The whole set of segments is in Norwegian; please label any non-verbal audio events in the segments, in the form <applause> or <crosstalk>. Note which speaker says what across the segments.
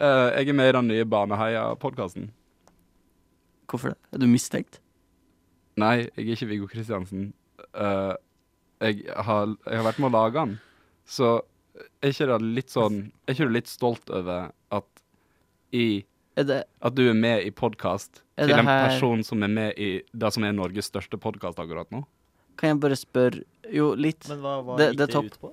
Speaker 1: Eh, jeg er med i den nye Baneheia-podkasten.
Speaker 2: Hvorfor det? Er du mistenkt?
Speaker 1: Nei, jeg er ikke Viggo Kristiansen. Eh, jeg, har, jeg har vært med å lage den. Så er ikke det litt sånn Er ikke du litt stolt over at i
Speaker 2: Er det
Speaker 1: At du er med i podkast
Speaker 2: Er
Speaker 1: til
Speaker 2: det
Speaker 1: en
Speaker 2: her-
Speaker 1: person som er med i det som er Norges største podkast akkurat nå?
Speaker 2: Kan jeg bare spørre Jo, litt.
Speaker 3: Men hva, hva
Speaker 2: Det-
Speaker 3: gikk
Speaker 2: det er
Speaker 3: det,
Speaker 2: topp.
Speaker 3: ut på?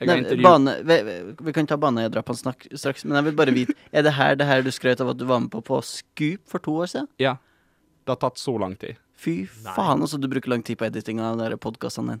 Speaker 1: Jeg har
Speaker 2: Nei,
Speaker 1: intervju-
Speaker 2: bane, vi, vi- vi kan ta banedrapene snakk- straks, men jeg vil bare vite Er det her det her du skrøt av at du var med på på Scoop for to år siden?
Speaker 1: Ja. Det har tatt så lang tid.
Speaker 2: Fy
Speaker 3: Nei.
Speaker 2: faen, altså du bruker lang tid på editing av de podkastene dine.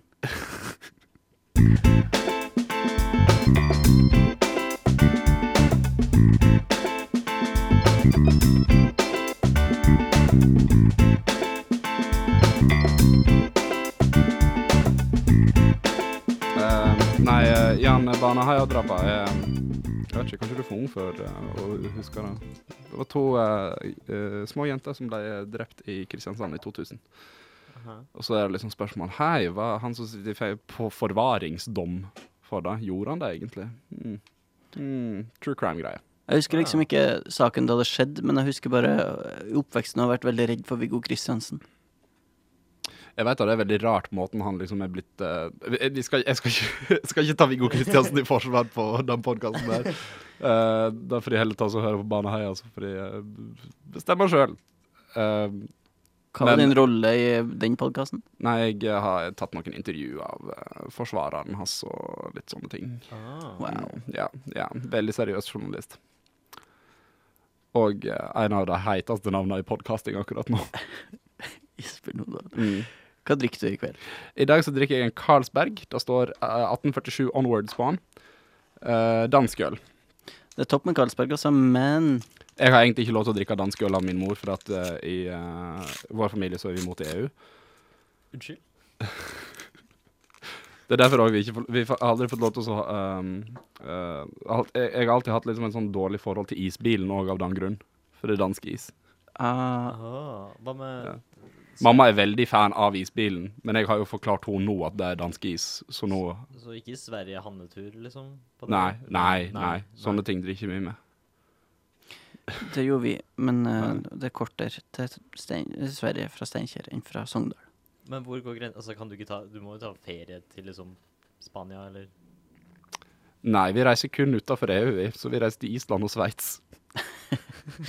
Speaker 1: Eh, nei, eh, Jan Baneheia-drapet er Jeg eh, vet ikke, kanskje du er for ung for eh, å huske det. Det var to eh, eh, små jenter som ble drept i Kristiansand i 2000.
Speaker 3: Aha.
Speaker 1: Og så er det liksom spørsmål Hei, hva han som sitter i fe- på forvaringsdom for det, gjorde han det egentlig? Hmm. Hmm, true crime-greie.
Speaker 2: Jeg husker liksom ikke saken da det skjedde, men jeg husker bare i oppveksten har jeg vært veldig redd for Viggo Kristiansen.
Speaker 1: Jeg vet at det er veldig rart måten han liksom er blitt eh, vi- vi skal, Jeg skal ikke, <laughs> jeg skal ikke ta Viggo Kristiansen i forsvar på den podkasten der. Eh, da får de heller ta oss og høre på altså, Baneheia, så får de eh, bestemme sjøl.
Speaker 2: Hva var
Speaker 1: Men-
Speaker 2: din rolle i eh, den podkasten?
Speaker 1: Eh, nei, jeg har tatt noen intervju av eh, forsvareren hans og litt sånne ting.
Speaker 3: Ah.
Speaker 2: Wow.
Speaker 1: Mm, Ja, ja. Veldig seriøs journalist. Og eh, en av de heiteste navnene i podcasting akkurat nå.
Speaker 2: Isbjørn Odal. Hva drikker du i kveld?
Speaker 1: I dag så drikker jeg en Carlsberg. Det står eh, 1847 Onwards på den. Eh, dansk øl.
Speaker 2: Det er topp med Carlsberg, altså, men
Speaker 1: Jeg har egentlig ikke lov til å drikke dansk øl av min mor, for at eh, i eh, vår familie så er vi imot E EU.
Speaker 3: Unnskyld?
Speaker 1: Det er derfor også vi ikke får, vi får aldri fått lov til å ha, ehm, eh, alt- jeg, jeg har alltid hatt liksom en sånn dårlig forhold til isbilen òg av den grunn. For det er dansk is.
Speaker 2: ah,
Speaker 3: Ah. Hva med
Speaker 1: Ja. Mamma er veldig fan av isbilen, men jeg har jo forklart henne nå at det er dansk is, så nå
Speaker 3: Så ikke i Sverige hannetur, liksom? på det?
Speaker 1: Nei, nei, nei. Sånne ting drikker ikke vi med.
Speaker 2: det gjorde vi, men eh, det er kortere til Stein, Sverige fra Steinkjer enn fra Sogndal.
Speaker 3: Men hvor går grensen? Altså, kan du ikke ta Du må jo ta ferie til liksom Spania, eller
Speaker 1: Nei, vi reiser kun utafor EU, vi, så vi reiser til Island og Sveits.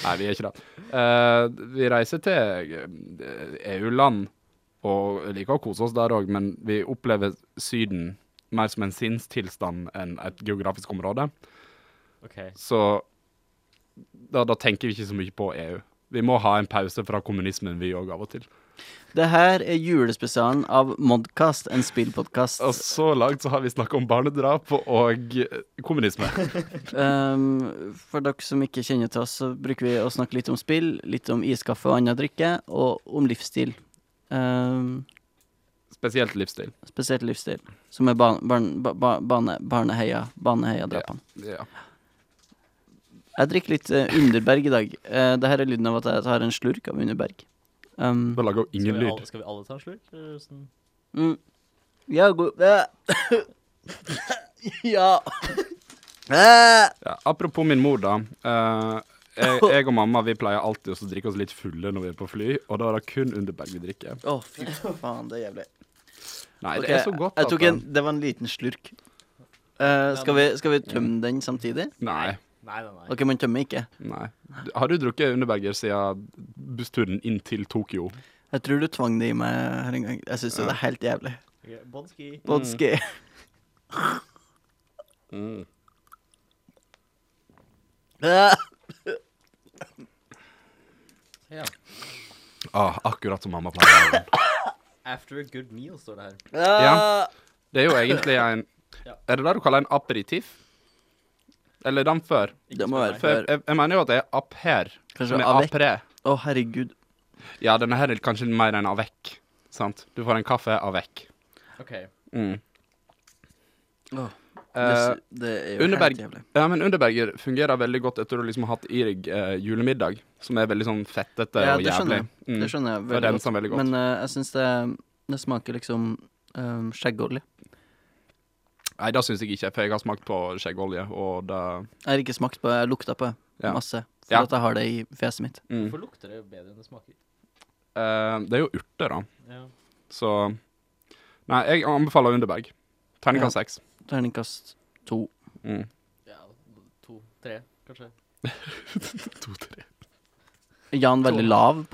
Speaker 1: nei, vi gjør ikke det. Eh, vi reiser til eh, EU-land og liker å kose oss der òg, men vi opplever Syden mer som en sinnstilstand enn et geografisk område.
Speaker 3: OK.
Speaker 1: Så da, da tenker vi ikke så mye på EU. Vi må ha en pause fra kommunismen, vi òg, av og til.
Speaker 2: Det her er julespesialen av Modcast, en spillpodkast.
Speaker 1: Og så langt så har vi snakka om barnedrap og kommunisme.
Speaker 2: Um, for dere som ikke kjenner til oss, så bruker vi å snakke litt om spill, litt om iskaffe og annen drikke, og om livsstil. Um,
Speaker 1: Spesielt livsstil.
Speaker 2: spesielt livsstil, som er barn, barn, ba, ba, bane, barneheia, barneheiadrapene.
Speaker 1: Ja.
Speaker 2: Jeg drikker litt eh, Underberg i dag. Uh, det her er lyden av at jeg tar en slurk av Underberg. Um,
Speaker 1: Det lager jo
Speaker 3: Skal
Speaker 1: ingen
Speaker 3: vi,
Speaker 1: lyd.
Speaker 3: alle, skal vi alle ta en slurk? eller Sånn?
Speaker 2: mm, ja, god <coughs> Ja. <coughs> Eh,
Speaker 1: Ja, apropos min mor, da. Eh,
Speaker 2: <laughs>
Speaker 1: jeg, jeg og mamma vi pleier alltid å drikke oss litt fulle når vi er på fly, og da er det kun Underberg vi drikker.
Speaker 2: Å, fy faen, det er jævlig.
Speaker 1: Nei,
Speaker 2: Ok,
Speaker 1: det er så godt
Speaker 2: jeg
Speaker 1: at
Speaker 2: tok en, Det var en liten slurk. Eh, skal, vi, skal vi tømme den samtidig?
Speaker 1: Nei.
Speaker 3: Nei, nei, nei.
Speaker 2: Ok, man tømmer ikke.
Speaker 1: nei. Har du drukket Underberger siden bussturen inn til Tokyo?
Speaker 2: Jeg tror du tvang det i meg her en gang. Jeg syns det er helt jævlig.
Speaker 3: Ok, Bonski.
Speaker 1: Mm.
Speaker 2: Vodski.
Speaker 1: <coughs>
Speaker 2: Eh,
Speaker 3: Ja.
Speaker 1: Ah, akkurat som mamma pleier. å
Speaker 2: <laughs>
Speaker 1: gjøre.
Speaker 3: After a good meal, står det her.
Speaker 2: eh,
Speaker 1: Ja. Det er jo egentlig en
Speaker 3: Ja.
Speaker 1: Er det det du kaller en aperitiff? Eller den før?
Speaker 3: Ikke
Speaker 2: Det må
Speaker 3: spør
Speaker 2: være
Speaker 3: meg.
Speaker 1: For jeg, jeg, jeg mener jo at det er app her.
Speaker 2: Kanskje
Speaker 1: Som er
Speaker 2: avec.
Speaker 1: apre.
Speaker 2: Å, herregud.
Speaker 1: Ja, denne her er kanskje mer enn avec. Sant? Du får en kaffe avec.
Speaker 3: OK.
Speaker 1: Mm.
Speaker 2: Åh, det,
Speaker 1: Eh,
Speaker 2: s- det er jo
Speaker 1: Underberg,
Speaker 2: helt jævlig.
Speaker 1: ja, men underberger fungerer veldig godt etter du liksom har hatt i deg eh, julemiddag, som er veldig sånn fettete
Speaker 2: Ja,
Speaker 1: og
Speaker 2: det skjønner
Speaker 1: jævlig. Mm.
Speaker 2: jeg. Det skjønner jeg
Speaker 1: Det
Speaker 2: veldig godt.
Speaker 1: renser veldig godt.
Speaker 2: Men eh, jeg syns det, det smaker liksom um, skjeggolje.
Speaker 1: Nei, det syns jeg ikke, for jeg har smakt på skjeggolje, og det
Speaker 2: Jeg har ikke smakt på det, jeg lukta på det. Ja.
Speaker 1: masse. For
Speaker 2: Ja.
Speaker 1: at jeg har det i fjeset mitt.
Speaker 2: Mm.
Speaker 3: Hvorfor lukter det bedre enn det smaker?
Speaker 2: Eh, det er jo urter, da.
Speaker 3: Ja.
Speaker 2: Så Nei, jeg anbefaler Underberg.
Speaker 1: Ja.
Speaker 2: Terningkast seks.
Speaker 1: Mm. Eh, Eh, eh, eh, um, eh,
Speaker 2: <laughs> eh,
Speaker 1: sånn,
Speaker 2: sånn,
Speaker 1: altså. Eh, eh,
Speaker 2: Oh, eh, eh,
Speaker 1: Eh,
Speaker 2: eh, eh, sånn eh, Ehm, mm.
Speaker 1: Mm.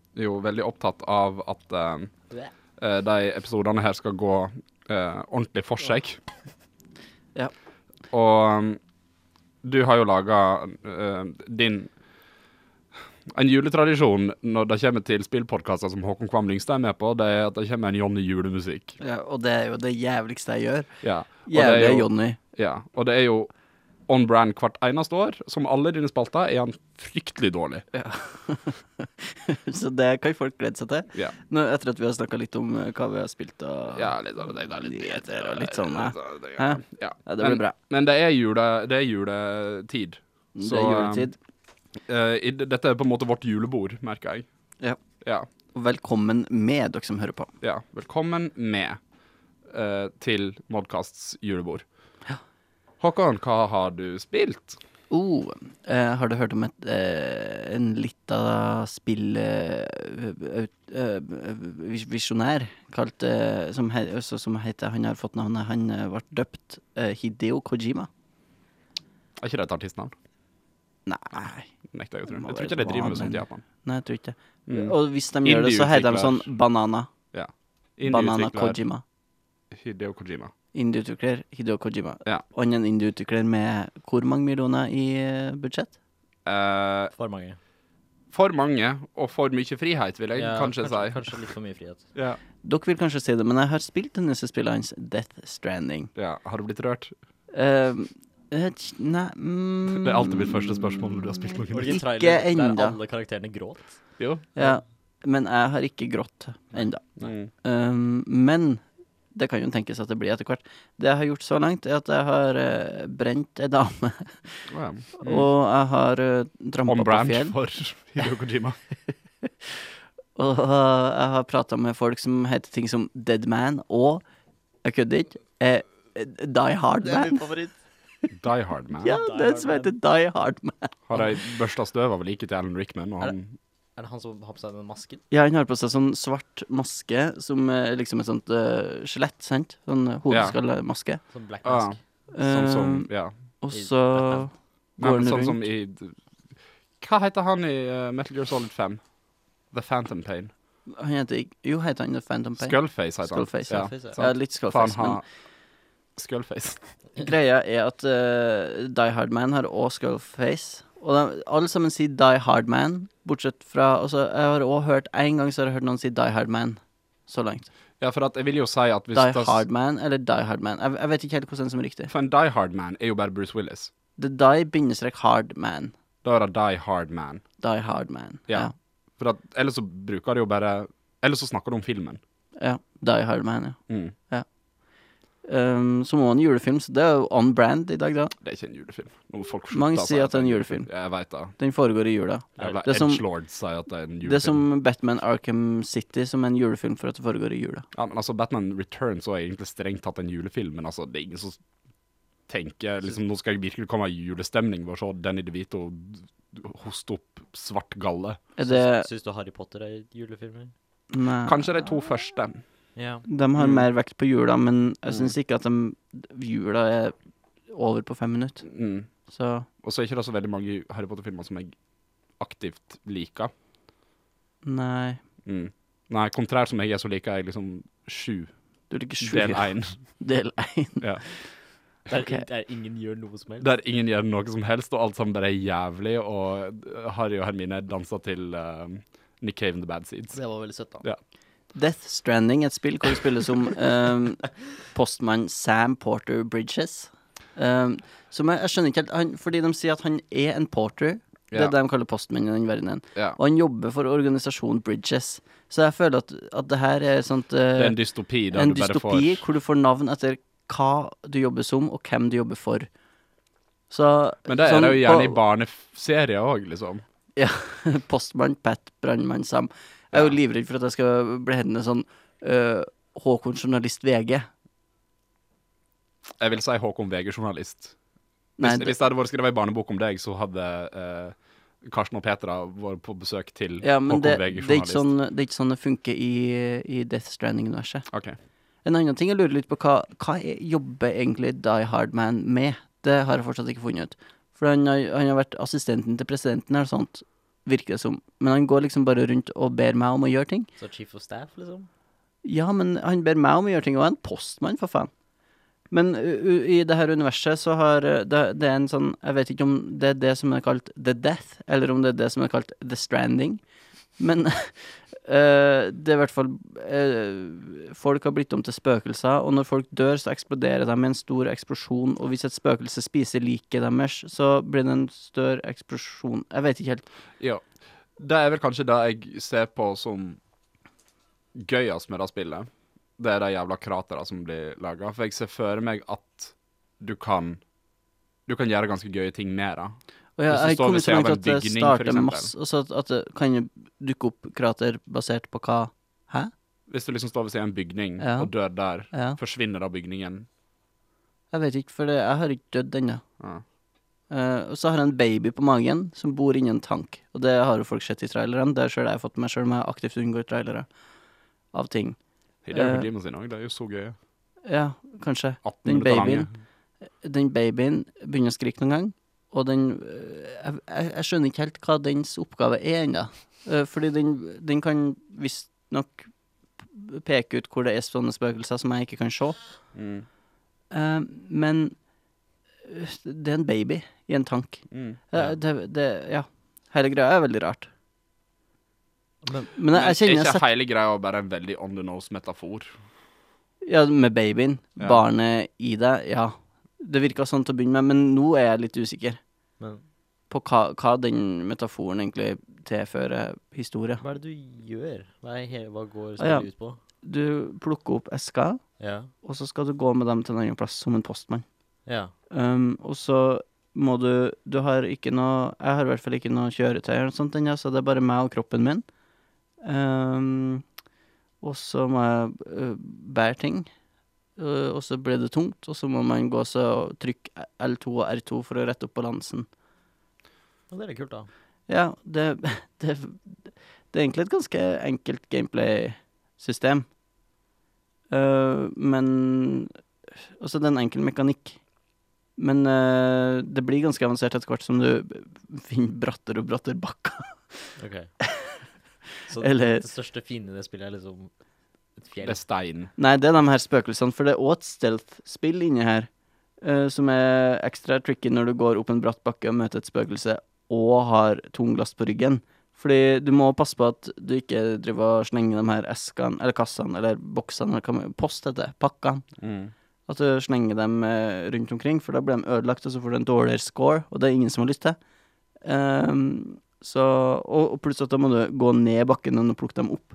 Speaker 2: Ehm, eh, eh,
Speaker 1: <laughs>
Speaker 2: eh,
Speaker 1: sånn
Speaker 2: sånn liksom eh, Sånn
Speaker 3: Sånn
Speaker 2: Ehm,
Speaker 1: sånn eh, <laughs>
Speaker 2: eh, altså, Ehm,
Speaker 1: altså, liksom, Mm. Mm. liksom, <laughs>
Speaker 2: <laughs>
Speaker 1: eh,
Speaker 2: ehm, Ehm, eh, sånn
Speaker 4: liksom.
Speaker 2: Jeg er jo livredd for at jeg skal bli hendende sånn øh, Håkon journalist VG.
Speaker 4: Jeg vil si Håkon Veger, journalist.
Speaker 2: Nei,
Speaker 4: Hvis,
Speaker 2: det-
Speaker 4: hvis det hadde vært skrevet en barnebok om deg, så hadde eh, Karsten og Petra vært på besøk til
Speaker 2: ja, men
Speaker 4: Håkon
Speaker 2: det,
Speaker 4: Veger,
Speaker 2: det, er ikke
Speaker 4: journalist.
Speaker 2: sånn, det er ikke sånn det funker i, i Death Stranding-universet.
Speaker 4: Ok.
Speaker 2: En annen ting jeg lurer litt på, hva, hva er- jobber egentlig Die Hard Man med? Det har jeg fortsatt ikke funnet ut. For han har, han har vært assistenten til presidenten eller sånt, virker det som. Men han går liksom bare rundt og ber meg om å gjøre ting.
Speaker 3: Så chief of staff, liksom?
Speaker 2: Ja, men han ber meg om å gjøre ting, og jeg er en postmann, for faen. Men u- u- i det her universet så har uh, det, det er en sånn Jeg vet ikke om det er det som er kalt The Death, eller om det er det som er kalt The Stranding. Men <laughs> eh, det er i hvert fall eh, Folk har blitt om til spøkelser, og når folk dør, så eksploderer de med en stor eksplosjon. Og hvis et spøkelse spiser liket deres, så blir det en større eksplosjon Jeg vet ikke helt.
Speaker 4: Ja. Det er vel kanskje det jeg ser på som gøyest med det spillet. Det er de jævla kratera som blir laga. For jeg ser for meg at du kan Du kan gjøre ganske gøye ting med det.
Speaker 2: Og jeg
Speaker 4: Hvis det
Speaker 2: jeg
Speaker 4: står ved
Speaker 2: kommer så
Speaker 4: siden av
Speaker 2: langt
Speaker 4: en
Speaker 2: at det
Speaker 4: bygning, for
Speaker 2: starter med
Speaker 4: eksempel.
Speaker 2: masse, og så at, at det kan jo dukke opp krater basert på hva Hæ?
Speaker 4: Hvis du liksom står ved siden av en bygning
Speaker 2: Ja.
Speaker 4: og dør der,
Speaker 2: Ja.
Speaker 4: forsvinner da bygningen.
Speaker 2: Jeg vet ikke, for det, jeg har ikke dødd ennå.
Speaker 4: Ja.
Speaker 2: Eh, og så har jeg en baby på magen som bor inni en tank. Og det har jo folk sett i trailerne. Det har selv jeg fått med meg selv om jeg aktivt unngår trailere av ting.
Speaker 4: Hideo
Speaker 2: Eh.
Speaker 4: Kojima sin òg, det er jo så gøye.
Speaker 2: Ja, kanskje.
Speaker 4: 18
Speaker 2: Den
Speaker 4: minutter
Speaker 2: babyen.
Speaker 4: lange.
Speaker 2: Den babyen begynner å skrike noen gang, og den eh, Jeg, jeg, jeg skjønner ikke helt hva dens oppgave er ennå. Eh, fordi den, den kan visstnok peke ut hvor det er sånne spøkelser som jeg ikke kan se.
Speaker 4: Mm.
Speaker 2: Eh, men eh, det er en baby i en tank.
Speaker 4: Mm.
Speaker 2: Ja, det, det, ja. Hele greia er veldig rart.
Speaker 3: Men-
Speaker 2: Men jeg, jeg kjenner jeg
Speaker 4: ikke
Speaker 2: har sett
Speaker 4: hele greia bare en veldig on the nose-metafor.
Speaker 2: Ja, med babyen,
Speaker 4: Ja.
Speaker 2: barnet i deg, ja. Det virka sånn til å begynne med, men nå er jeg litt usikker
Speaker 3: Men
Speaker 2: på hva, hva den metaforen egentlig tilfører historie.
Speaker 3: hva er det du gjør? Hva, er, he- hva går
Speaker 2: Ah, ja.
Speaker 3: spillet ut på?
Speaker 2: Du plukker opp esker,
Speaker 3: Ja.
Speaker 2: og så skal du gå med dem til en annen plass som en postmann.
Speaker 3: Ja.
Speaker 2: Um, og så må du Du har ikke noe Jeg har i hvert fall ikke noe kjøretøy eller noe sånt ennå, så det er bare meg og kroppen min. Um, og så må jeg øh, bære ting. Øh, og så blir det tungt, og så må man gå så og trykke L2 og R2 for å rette opp balansen.
Speaker 3: ja, det er litt kult, da.
Speaker 2: Ja, det, <laughs> det Det er egentlig et ganske enkelt gameplay-system. Eh, men Også det er en enkel mekanikk. Men eh, det blir ganske avansert etter hvert som du <laughs> finner brattere og brattere bakker. <laughs>
Speaker 3: Ok. Så
Speaker 2: Eller-
Speaker 3: det største fienden i det spillet er liksom et fjell?
Speaker 4: Det er stein.
Speaker 2: Nei, det er de her spøkelsene, for det er òg et stealth-spill inni her. eh, som er ekstra tricky når du går opp en bratt bakke og møter et spøkelse og har tung last på ryggen. Fordi du må passe på at du ikke driver og slenger de her eskene eller kassene eller boksene eller hva man- post heter det, pakkene.
Speaker 4: Mm.
Speaker 2: At du slenger dem eh, rundt omkring, for da blir de ødelagt, og så får du en dårligere score, og det er ingen som har lyst til. Ehm, så, og, og plutselig at da må du gå ned bakken og plukke dem opp.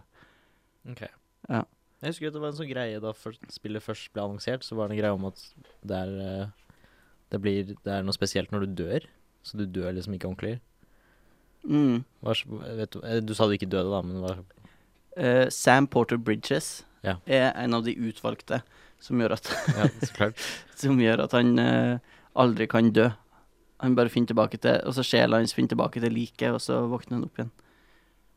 Speaker 3: Ok.
Speaker 2: Ja.
Speaker 3: Jeg husker at det var en sånn greie da først, spillet først ble annonsert, så var det en greie om at det er, eh, det, blir, det er noe spesielt når du dør. Så du dør liksom ikke ordentlig.
Speaker 2: Mm.
Speaker 3: Hva, er så- vet du, eh, du sa du ikke døde, da, men hva
Speaker 2: Eh, Sam Porter Bridges
Speaker 3: Ja.
Speaker 2: er en av de utvalgte som gjør at, <laughs>
Speaker 3: Ja, så klart.
Speaker 2: som gjør at han eh, aldri kan dø. Han bare finner tilbake til Og så sjela hans finner tilbake til liket, og så våkner han opp igjen.
Speaker 3: <laughs>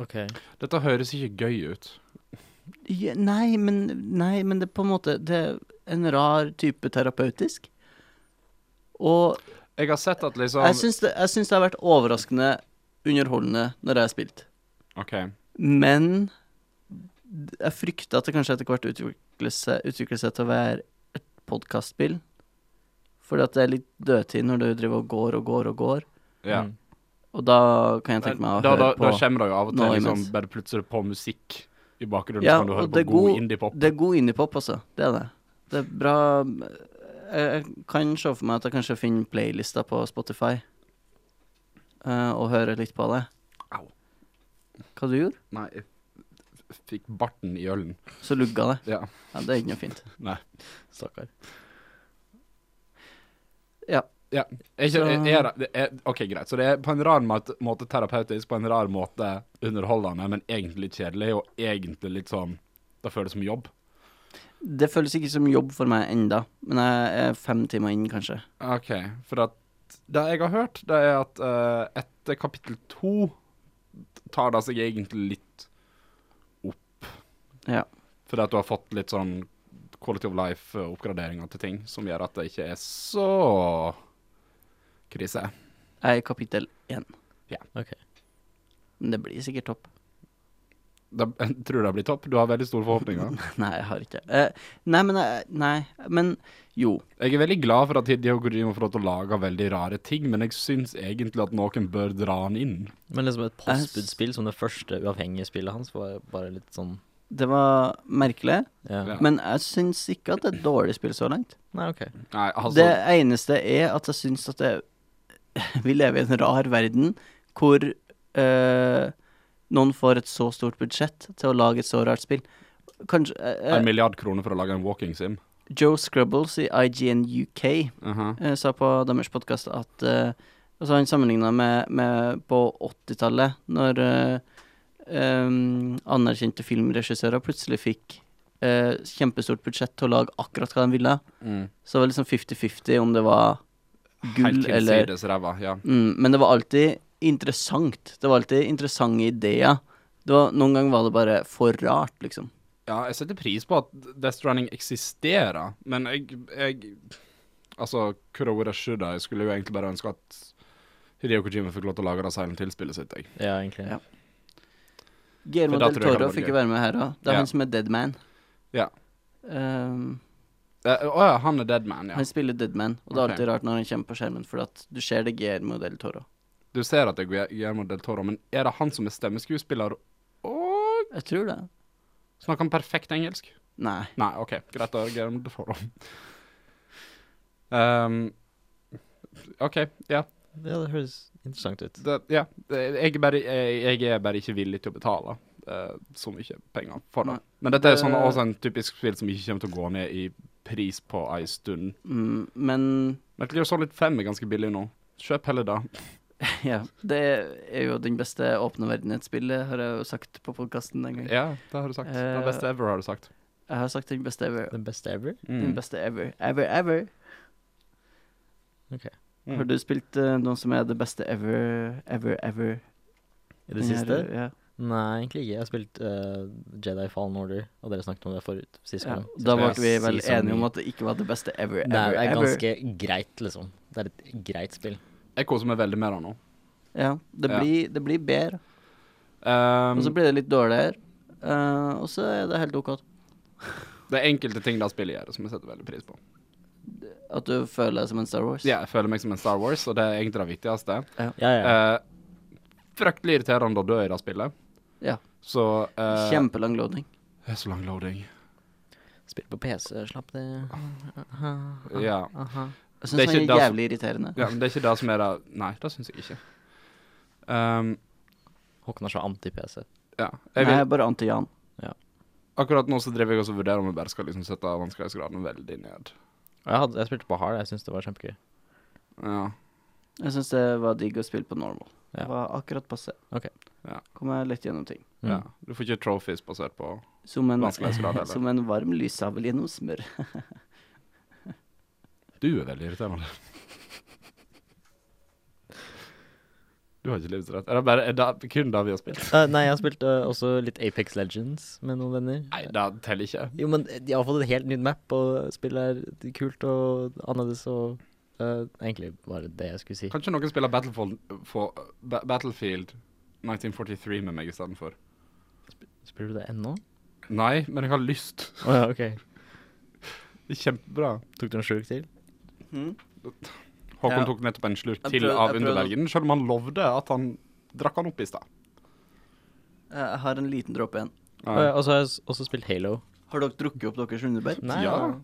Speaker 3: Ok.
Speaker 4: Dette høres ikke gøy ut.
Speaker 2: Ja, nei, men, nei, men det er på en måte Det er en rar type terapeutisk. Og
Speaker 4: Jeg har sett at liksom
Speaker 2: jeg syns det, jeg syns det har vært overraskende underholdende når jeg har spilt.
Speaker 4: OK.
Speaker 2: Men d- jeg frykter at det kanskje etter hvert utvikler seg, utvikler seg til å være et podkastspill. Fordi at det er litt dødtid når du driver og går og går og går.
Speaker 4: Ja.
Speaker 3: Mm.
Speaker 2: Og da kan jeg tenke meg å
Speaker 4: da, da,
Speaker 2: høre på
Speaker 4: da kommer det jo av og til
Speaker 2: nå
Speaker 4: liksom,
Speaker 2: imens.
Speaker 4: bare plutselig på musikk i bakgrunnen.
Speaker 2: Ja,
Speaker 4: så kan du
Speaker 2: og
Speaker 4: høre
Speaker 2: det
Speaker 4: på
Speaker 2: er
Speaker 4: god,
Speaker 2: god-
Speaker 4: indie-pop.
Speaker 2: Det er god indiepop, altså. Det er det. Det er bra Jeg- Jeg kan se for meg at jeg kanskje finner playlister på Spotify. eh, og hører litt på det.
Speaker 4: Au.
Speaker 2: Hva du gjorde?
Speaker 4: Nei, jeg f- fikk barten i ølen.
Speaker 2: Så lugga det.
Speaker 4: Ja.
Speaker 2: Ja, det er ikke noe fint.
Speaker 4: Nei.
Speaker 3: Stakkar.
Speaker 2: Ja.
Speaker 1: Er ikke, er, er, det- er, ok, greit. Så det er på en rar måte, måte terapeutisk, på en rar måte underholdende, men egentlig kjedelig, og egentlig litt sånn Det føles som jobb.
Speaker 2: Det føles ikke som jobb for meg enda men jeg er fem timer inn, kanskje.
Speaker 1: OK. For at det jeg har hørt, det er at eh, etter kapittel to tar det seg egentlig litt opp.
Speaker 2: Ja.
Speaker 1: Fordi at du har fått litt sånn quality of life-oppgraderinger til ting som gjør at det ikke er så krise.
Speaker 2: Jeg er i kapittel én.
Speaker 3: Ok.
Speaker 2: Men det blir sikkert topp. <laughs>
Speaker 1: Det, jeg <laughs> tror det blir topp. Du har veldig store forhåpninger.
Speaker 2: Nei, jeg har ikke. Eh, nei, men jeg- Nei, men jo.
Speaker 1: Jeg er veldig glad for at Hidio Kojima får lov til å lage veldig rare ting, men jeg syns egentlig at noen bør dra han inn.
Speaker 3: Men liksom et postbudspill som det første uavhengige spillet hans var bare litt sånn
Speaker 2: Det var merkelig,
Speaker 3: Ja.
Speaker 1: Ja.
Speaker 2: men jeg syns ikke at det er et dårlig spill så langt.
Speaker 3: Nei, OK.
Speaker 1: Nei, altså
Speaker 2: Det eneste er at jeg syns at det <laughs> Vi lever i en rar verden hvor eh, noen får et så stort budsjett til å lage et så rart spill. Kanskje eh,
Speaker 1: En
Speaker 2: eh,
Speaker 1: milliard kroner for å lage en walking sim.
Speaker 2: Joe Scrubbles i IGN UK
Speaker 1: Aha.
Speaker 2: eh, sa på deres podkast at eh, Altså han sammenligna med, med på 80-tallet, når eh, em, anerkjente filmregissører plutselig fikk eh, kjempestort budsjett til å lage akkurat hva de ville.
Speaker 1: Mm.
Speaker 2: Så det var liksom 50-50 om det var gull
Speaker 1: Helt
Speaker 2: eller
Speaker 1: hinsides ræva, ja.
Speaker 2: mm, Men det var alltid interessant. Det var alltid interessante ideer. Det var, noen ganger var det bare for rart, liksom.
Speaker 1: Ja, jeg setter pris på at Death Stranding eksisterer, men jeg, jeg Altså, Kurora Shuda, jeg skulle jo egentlig bare ønske at Hideo Kojima fikk lov til å lage det Silent Hill-spillet sitt, jeg.
Speaker 3: Ja, egentlig.
Speaker 2: Ja.
Speaker 3: Ja.
Speaker 2: Guillermo
Speaker 1: For da
Speaker 2: del
Speaker 1: tror jeg
Speaker 2: Toro
Speaker 1: han var
Speaker 2: fikk
Speaker 1: gøy.
Speaker 2: jo være med her òg. Det er
Speaker 1: Ja.
Speaker 2: han som er Deadman.
Speaker 1: Ja.
Speaker 2: Um,
Speaker 1: Eh, Å ja, han er Deadman, ja.
Speaker 2: Han spiller Deadman, og det er
Speaker 1: Ok.
Speaker 2: alltid rart når han kommer på skjermen, for at du ser det Guillermo del Toro.
Speaker 1: Du ser at det er Guer- Guillermo del Toro, men er det han som er stemmeskuespiller og
Speaker 2: Jeg tror det.
Speaker 1: Snakker han perfekt engelsk?
Speaker 2: Nei.
Speaker 1: Nei, OK. Greit, da reagerer du for dem. Ehm, OK, ja.
Speaker 3: det høres interessant ut.
Speaker 1: Det, ja. Det, jeg, er bare, jeg, jeg er bare ikke villig til å betale eh, så mye penger for det.
Speaker 2: Nei.
Speaker 1: Men dette er jo sånn,
Speaker 2: Det-
Speaker 1: også en typisk spill som ikke kommer til å gå ned i pris på ei stund.
Speaker 2: Mm, men <laughs>
Speaker 1: Metal Gear Solid 5 er ganske billig nå. Kjøp heller det.
Speaker 2: ja, det er jo den beste åpne verden i et spill, det har jeg jo sagt på podkasten den gangen.
Speaker 1: Ja, det har du sagt.
Speaker 2: Eh,
Speaker 1: det beste ever, har du sagt.
Speaker 2: Jeg har sagt den beste ever.
Speaker 3: The best ever?
Speaker 2: Den
Speaker 1: Mm.
Speaker 2: beste ever. Ever, ever.
Speaker 3: Ok.
Speaker 1: Mm.
Speaker 2: Har du spilt eh, noen som er det beste ever, ever, ever?
Speaker 3: I det
Speaker 2: Den her,
Speaker 3: siste?
Speaker 2: ja.
Speaker 3: Nei, egentlig ikke. Jeg har spilt eh, Jedi Fallen Order, og dere snakket om det forut. Sist
Speaker 2: ja.
Speaker 3: gang. Så
Speaker 2: Da
Speaker 3: skal
Speaker 2: ble
Speaker 3: jeg
Speaker 2: vi vel
Speaker 3: si så
Speaker 2: enige om
Speaker 3: mye.
Speaker 2: at det ikke var det beste ever,
Speaker 3: Det
Speaker 2: ever,
Speaker 3: er, er
Speaker 2: ever.
Speaker 3: ganske greit, liksom. Det er et greit spill.
Speaker 1: Jeg koser meg veldig med det nå.
Speaker 2: Ja, det
Speaker 1: Ja.
Speaker 2: blir, det blir bedre.
Speaker 3: Um,
Speaker 1: Ehm,
Speaker 2: Og så blir det litt dårligere, eh, og så er det helt ok at-
Speaker 1: det er enkelte ting det spillet gjør, som jeg setter veldig pris på.
Speaker 2: at du føler deg som en Star Wars.
Speaker 1: Ja, jeg føler meg som en Star Wars, og det er egentlig det viktigste.
Speaker 3: Ja, ja.
Speaker 1: Eh, fryktelig irriterende å dø i det spillet.
Speaker 2: Ja.
Speaker 1: Så eh,
Speaker 2: Kjempelang loading.
Speaker 1: Det er så lang loading.
Speaker 3: Spill på PC, slapp det
Speaker 1: Ja.
Speaker 2: Ah.
Speaker 3: Aha.
Speaker 1: Det
Speaker 2: Jeg
Speaker 1: er ikke
Speaker 2: syns han
Speaker 1: det
Speaker 2: er
Speaker 1: som-
Speaker 2: jævlig irriterende.
Speaker 1: ja, men det er ikke det som er det Nei, det syns jeg ikke. Ehm,
Speaker 3: Håkon er så anti-PC.
Speaker 1: ja. Jeg
Speaker 2: Nei,
Speaker 1: vil,
Speaker 2: bare anti-Jan.
Speaker 1: akkurat nå så driver jeg også og vurderer om jeg bare skal liksom sette vanskelighetsgraden veldig ned.
Speaker 3: Jeg, hadde, jeg spilte på hard, jeg syns det var kjempegøy.
Speaker 1: Ja.
Speaker 2: Jeg syns det var digg å spille på normal.
Speaker 3: Ja.
Speaker 2: Det var akkurat passe.
Speaker 3: Ok.
Speaker 1: Ja.
Speaker 2: Kom jeg lett gjennom ting.
Speaker 3: Mm.
Speaker 1: ja. Du får ikke trophies basert på
Speaker 2: Som en,
Speaker 1: Vanskelighetsgrad, eller?
Speaker 2: som en varm lyssabel gjennom smør.
Speaker 1: Du er veldig irriterende. Du har ikke livsrett. Er det bare er det kun det vi har spilt?
Speaker 3: Eh, nei, jeg har spilt eh, også litt Apex Legends med noen venner.
Speaker 1: Nei, det teller ikke.
Speaker 3: Jo, men de har fått et helt nytt map, og spillet er kult og annerledes og eh, Egentlig var det det jeg skulle si.
Speaker 1: Kanskje noen spiller Battlefield, for, ba Battlefield 1943 med meg istedenfor.
Speaker 3: Spiller du det ennå?
Speaker 1: Nei, men jeg har lyst.
Speaker 3: Å ja, OK.
Speaker 1: Det er kjempebra.
Speaker 3: Tok du en slurk til?
Speaker 2: Mm.
Speaker 1: Håkon
Speaker 2: Ja.
Speaker 1: tok nettopp en slurk
Speaker 2: Jeg
Speaker 1: til
Speaker 2: prøvde-
Speaker 1: av
Speaker 2: jeg prøvde å-
Speaker 1: undervergen, selv om han lovde at han drakk han opp i stad.
Speaker 2: Eh, Jeg har en liten dråpe igjen.
Speaker 3: Å ja, Eh, og så har jeg s- også spilt Halo.
Speaker 2: Har dere drukket opp deres underbær?
Speaker 3: Nei,
Speaker 1: ja.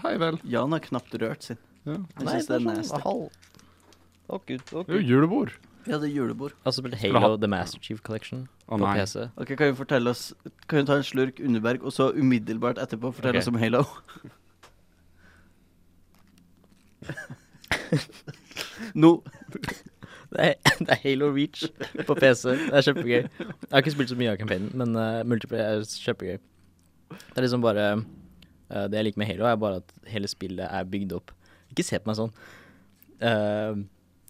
Speaker 1: Hei vel.
Speaker 2: Jan har knapt rørt sin.
Speaker 1: Ja.
Speaker 2: Jeg syns det er nasty.
Speaker 3: halv. Å gud, å
Speaker 1: Det er
Speaker 3: gud.
Speaker 1: jo julebord.
Speaker 2: Vi hadde julebord.
Speaker 3: Jeg har også spilt
Speaker 1: Skulle
Speaker 3: Halo The Master Chief Collection
Speaker 1: Å
Speaker 3: på
Speaker 1: nei.
Speaker 3: PC.
Speaker 2: Ok, Kan du fortelle oss Kan du ta en slurk underberg, og så <laughs> umiddelbart etterpå fortelle
Speaker 3: Ok.
Speaker 2: oss om Halo? Nå
Speaker 3: Det er, <laughs> det er Halo Reach på PC. Det er kjempegøy. Jeg har ikke spilt så mye av campaignen, men uh, multiplayer er kjempegøy. Det er liksom bare eh, Det jeg liker med Halo, er bare at hele spillet er bygd opp. Ikke se på meg sånn. Eh,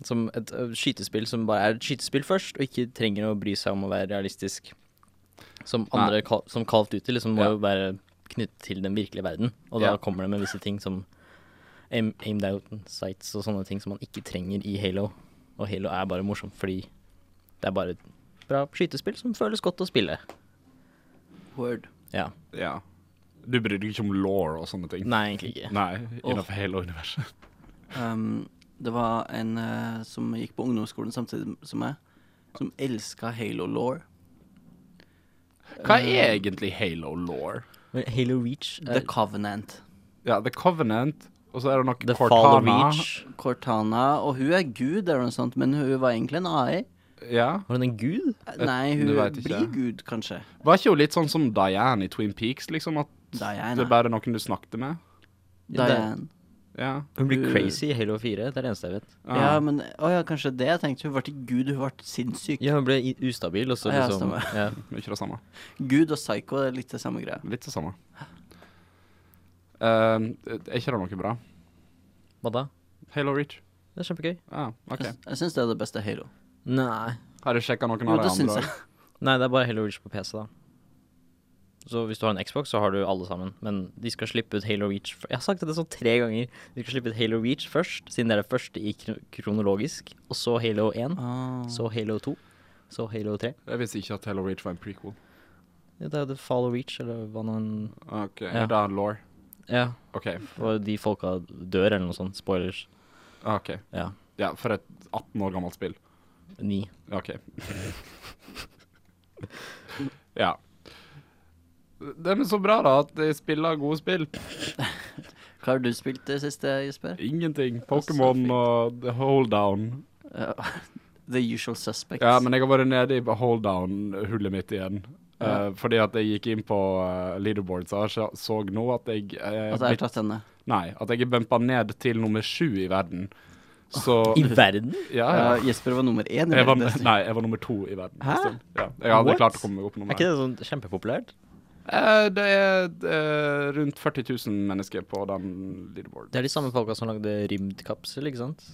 Speaker 3: som et eh, skytespill som bare er et skytespill først, og ikke trenger å bry seg om å være realistisk. Som andre kal som Call of Duty liksom må
Speaker 1: Ja.
Speaker 3: jo være knyttet til den virkelige verden, og da
Speaker 1: Ja.
Speaker 3: kommer det med visse ting som aim, aimed out sights og sånne ting som man ikke trenger i Halo. Og Halo er bare morsomt fordi det er bare et bra skytespill som føles godt å spille.
Speaker 2: Word.
Speaker 3: Ja.
Speaker 1: Ja. Du bryr deg ikke om law og sånne ting?
Speaker 3: Nei, egentlig ikke.
Speaker 1: Nei,
Speaker 2: Åh.
Speaker 1: innenfor hele universet.
Speaker 2: Um, det var en eh, som gikk på ungdomsskolen samtidig som meg, som elska Halo Law.
Speaker 1: <laughs> Hva er
Speaker 3: Eh.
Speaker 1: egentlig halo law?
Speaker 3: Men Halo Reach
Speaker 2: The
Speaker 3: er
Speaker 2: Covenant.
Speaker 1: Ja, The Covenant, og så er det noe
Speaker 3: The Fall of
Speaker 1: Cortana.
Speaker 3: Reach.
Speaker 2: Cortana, og hun er gud eller noe sånt, men hun var egentlig en AI.
Speaker 1: Ja.
Speaker 3: Var hun en gud?
Speaker 2: Eh, Nei, hun
Speaker 1: du vet ikke.
Speaker 2: blir gud, kanskje.
Speaker 1: Var ikke hun litt sånn som Diane i Twin Peaks, liksom? At det
Speaker 2: Diana.
Speaker 1: er bare noen du snakket med?
Speaker 3: Ja, det-
Speaker 2: Diane.
Speaker 1: Ja.
Speaker 3: Hun blir
Speaker 2: Hun-
Speaker 3: crazy i Halo 4, det er det eneste jeg vet.
Speaker 1: Ah.
Speaker 2: Ja, men å ja, kanskje det jeg tenkte. Hun ble ikke gud, hun ble sinnssyk.
Speaker 3: Ja, hun ble i- ustabil, og så
Speaker 2: Ja,
Speaker 3: liksom
Speaker 2: stemmer.
Speaker 3: ja.
Speaker 1: Mye det samme.
Speaker 2: Gud og psycho er litt det samme greia.
Speaker 1: Litt det samme. Eh, er ikke det noe bra?
Speaker 3: Hva da?
Speaker 1: Halo Reach?
Speaker 3: Det er kjempegøy.
Speaker 1: Ja, OK.
Speaker 2: Jeg, jeg syns det er det beste Halo.
Speaker 3: Nei.
Speaker 1: Har du sjekka noen
Speaker 2: Jo,
Speaker 1: av de
Speaker 2: det syns
Speaker 1: andre?
Speaker 2: jeg.
Speaker 3: Nei, det er bare Halo Reach på PC, da. Så hvis du har en Xbox, så har du alle sammen. Men de skal slippe ut Halo Reach f- Jeg har sagt det sånn tre ganger. De skal slippe ut Halo Reach først, siden det er det første i kro- kronologisk. Og så Halo 1.
Speaker 2: Ah.
Speaker 3: Så Halo 2. Så Halo 3.
Speaker 1: Jeg visste ikke at Halo Reach var en prequel.
Speaker 3: Ja, det er The Follow Reach, eller hva nå enn
Speaker 1: OK,
Speaker 3: Ja.
Speaker 1: er det en law?
Speaker 3: Ja,
Speaker 1: OK.
Speaker 3: og de folka dør, eller noe sånt. Spoilers.
Speaker 1: ok.
Speaker 3: Ja.
Speaker 1: Ja, for et 18 år gammelt spill.
Speaker 3: Ni.
Speaker 1: OK. <laughs> ja. Det er men så bra, da, at de spiller gode spill.
Speaker 2: Hva har du spilt det siste, Jesper? <laughs>
Speaker 1: Ingenting.
Speaker 2: Så
Speaker 1: Pokémon
Speaker 2: fint.
Speaker 1: og The Hold Down.
Speaker 2: Ja, The Usual Suspects.
Speaker 1: Ja, men jeg har vært nede i Hold Down-hullet mitt igjen. Eh, fordi at jeg gikk inn på eh, leaderboards og så, så nå at jeg eh,
Speaker 2: At Altså, jeg har
Speaker 1: mitt-
Speaker 2: tatt henne.
Speaker 1: Nei, at jeg er bumpa ned til nummer sju i verden. Så
Speaker 3: I verden?
Speaker 1: ja, Ah, ja.
Speaker 2: Ja, Jesper var nummer én. i
Speaker 1: Jeg var,
Speaker 2: World Destiny.
Speaker 1: nei, jeg var nummer to i verden.
Speaker 3: Hæ?
Speaker 1: Så, Ja, jeg hadde
Speaker 3: What?
Speaker 1: klart å komme meg opp
Speaker 3: Er
Speaker 1: nummer
Speaker 3: ikke
Speaker 1: én.
Speaker 3: det sånn kjempepopulært?
Speaker 1: Eh, Det er eh, rundt 40 000 mennesker på den leaderboarden.
Speaker 3: Det er de samme folka som lagde Rymdkapsel, ikke sant?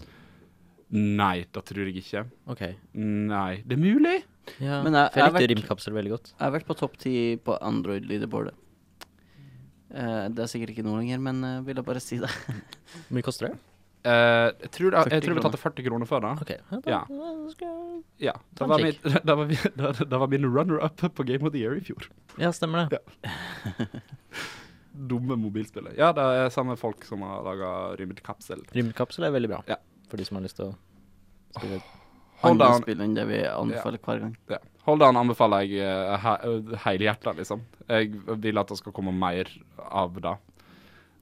Speaker 1: Nei, det tror jeg ikke.
Speaker 3: OK.
Speaker 1: Nei, det er mulig?
Speaker 3: Ja,
Speaker 2: Men jeg-
Speaker 3: for
Speaker 2: jeg
Speaker 3: jeg
Speaker 2: har
Speaker 3: likte
Speaker 2: vært-
Speaker 3: Rymdkapsel veldig godt.
Speaker 2: Jeg har vært på topp ti på Android-leaderboardet. Eh, det er sikkert ikke nå lenger, men uh, vil jeg bare si det.
Speaker 3: Hvor mye koster det?
Speaker 1: Eh, jeg tror, jeg,
Speaker 2: 40
Speaker 1: tror vi tatte 40 kroner før det.
Speaker 3: OK. Ja, da,
Speaker 1: Ja.
Speaker 3: da skal jeg-
Speaker 1: Ja. Det
Speaker 3: Ta en
Speaker 1: var, min, <laughs>
Speaker 3: kikk.
Speaker 1: det, var, min- det, det var min runner-up på Game of the Year i fjor.
Speaker 3: ja, stemmer det.
Speaker 1: Dumme mobilspillet. Ja, det er samme folk som har laga Rymdkapsel.
Speaker 3: Rymdkapsel er veldig bra.
Speaker 1: Ja.
Speaker 3: For de som har lyst til å spille et
Speaker 1: Hold
Speaker 2: Andre
Speaker 1: on.
Speaker 2: spill enn det vi anbefaler hver gang.
Speaker 1: Ja. Hold an anbefaler jeg eh, he- eh, helhjertet, liksom. Jeg vil at det skal komme mer av det.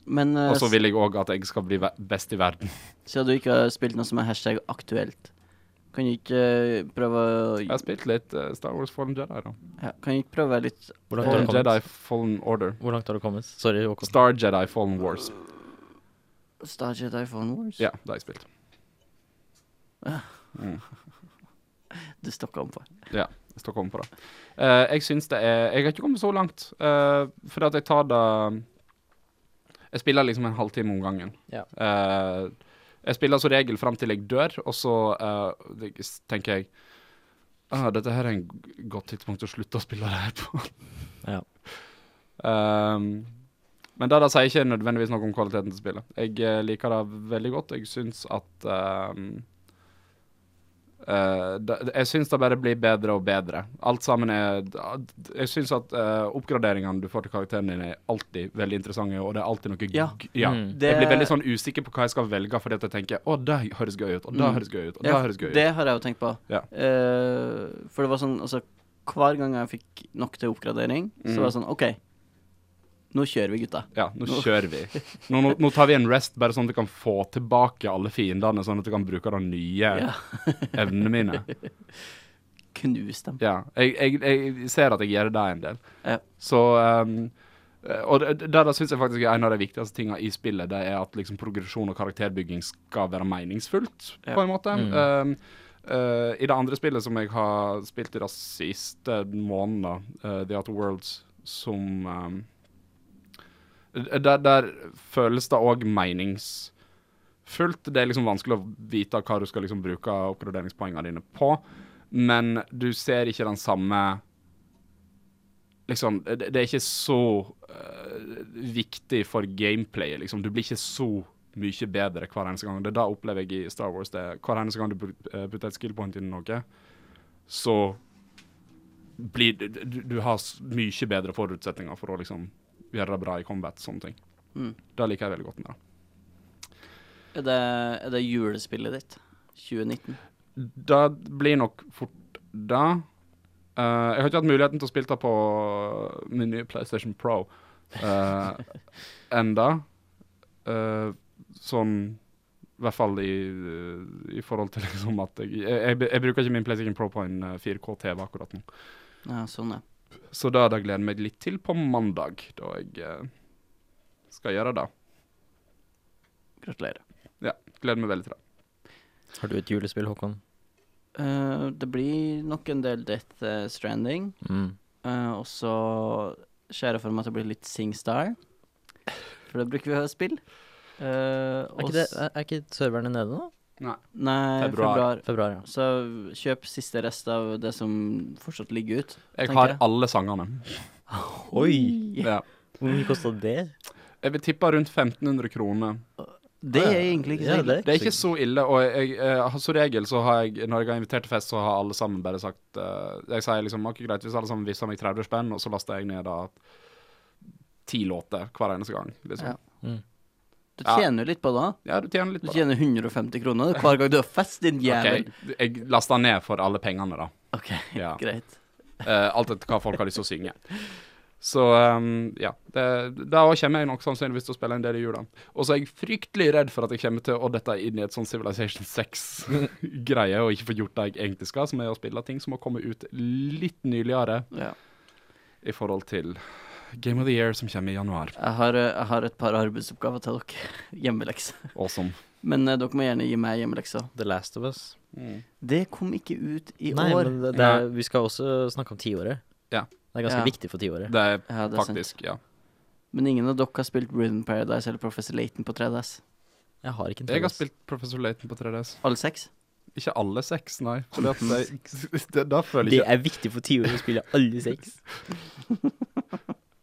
Speaker 2: Men eh,
Speaker 1: Og så vil jeg òg at jeg skal bli ve- best i verden.
Speaker 2: siden du ikke har spilt noe som er hashtag aktuelt, kan du ikke eh, prøve å
Speaker 1: Jeg har spilt litt eh, Star Wars Fallen Jedi, da.
Speaker 2: ja, Kan du ikke prøve å være litt
Speaker 3: Hvor langt, har
Speaker 1: Fallen
Speaker 3: du
Speaker 1: Jedi
Speaker 3: kommet?
Speaker 1: Fallen Order.
Speaker 3: Hvor langt har du kommet? Sorry, Håkon.
Speaker 1: Star Jedi Fallen Wars.
Speaker 2: Star Jedi Phone Wars?
Speaker 1: Ja, det har jeg spilt.
Speaker 2: Du stokka om for.
Speaker 1: Ja, jeg står kommet på det. Eh, jeg syns det er Jeg har ikke kommet så langt, eh, fordi at jeg tar det Jeg spiller liksom en halvtime om gangen.
Speaker 3: Ja.
Speaker 1: Eh, jeg spiller som regel fram til jeg dør, og så eh, det- s- tenker jeg ah, Dette her er en g- godt tidspunkt å slutte å spille det her på.
Speaker 3: Ja.
Speaker 1: Ehm, men det der sier ikke nødvendigvis noe om kvaliteten til spillet. Jeg eh, liker det veldig godt. Jeg syns at ehm, Eh, det, det- jeg syns det bare blir bedre og bedre. Alt sammen er d- d- Jeg syns at eh, oppgraderingene du får til karakteren din, er alltid veldig interessante, og det er alltid noe
Speaker 2: Ja.
Speaker 1: gugg- ja.
Speaker 3: Mm.
Speaker 1: Jeg
Speaker 2: Det-
Speaker 1: blir veldig sånn usikker på hva jeg skal velge, fordi at jeg tenker å, det høres gøy ut, og det
Speaker 2: Mm.
Speaker 1: høres gøy ut, og det
Speaker 2: Ja,
Speaker 1: høres gøy ut.
Speaker 2: det har jeg jo tenkt på.
Speaker 1: Ja.
Speaker 2: Eh, for det var sånn, altså Hver gang jeg fikk nok til oppgradering,
Speaker 1: Mm.
Speaker 2: så var det sånn OK, nå kjører vi, gutta.
Speaker 1: Ja, nå
Speaker 2: Nå-
Speaker 1: kjører vi. Nå, nå, nå tar vi en rest, bare sånn at vi kan få tilbake alle fiendene, sånn at vi kan bruke de nye
Speaker 2: Ja. <laughs>
Speaker 1: evnene mine.
Speaker 2: Knus dem.
Speaker 1: Ja, jeg, jeg, jeg ser at jeg gjør det en del.
Speaker 2: Ja.
Speaker 1: Så ehm, Eh, Og det, det, det syns jeg faktisk er en av de viktigste tinga i spillet, det er at liksom progresjon og karakterbygging skal være meningsfullt,
Speaker 2: Ja.
Speaker 1: på en måte.
Speaker 3: Mm.
Speaker 1: Um, eh, I det andre spillet som jeg har spilt i de siste månedene, eh, The Outer Worlds, som um, der, der føles det òg meningsfullt. Det er liksom vanskelig å vite hva du skal liksom bruke oppgraderingspoengene dine på, men du ser ikke den samme liksom, det, det er ikke så eh, viktig for gameplayet, liksom. Du blir ikke så mye bedre hver eneste gang. Det er da opplever jeg i Star Wars. Det er hver eneste gang du put- eh, putter et skill point inn i noe, så blir du, du, du har s- mye bedre forutsetninger for å liksom gjøre det bra i combat, sånne ting.
Speaker 2: Mm.
Speaker 1: Det liker jeg veldig godt med det.
Speaker 2: Er det, er det julespillet ditt? 2019?
Speaker 1: Det blir nok fort det. Eh, jeg har ikke hatt muligheten til å spille det på min nye PlayStation Pro uh, enda. Eh, sånn I hvert fall i, i forhold til liksom at jeg, jeg, jeg bruker ikke min PlayStation Pro på en eh, 4K-TV akkurat nå.
Speaker 2: Ja, sånn, ja.
Speaker 1: Så det hadde jeg gledet meg litt til på mandag, da jeg eh, skal gjøre det.
Speaker 2: Gratulerer.
Speaker 1: Gleder meg veldig til det.
Speaker 3: Har du et julespill, Håkon?
Speaker 2: Eh, det blir nok en del Death eh, Stranding.
Speaker 3: Mm.
Speaker 2: eh, og så ser jeg for meg at det blir litt SingStar. For det bruker vi å spille. Uh,
Speaker 3: Er, ikke det, er, er ikke serverne nede nå?
Speaker 2: Nei,
Speaker 1: Februar.
Speaker 2: februar.
Speaker 3: Februar, ja.
Speaker 2: Så kjøp siste rest av det som fortsatt ligger ut.
Speaker 1: Jeg
Speaker 2: tenker
Speaker 1: har
Speaker 2: jeg.
Speaker 1: alle sangene.
Speaker 3: Oi!
Speaker 1: Ja.
Speaker 3: Hvor mye kosta det?
Speaker 1: Jeg vil tippe rundt 1500 kroner.
Speaker 2: Det er egentlig ikke så
Speaker 3: Ja,
Speaker 2: ille.
Speaker 1: Det er ikke så ille, og jeg, eh, som regel så har jeg, når jeg har invitert til fest, så har alle sammen bare sagt eh, Jeg sier liksom ok, greit, hvis alle sammen vippser meg 30 spenn, og så laster jeg ned da ti låter hver eneste gang. Liksom.
Speaker 2: Ja.
Speaker 1: Ja.
Speaker 2: Du tjener jo litt på det. da.
Speaker 1: du tjener litt
Speaker 2: Du
Speaker 1: på det.
Speaker 2: tjener 150 kroner hver gang du har fest, din jævel.
Speaker 1: Ok, Jeg laster ned for alle pengene, da.
Speaker 2: Ok,
Speaker 1: Ja.
Speaker 2: <laughs> greit.
Speaker 1: Eh, alt etter hva folk har lyst til å synge. Så um, ja. Det, da også kommer jeg nok sannsynligvis til å spille en del i jula. Og så er jeg fryktelig redd for at jeg kommer til å dette inn i et sånn Civilization <laughs> 6-greie og ikke få gjort det jeg egentlig skal, som er å spille ting som har kommet ut litt nyligere
Speaker 2: Ja.
Speaker 1: i forhold til Game of the Year som kommer i januar.
Speaker 2: Jeg har, eh, jeg har et par arbeidsoppgaver til dere. <laughs> Hjemmelekse.
Speaker 1: Awesome.
Speaker 2: Men eh, dere må gjerne gi meg hjemmelekser.
Speaker 3: The Last of Us.
Speaker 1: Mm.
Speaker 2: Det kom ikke ut i
Speaker 3: Nei,
Speaker 2: år.
Speaker 3: men det, det er, vi skal også snakke om tiåret.
Speaker 1: Ja.
Speaker 3: Det er ganske
Speaker 2: Ja.
Speaker 3: viktig for tiåret.
Speaker 1: Det er
Speaker 2: Ja, det er sant.
Speaker 1: faktisk, ja.
Speaker 2: Men ingen av dere har spilt Rhythm Paradise eller Professor Layton på 3DS?
Speaker 3: Jeg har ikke en
Speaker 1: Jeg har
Speaker 3: tredje.
Speaker 1: spilt Professor Layton på 3DS.
Speaker 2: Alle seks?
Speaker 1: Ikke alle seks, nei. For <laughs> det, det, da føler
Speaker 3: Det
Speaker 1: jeg ikke
Speaker 3: er viktig for tiåret å spille alle seks.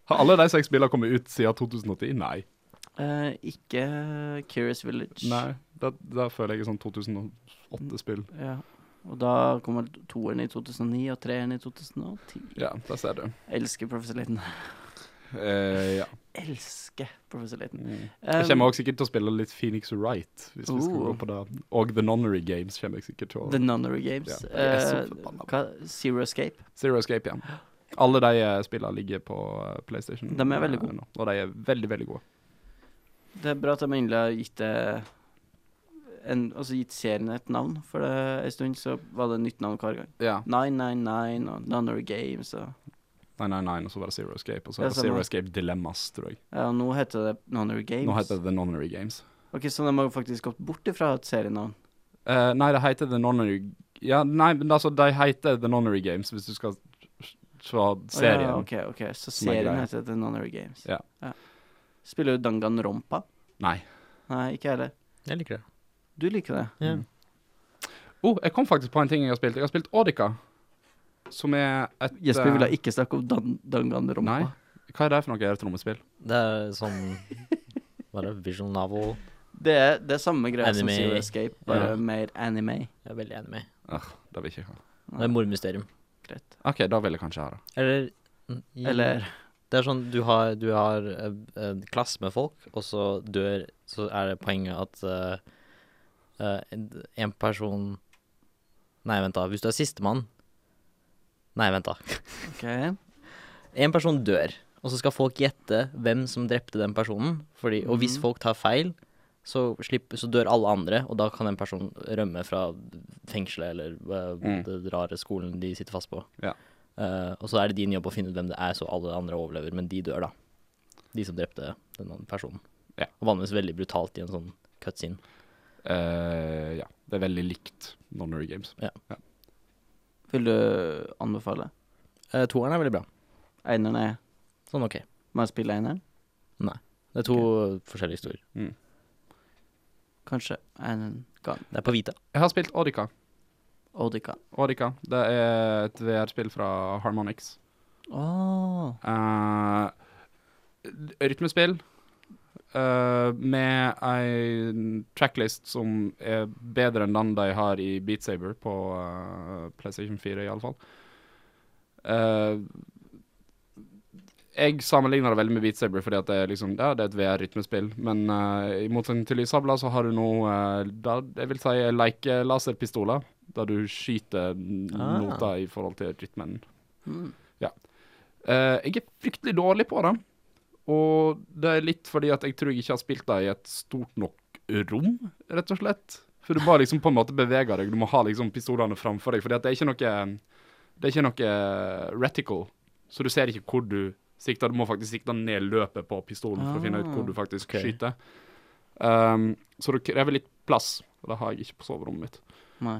Speaker 1: Har alle de seks spillene kommet ut siden 2010? Nei.
Speaker 2: Eh, ikke Curious Village.
Speaker 1: Nei, da, da føler jeg et sånn 2008-spill.
Speaker 2: Ja. Og da kommer toeren i 2009 og treeren i 2010.
Speaker 1: Ja, der ser du.
Speaker 2: Jeg elsker Professor Layton.
Speaker 1: Eh, ja.
Speaker 2: Elsker Professor Layton. Um,
Speaker 1: Jeg kommer også sikkert til å spille litt Phoenix Wright, hvis vi skal
Speaker 2: Oh.
Speaker 1: gå på det. Og The Nonnery Games kommer jeg sikkert til
Speaker 2: The
Speaker 1: å
Speaker 2: Nunnery Games.
Speaker 1: Ja, jeg er så
Speaker 2: eh,
Speaker 1: forbanna.
Speaker 2: hva? Zero Escape.
Speaker 1: Zero Escape, ja. Alle de eh, spillene ligger på eh, PlayStation.
Speaker 2: De er veldig
Speaker 1: eh,
Speaker 2: gode.
Speaker 1: nå, Og de er veldig, veldig gode.
Speaker 2: Det er bra at de endelig har gitt det en, altså gitt serien et navn, for det, en stund så var det nytt navn hver gang.
Speaker 1: Ja.
Speaker 2: 999 og Nunnery Games og
Speaker 1: Nei, nei, nei, og så var det Zero Escape, og så
Speaker 2: Ja,
Speaker 1: var det
Speaker 2: stemmer.
Speaker 1: Zero Escape Dilemmas, tror jeg.
Speaker 2: Ja, og nå heter det Nunnery Games.
Speaker 1: Nå heter det The Nonnery Games.
Speaker 2: Ok, Så de har faktisk gått bort ifra et serienavn.
Speaker 1: Eh, nei, det heter The Nonnery Ja, nei, men altså, de heter The Nonnery Games, hvis du skal se
Speaker 2: Å
Speaker 1: serien.
Speaker 2: Ja, ok, ok, Så
Speaker 1: Som er
Speaker 2: serien
Speaker 1: greia.
Speaker 2: heter The Nunnery Games.
Speaker 1: Ja.
Speaker 2: Spiller du Danganronpa?
Speaker 1: Nei.
Speaker 2: Nei, ikke heller.
Speaker 3: Jeg liker det.
Speaker 2: Du liker det.
Speaker 3: Ja.
Speaker 1: Mm. Oh, jeg kom faktisk på en ting jeg har spilt. Jeg har spilt Audica. Som er et
Speaker 2: Jesper ville
Speaker 1: eh,
Speaker 2: ikke snakke om Dan Danganronpa.
Speaker 1: Nei. Hva er det for noe? Er det trommespill?
Speaker 3: Det er sånn Hva er det? Visual novel.
Speaker 2: Det er, det er samme greia som
Speaker 3: Anime.
Speaker 2: Zero Escape, bare
Speaker 3: Ja.
Speaker 2: mer anime.
Speaker 3: Jeg er veldig enig med.
Speaker 1: Øh, det vil jeg ikke ha.
Speaker 3: Det er mordmysterium.
Speaker 2: Greit.
Speaker 1: OK, da vil jeg kanskje ha det.
Speaker 3: Eller mm, i-
Speaker 2: Eller
Speaker 3: Det er sånn du har, du har eh, en klasse med folk, og så dør Så er det poenget at eh, eh, en- en person Nei, vent, da. Hvis du er sistemann Nei, vent, da.
Speaker 2: OK.
Speaker 3: En person dør, og så skal folk gjette hvem som drepte den personen. Fordi, og hvis
Speaker 2: Mhm.
Speaker 3: folk tar feil, så, slipper, så dør alle andre, og da kan den personen rømme fra fengselet eller eh,
Speaker 1: Mm.
Speaker 3: den rare skolen de sitter fast på.
Speaker 1: Ja.
Speaker 3: Eh, og så er det din jobb å finne ut hvem det er, så alle andre overlever, men de dør, da. de som drepte den andre personen.
Speaker 1: Ja.
Speaker 3: Og vanligvis veldig brutalt i en sånn cutscene.
Speaker 1: Eh, ja. Det er veldig likt Nonary Games.
Speaker 2: Vil du anbefale?
Speaker 3: Uh, toeren er veldig bra.
Speaker 2: Eineren er
Speaker 3: Sånn OK.
Speaker 2: Må jeg spille eineren?
Speaker 3: Det er to forskjellige historier.
Speaker 2: Kanskje. Eineren kan.
Speaker 3: Det er på Vita.
Speaker 1: Jeg har spilt Odica.
Speaker 2: Odica.
Speaker 1: Odica. Det er et VR-spill fra Harmonix.
Speaker 2: Oh.
Speaker 1: Eh, rytmespill eh, med ei tracklist som er bedre enn den de har i Beat Saber på eh, PlayStation 4, iallfall. Uh, jeg sammenligner det veldig med Beat Saber, fordi at det er, liksom, ja, det er et VR-rytmespill. Men eh, i motsetning til Lysabla så har du nå eh, da, Jeg vil si like laserpistoler, der du skyter n-
Speaker 3: Ah.
Speaker 1: noter i forhold til rytmen.
Speaker 2: Mm.
Speaker 1: Eh, jeg er fryktelig dårlig på det. Og det er litt fordi at jeg tror jeg ikke har spilt det i et stort nok rom, rett og slett. For du bare liksom på en måte beveger deg. Du må ha liksom pistolene framfor deg. Fordi at det er ikke noe Det er ikke noe reticle, så du ser ikke hvor du sikter. Du må faktisk sikte ned løpet på pistolen for å finne ut hvor du faktisk
Speaker 3: Ok.
Speaker 1: skyter. Um, så det krever litt plass, og det har jeg ikke på soverommet mitt.
Speaker 2: Nei.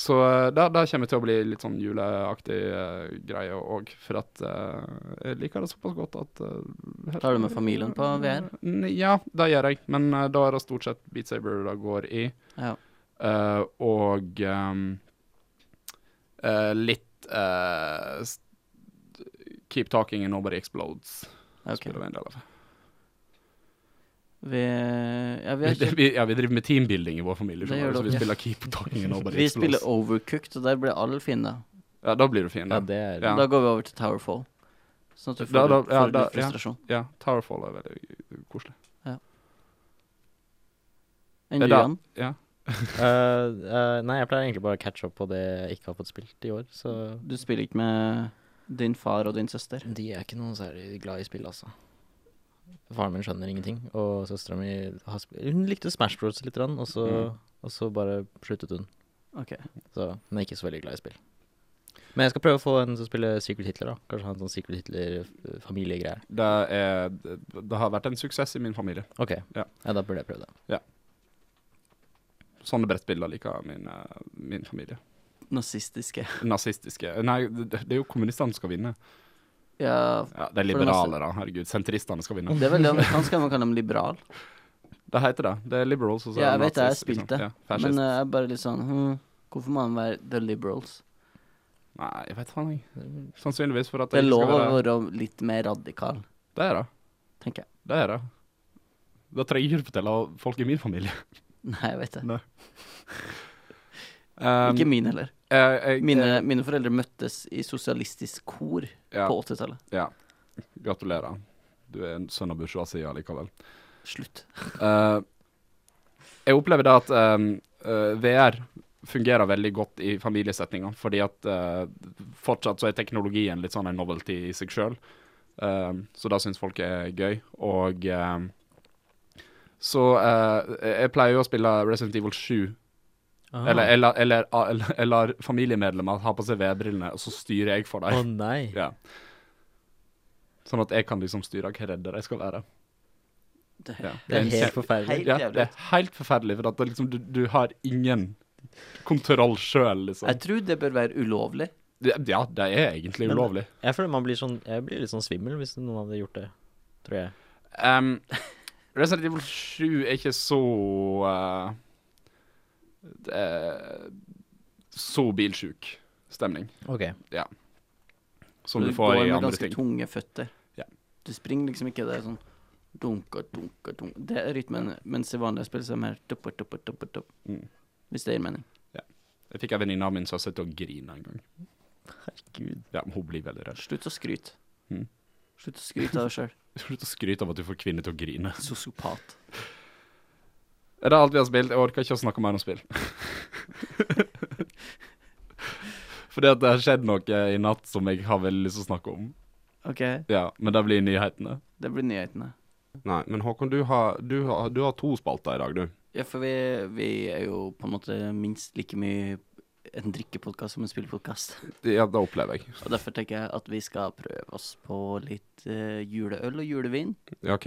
Speaker 1: Så eh, det, det kommer til å bli litt sånn juleaktig eh, greie òg, for at eh, jeg liker det såpass godt at eh, helt-
Speaker 2: Tar du med familien på VR?
Speaker 1: N- Ja, det gjør jeg, men eh, da er det stort sett Beat Saber det går i.
Speaker 2: Ja.
Speaker 1: eh, og ehm, eh, litt eh, s- Keep Talking and Nobody Explodes.
Speaker 2: Ok.
Speaker 1: Spiller vi en del av.
Speaker 2: Vi Ja, vi
Speaker 1: Vi, <laughs>
Speaker 2: har ikke
Speaker 1: vi, ja, vi driver med teambuilding i vår familie,
Speaker 2: Det
Speaker 1: skjønner
Speaker 2: gjør
Speaker 1: du, så vi
Speaker 2: dere.
Speaker 1: spiller Keep Talking and Nobody
Speaker 2: Vi spiller
Speaker 1: Explodes.
Speaker 2: Overcooked, og der blir alle fiender.
Speaker 1: Ja, da blir du fin.
Speaker 3: Ja,
Speaker 1: Ja.
Speaker 3: det er
Speaker 1: Ja.
Speaker 2: Da går vi over til Towerfall. Sånn at du får,
Speaker 1: Da- da-
Speaker 2: litt-
Speaker 1: ja,
Speaker 2: får
Speaker 1: da-
Speaker 2: litt
Speaker 1: ja.
Speaker 2: frustrasjon.
Speaker 1: ja, Towerfall er veldig koselig.
Speaker 2: Enn
Speaker 1: Det
Speaker 2: du,
Speaker 1: er da-
Speaker 2: Jan?
Speaker 1: Ja.
Speaker 3: Eh, eh, Nei, jeg pleier egentlig bare å catch up på det jeg ikke har fått spilt i år, så
Speaker 2: Du spiller ikke med din far og din søster?
Speaker 3: De er ikke noe særlig glad i spill, altså. Faren min skjønner ingenting, og søstera mi har sp- Hun likte Smash Bros litt, grann, og så,
Speaker 1: Mm.
Speaker 3: og så bare sluttet hun.
Speaker 2: Ok.
Speaker 3: Så hun er ikke så veldig glad i spill. Men jeg skal prøve å få en som spiller Secret Hitler, da. Kanskje ha en sånn Secret Hitler-familiegreier.
Speaker 1: Det, er, det har vært en suksess i min familie.
Speaker 3: Ok,
Speaker 1: Ja.
Speaker 3: ja. da burde jeg prøve det.
Speaker 1: Sånne brettbilder liker min, eh, min familie.
Speaker 2: Nazistiske.
Speaker 1: Nazistiske Nei, det, det er jo kommunistene som skal vinne. <laughs>
Speaker 2: Ja,
Speaker 1: Ja, Det er liberale, da. Herregud. Sentristene skal vinne.
Speaker 2: det er veldig amerikansk, man kaller dem liberal.
Speaker 1: Det heter det. Det er liberals og så
Speaker 2: Ja,
Speaker 1: er det
Speaker 2: jeg vet det, jeg
Speaker 1: nazis, liksom.
Speaker 2: har spilt det.
Speaker 1: Ja,
Speaker 2: Men
Speaker 1: fascist.
Speaker 2: eh, jeg er bare litt sånn hm, Hvorfor må man være the liberals?
Speaker 1: Nei, jeg vet faen, jeg. Sannsynligvis for at
Speaker 2: Det er
Speaker 1: jeg
Speaker 2: lov
Speaker 1: skal
Speaker 2: å
Speaker 1: være
Speaker 2: være litt mer radikal,
Speaker 1: Det er det.
Speaker 2: tenker jeg. <laughs>
Speaker 1: Det er det. Da trenger jeg ikke å fortelle folk i min familie.
Speaker 2: Nei, jeg vet det.
Speaker 1: Nei. Um,
Speaker 2: Ikke min heller.
Speaker 1: eh, jeg-
Speaker 2: Mine, mine foreldre møttes i sosialistisk kor
Speaker 1: ja,
Speaker 2: på 80-tallet.
Speaker 1: ja. Gratulerer. Du er en sønn av bourgeoisia likevel.
Speaker 2: Slutt.
Speaker 1: Eh, jeg opplever det at eh, eh, VR fungerer veldig godt i familiesetninger, fordi at eh, fortsatt så er teknologien litt sånn en novelty i seg sjøl. så det syns folk er gøy. Og eh, så eh, jeg pleier jo å spille Resident Evil 7.
Speaker 3: Ah.
Speaker 1: Eller, jeg lar- jeg lar- <laughs> jeg lar familiemedlemmer ha på seg VR-brillene, og så styrer jeg for
Speaker 3: Å
Speaker 1: dem.
Speaker 3: nei.
Speaker 1: <laughs> Ja. Sånn at jeg kan liksom styre hvor redde de skal være.
Speaker 2: Det,
Speaker 1: Ja.
Speaker 3: Det er
Speaker 1: en
Speaker 3: helt forferdelig.
Speaker 2: Helt
Speaker 1: ja,
Speaker 2: jævlig.
Speaker 1: det er helt forferdelig, for at det liksom, du, du har ingen kontroll sjøl, liksom.
Speaker 2: Jeg tror det bør være ulovlig.
Speaker 1: Ja, det er egentlig
Speaker 3: Men-
Speaker 1: ulovlig.
Speaker 3: Jeg føler man blir sånn Jeg blir litt sånn svimmel hvis noen hadde gjort det, tror jeg.
Speaker 1: Um, <laughs> Resident Evil 7 er ikke så uh, det er Så bilsjuk stemning
Speaker 3: Ok.
Speaker 1: som du
Speaker 2: du
Speaker 1: får
Speaker 2: går
Speaker 1: i
Speaker 2: med
Speaker 1: andre
Speaker 2: ganske
Speaker 1: ting.
Speaker 2: tunge føtter.
Speaker 1: Ja.
Speaker 2: Du springer liksom ikke, det er sånn dunka, dunka, dunka. Det er rytmen, mens i vanlige spill så er det mer tuppa, tuppa, tuppa, tuppa.
Speaker 1: Mm.
Speaker 2: Hvis det gir mening.
Speaker 1: Jeg fikk en venninne av min søster til å grine en gang.
Speaker 3: Gud.
Speaker 1: Ja, men Hun blir veldig redd.
Speaker 2: Slutt å skryte.
Speaker 1: Mm.
Speaker 2: Slutt å skryte av deg sjøl.
Speaker 1: Slutt å skryte av at du får kvinner til å grine.
Speaker 2: Sosiopat.
Speaker 1: Er det alt vi har spilt? Jeg orker ikke å snakke mer om spill. <laughs> Fordi at det har skjedd noe i natt som jeg har veldig lyst til å snakke om.
Speaker 2: OK,
Speaker 1: Ja, Men det blir nyhetene.
Speaker 2: det blir nyhetene.
Speaker 1: Nei, men Håkon, du har, du har, du har to spalter i dag, du.
Speaker 2: Ja, for vi, vi er jo på en måte minst like mye en drikkepodkast som en spillpodkast.
Speaker 4: Ja, det opplever jeg.
Speaker 2: Og derfor tenker jeg at vi skal prøve oss på litt eh, juleøl og julevin.
Speaker 4: Ja, OK.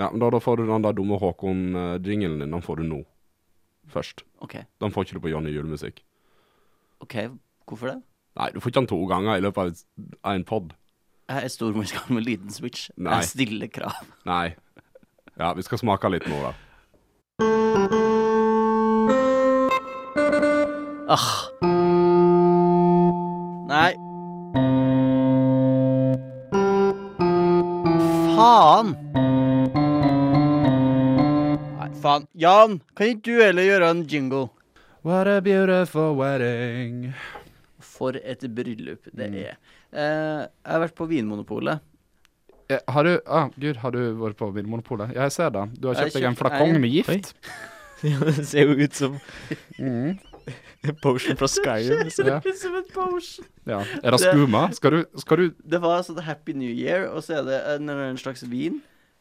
Speaker 4: Ja, men da, da får du den der dumme Håkon-jingelen din. Den får du nå. Først.
Speaker 2: OK.
Speaker 4: Den får ikke du på Johnny julemusikk.
Speaker 2: ok, Hvorfor det?
Speaker 4: Nei, du får ikke den to ganger i løpet av en pod.
Speaker 2: Jeg er stormorskall med liten switch.
Speaker 4: Nei.
Speaker 2: Jeg stiller krav.
Speaker 4: Nei. Ja, vi skal smake litt nå, da.
Speaker 2: Ah. Nei. Faen! Nei, faen. Jan, kan ikke du heller gjøre en jingle?
Speaker 4: What a beautiful wedding.
Speaker 2: For et bryllup det
Speaker 4: Mm.
Speaker 2: er. Eh, jeg har vært på Vinmonopolet.
Speaker 4: har du ah, Gud, har du vært på Vinmonopolet? Ja, jeg ser det. Du har
Speaker 2: Jeg
Speaker 4: kjøpt deg en
Speaker 2: kjøpte
Speaker 4: flakong
Speaker 2: en-
Speaker 4: med gift.
Speaker 3: Det <laughs> ser jo ut som Mm. <laughs> Potion fra Skyrim. liksom.
Speaker 4: Ja.
Speaker 2: ut som et potion.
Speaker 4: Ja. Er det skuma? Skal du, skal du
Speaker 2: Det var sånn Happy New Year, og så er det en, en slags vin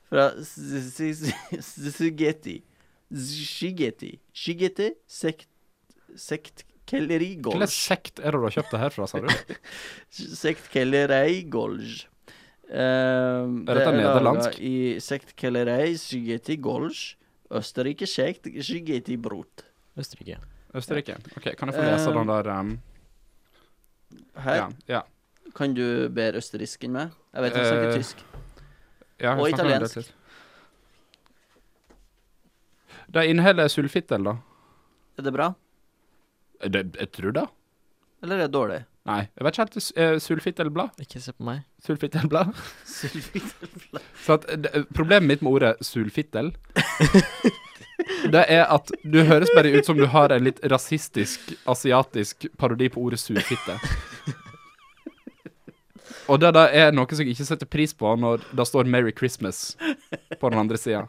Speaker 2: fra Sugeti. Shigeti. Shigeti sekt...
Speaker 4: Hvilken
Speaker 2: Sektkellerigolj.
Speaker 4: sekt er det du har kjøpt det herfra, sa du?
Speaker 2: Sektkellereigolj. Um,
Speaker 4: Er dette nederlandsk?
Speaker 2: I Sektkellerei Shigeti Golj. Østerrike Sjekt Shigeti Brot.
Speaker 3: Østerrike.
Speaker 4: Østerrike. OK, kan jeg få lese
Speaker 2: Eh,
Speaker 4: den der um,
Speaker 2: Her
Speaker 4: Ja. ja.
Speaker 2: kan du bedre østerriksk enn meg. Jeg vet han snakker
Speaker 4: Eh,
Speaker 2: tysk.
Speaker 4: Ja,
Speaker 2: Og
Speaker 4: jeg snakker om det
Speaker 2: italiensk.
Speaker 4: til. Det inneholder sulfittel, da.
Speaker 2: Er det bra,
Speaker 4: Eh, Det, jeg tror det.
Speaker 2: eller er det dårlig?
Speaker 4: Nei, jeg vet ikke helt. eh, Sulfittelblad?
Speaker 3: Ikke se på meg.
Speaker 4: Sulfittelblad?
Speaker 2: Sylfittelblad.
Speaker 4: Så at, eh, det- problemet mitt med ordet sulfittel Det er at du høres bare ut som du har en litt rasistisk, asiatisk parodi på ordet surfitte. Og det da er noe som jeg ikke setter pris på når det står 'Merry Christmas' på den andre sida.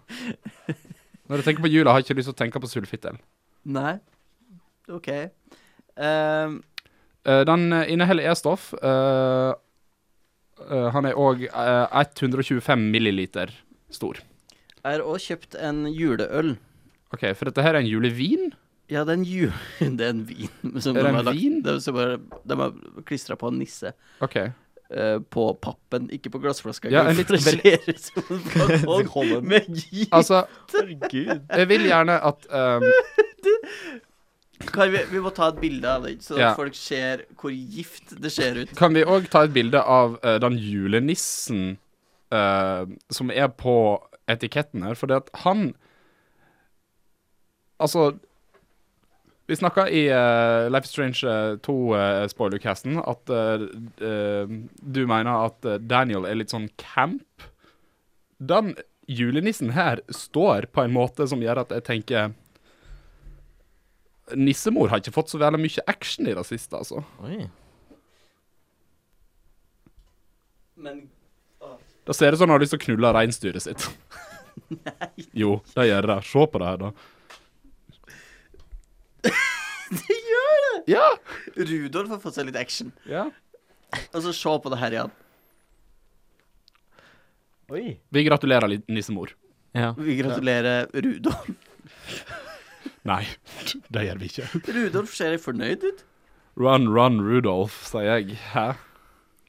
Speaker 4: Når jeg tenker på jula, har jeg ikke lyst til å tenke på sulfittel.
Speaker 2: Nei. OK. Ehm,
Speaker 4: Eh, den eh, inneholder E-stoff. eh, eh, han er eh, òg 125 milliliter stor.
Speaker 2: jeg har òg kjøpt en juleøl.
Speaker 4: OK, for dette her er en julevin.
Speaker 2: Ja, det er en ju... <laughs> Det er en vin. Som
Speaker 4: Er det
Speaker 2: de
Speaker 4: en
Speaker 2: har lagt-
Speaker 4: vin?
Speaker 2: De, som bare, de har klistra på en nisse
Speaker 4: OK.
Speaker 2: eh, på pappen, ikke på glassflaska.
Speaker 4: Ja, en
Speaker 2: For
Speaker 4: litt
Speaker 2: det ser ut som
Speaker 4: <laughs>
Speaker 2: en flakong med gi-
Speaker 4: Altså,
Speaker 3: Herregud.
Speaker 4: jeg vil gjerne at ehm,
Speaker 2: Kan vi, vi må ta et bilde av den, så
Speaker 4: Ja.
Speaker 2: folk ser hvor gift det ser
Speaker 4: <laughs>
Speaker 2: ut.
Speaker 4: Kan vi òg ta et bilde av eh, den julenissen eh, som er på etiketten her? For det at han Altså Vi snakka i eh, Life is Strange 2-spoilercasten at eh, eh, du mener at eh, Daniel er litt sånn camp. Den julenissen her står på en måte som gjør at jeg tenker Nissemor har ikke fått så veldig mye action i det siste, altså.
Speaker 3: Oi.
Speaker 2: Men
Speaker 4: Da ser det ut som han har lyst til å knulle reinsdyret sitt. Nei. Jo, det gjør det. Se på det her, da.
Speaker 2: <laughs> det gjør det!
Speaker 4: Ja.
Speaker 2: Rudolf har fått seg litt action.
Speaker 4: ja.
Speaker 2: Og så se på det her igjen.
Speaker 3: Oi.
Speaker 4: Vi gratulerer, li- nissemor.
Speaker 3: Ja.
Speaker 2: Vi gratulerer Rudolf.
Speaker 4: Nei, <laughs> det gjør vi ikke.
Speaker 2: <laughs> Rudolf ser fornøyd ut.
Speaker 4: Run, run, Rudolf, sier jeg. Hæ?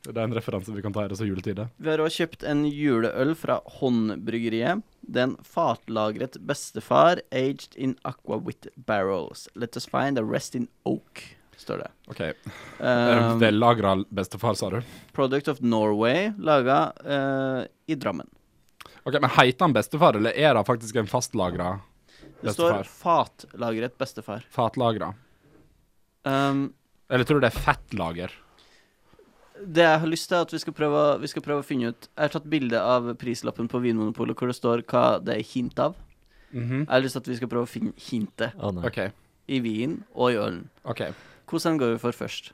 Speaker 4: Det er en referanse vi kan ta i disse juletider.
Speaker 2: Vi har også kjøpt en juleøl fra Håndbryggeriet. Det er en fatlagret bestefar aged in aqua with barrels. Let us find a rest in oak, står det.
Speaker 4: OK. Um,
Speaker 2: Um,
Speaker 4: Vellagra bestefar, sa du.
Speaker 2: product of Norway, laga eh, i Drammen.
Speaker 4: OK, Men heter han bestefar, eller er det faktisk en fastlagra
Speaker 2: Det står
Speaker 4: bestefar?
Speaker 2: fatlagret bestefar.
Speaker 4: Fatlagra.
Speaker 2: Um,
Speaker 4: Eller tror du det er fettlager?
Speaker 2: det jeg har lyst til er at vi skal, prøve, å- vi skal prøve å finne ut Jeg har tatt bilde av prislappen på Vinmonopolet hvor det står hva det er hint av.
Speaker 4: Mhm.
Speaker 2: Jeg har lyst til at vi skal prøve å finne hintet
Speaker 3: Å nei.
Speaker 4: OK.
Speaker 2: i vinen og i ølen.
Speaker 4: ok.
Speaker 2: Hvordan går vi for først?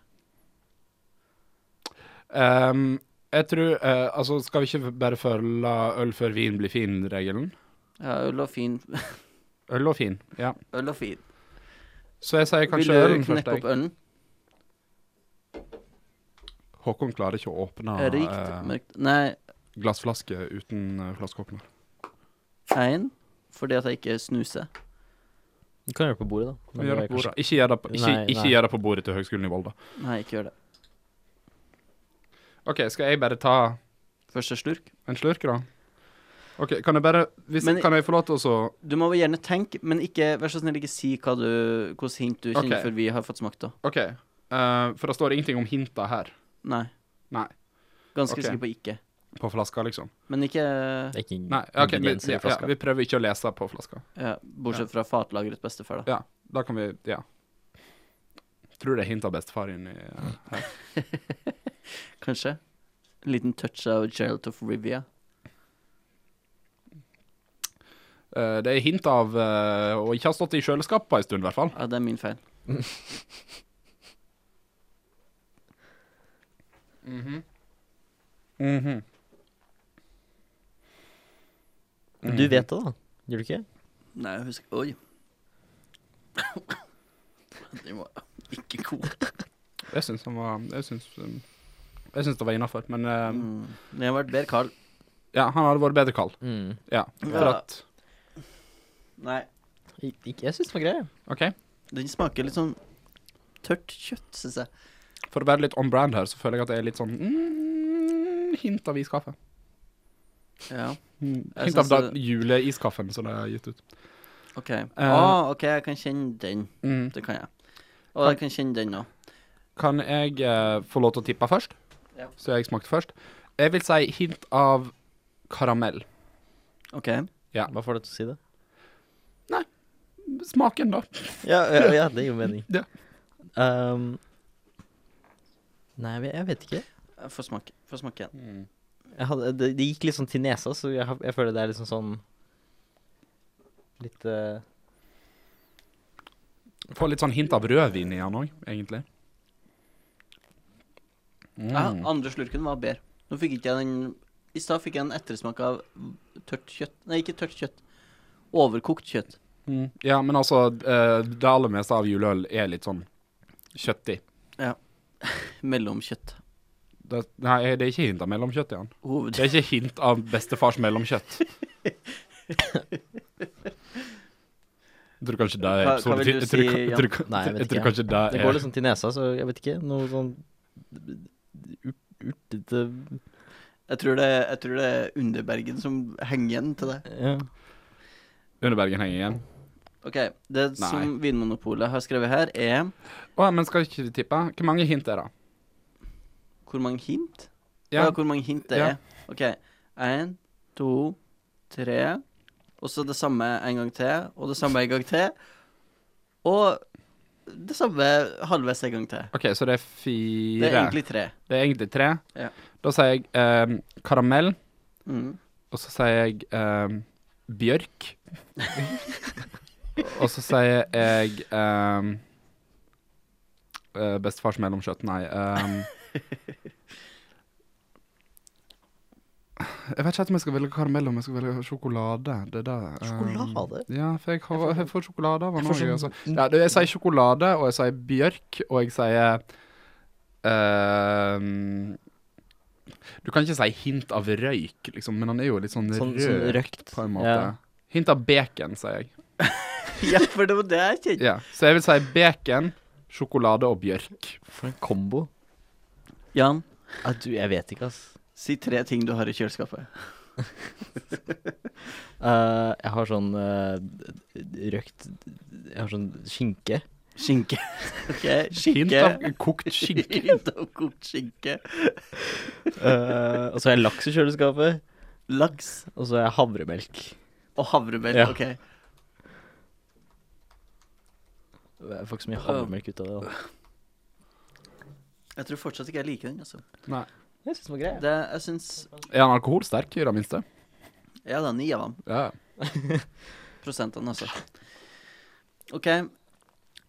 Speaker 4: Ehm, jeg tror eh, Altså, skal vi ikke bare følge øl før vin blir fin-regelen?
Speaker 2: Ja, øl og fin <laughs>
Speaker 4: Øl og fin, ja.
Speaker 2: Øl og fin.
Speaker 4: Så jeg sier kanskje
Speaker 2: Vil
Speaker 4: ølen
Speaker 2: du knekke
Speaker 4: først.
Speaker 2: opp
Speaker 4: Jeg.
Speaker 2: ølen?
Speaker 4: Håkon klarer ikke å åpne
Speaker 2: Rikt
Speaker 4: eh,
Speaker 2: mørkt Nei,
Speaker 4: glassflaske uten eh, flaskeåpner.
Speaker 2: én fordi at jeg ikke snuser.
Speaker 3: Du kan gjøre det på bordet, da. Men
Speaker 4: Gjør
Speaker 3: det er
Speaker 4: det på
Speaker 3: kanskje-
Speaker 4: bordet. Ikke gjør det på, ikke,
Speaker 3: Nei,
Speaker 4: ikke
Speaker 3: nei.
Speaker 4: gjør det på bordet til Høgskolen i Volda.
Speaker 2: Nei, ikke gjør det.
Speaker 4: OK, skal jeg bare ta
Speaker 2: Første slurk.
Speaker 4: en slurk, da? OK, kan jeg bare hvis,
Speaker 2: Men-
Speaker 4: Kan jeg få lov til å så-
Speaker 2: Du må gjerne tenke, men ikke, vær så snill, ikke si hva du, hvilke hint du kjenner
Speaker 4: Ok.
Speaker 2: før vi har fått smakt det.
Speaker 4: OK. eh, for det står ingenting om hinta her.
Speaker 2: Nei.
Speaker 4: Nei.
Speaker 2: Ganske
Speaker 4: Ok.
Speaker 2: sikker på ikke.
Speaker 4: På flaska, liksom.
Speaker 2: Men ikke
Speaker 3: Det er ikke
Speaker 4: Nei, ok, vi,
Speaker 3: ingredienser
Speaker 4: ja,
Speaker 3: i
Speaker 4: ja,
Speaker 3: flaska.
Speaker 4: vi prøver ikke å lese på flaska.
Speaker 2: ja, Bortsett fra fatlagret bestefar, da.
Speaker 4: Ja, da kan vi Ja. Tror det er hint av bestefar inni eh, her.
Speaker 2: Kanskje. En liten touch av Gerald of Rivia.
Speaker 4: Eh, det er hint av eh, å ikke ha stått i kjøleskapet en stund, i hvert fall.
Speaker 2: Ja, det er min feil.
Speaker 4: Mm.
Speaker 3: Du vet det, da. Gjør du ikke?
Speaker 2: Nei, jeg husker Oi. <coughs> Det var ikke god.
Speaker 4: Jeg syns han var Jeg syns um, jeg syns det var innafor, men eh,
Speaker 2: Mm. Det har vært bedre kald.
Speaker 4: ja, han hadde vært bedre kald.
Speaker 3: Mm.
Speaker 4: Ja, for
Speaker 2: Ja.
Speaker 4: at
Speaker 2: Nei.
Speaker 3: Ik- ikke- Jeg syns den var grei.
Speaker 4: OK.
Speaker 2: Den smaker litt sånn tørt kjøtt, syns jeg.
Speaker 4: For å være litt on brand her, så føler jeg at det er litt sånn mm, Hint av iskaffe.
Speaker 2: Ja,
Speaker 4: Mm,
Speaker 2: Jeg
Speaker 4: Hint av
Speaker 2: syns
Speaker 4: den
Speaker 2: det-
Speaker 4: juleiskaffen som det er gitt ut.
Speaker 2: OK. Ah, OK, jeg kan kjenne den.
Speaker 4: Mm.
Speaker 2: Det kan jeg. Og jeg kan kjenne den òg.
Speaker 4: Kan jeg eh, få lov til å tippe først?
Speaker 2: Ja.
Speaker 4: Så jeg smakte først. Jeg vil si hint av karamell.
Speaker 2: OK.
Speaker 4: Ja.
Speaker 3: Hva får deg til å si det?
Speaker 4: Smaken, da.
Speaker 3: Ja, ja, ja det gir jo mening.
Speaker 4: Ja.
Speaker 3: Um, nei, jeg vet- jeg vet ikke.
Speaker 2: Jeg får smake. Får smake igjen.
Speaker 3: Jeg hadde, det, det gikk litt sånn til nesa, så jeg, har- jeg føler det er liksom sånn Litt eh,
Speaker 4: Får litt sånn hint av rødvin i han òg, egentlig.
Speaker 2: Ja, andre slurken var bedre. Nå fikk ikke jeg den I stad fikk jeg en ettersmak av tørt kjøtt. Nei, ikke tørt kjøtt. Overkokt kjøtt.
Speaker 4: Mm. Ja, men altså, eh, det aller meste av juleøl er litt sånn kjøttig.
Speaker 2: Mellomkjøtt.
Speaker 4: Det, nei, det er ikke hint av mellomkjøtt i han.
Speaker 2: Hoved...
Speaker 4: Det er ikke hint av bestefars mellomkjøtt. Jeg tror kanskje det er
Speaker 2: Hva- hva
Speaker 4: episode
Speaker 2: vil du
Speaker 4: ti- jeg tror
Speaker 2: si,
Speaker 4: ka- jeg
Speaker 2: Jan?
Speaker 4: tror ka-
Speaker 3: Nei, jeg vet
Speaker 4: Jeg tror
Speaker 3: ikke.
Speaker 4: kanskje det
Speaker 3: Det går
Speaker 4: er
Speaker 3: litt sånn til nesa, så jeg vet ikke. Noe sånn urt- urtete
Speaker 2: Jeg tror, det, jeg tror det er Underbergen som henger igjen til deg.
Speaker 3: ja.
Speaker 2: sånn-
Speaker 4: Underbergen henger igjen.
Speaker 2: OK. Det
Speaker 4: Nei.
Speaker 2: som Vinmonopolet har skrevet her, er
Speaker 4: Å, men skal ikke vi tippe? Hvor mange hint er det?
Speaker 2: Hvor mange hint? Ja.
Speaker 4: Ja,
Speaker 2: hvor mange hint det
Speaker 4: Ja.
Speaker 2: er. OK. Én, to, tre. Og så det samme en gang til, og det samme en gang til. Og det samme halvveis en gang til.
Speaker 4: OK, så det er
Speaker 2: Det er
Speaker 4: fire.
Speaker 2: egentlig tre.
Speaker 4: Det er egentlig tre.
Speaker 2: Ja.
Speaker 4: Da sier jeg eh, karamell,
Speaker 2: Mm. <laughs>
Speaker 4: og så sier jeg eh, bjørk. og så sier jeg eh, eh, Bestefars mellomkjøtt, nei. eh, jeg vet ikke helt om jeg skal velge karamell om jeg skal velge sjokolade. Det der. eh,
Speaker 3: Sjokolade?
Speaker 4: ja, for jeg, har, jeg får sjokolade av
Speaker 3: Jeg
Speaker 4: han
Speaker 3: får
Speaker 4: også,
Speaker 3: sånn-
Speaker 4: altså. Ja, det- jeg sier sjokolade, og jeg sier bjørk, og jeg sier ehm, Du kan ikke si hint av røyk, liksom, men han er jo litt sånn,
Speaker 3: Sånn,
Speaker 4: rød,
Speaker 3: sånn røkt.
Speaker 4: på en måte.
Speaker 3: Ja.
Speaker 4: Hint av bacon, sier jeg.
Speaker 2: Ja, for det var det jeg kjente.
Speaker 4: Ja. Så jeg vil si bacon, sjokolade og bjørk.
Speaker 3: For en kombo.
Speaker 2: Jan,
Speaker 3: Ja, du, jeg vet ikke, ass.
Speaker 2: si tre ting du har i kjøleskapet.
Speaker 3: Eh, jeg har sånn eh, røkt Jeg har sånn skinke.
Speaker 4: <laughs>
Speaker 2: Skinke. OK,
Speaker 4: Hint av
Speaker 2: skinke.
Speaker 4: kokt skinke.
Speaker 2: <laughs> Hint av kokt skinke.
Speaker 3: Eh, og så har jeg laks i kjøleskapet.
Speaker 2: Laks
Speaker 3: Og så har jeg havremelk.
Speaker 2: og havremel.
Speaker 3: Ja.
Speaker 2: OK.
Speaker 3: Jeg får ikke så mye havremelk ut av det. da
Speaker 2: Jeg tror fortsatt ikke jeg liker den, altså.
Speaker 4: Nei.
Speaker 3: Jeg synes det var grei.
Speaker 2: Det, jeg syns
Speaker 4: Er han alkoholsterk, i det minste?
Speaker 2: Ja, det er ni av dem.
Speaker 4: Ja.
Speaker 2: Prosentene, altså. OK,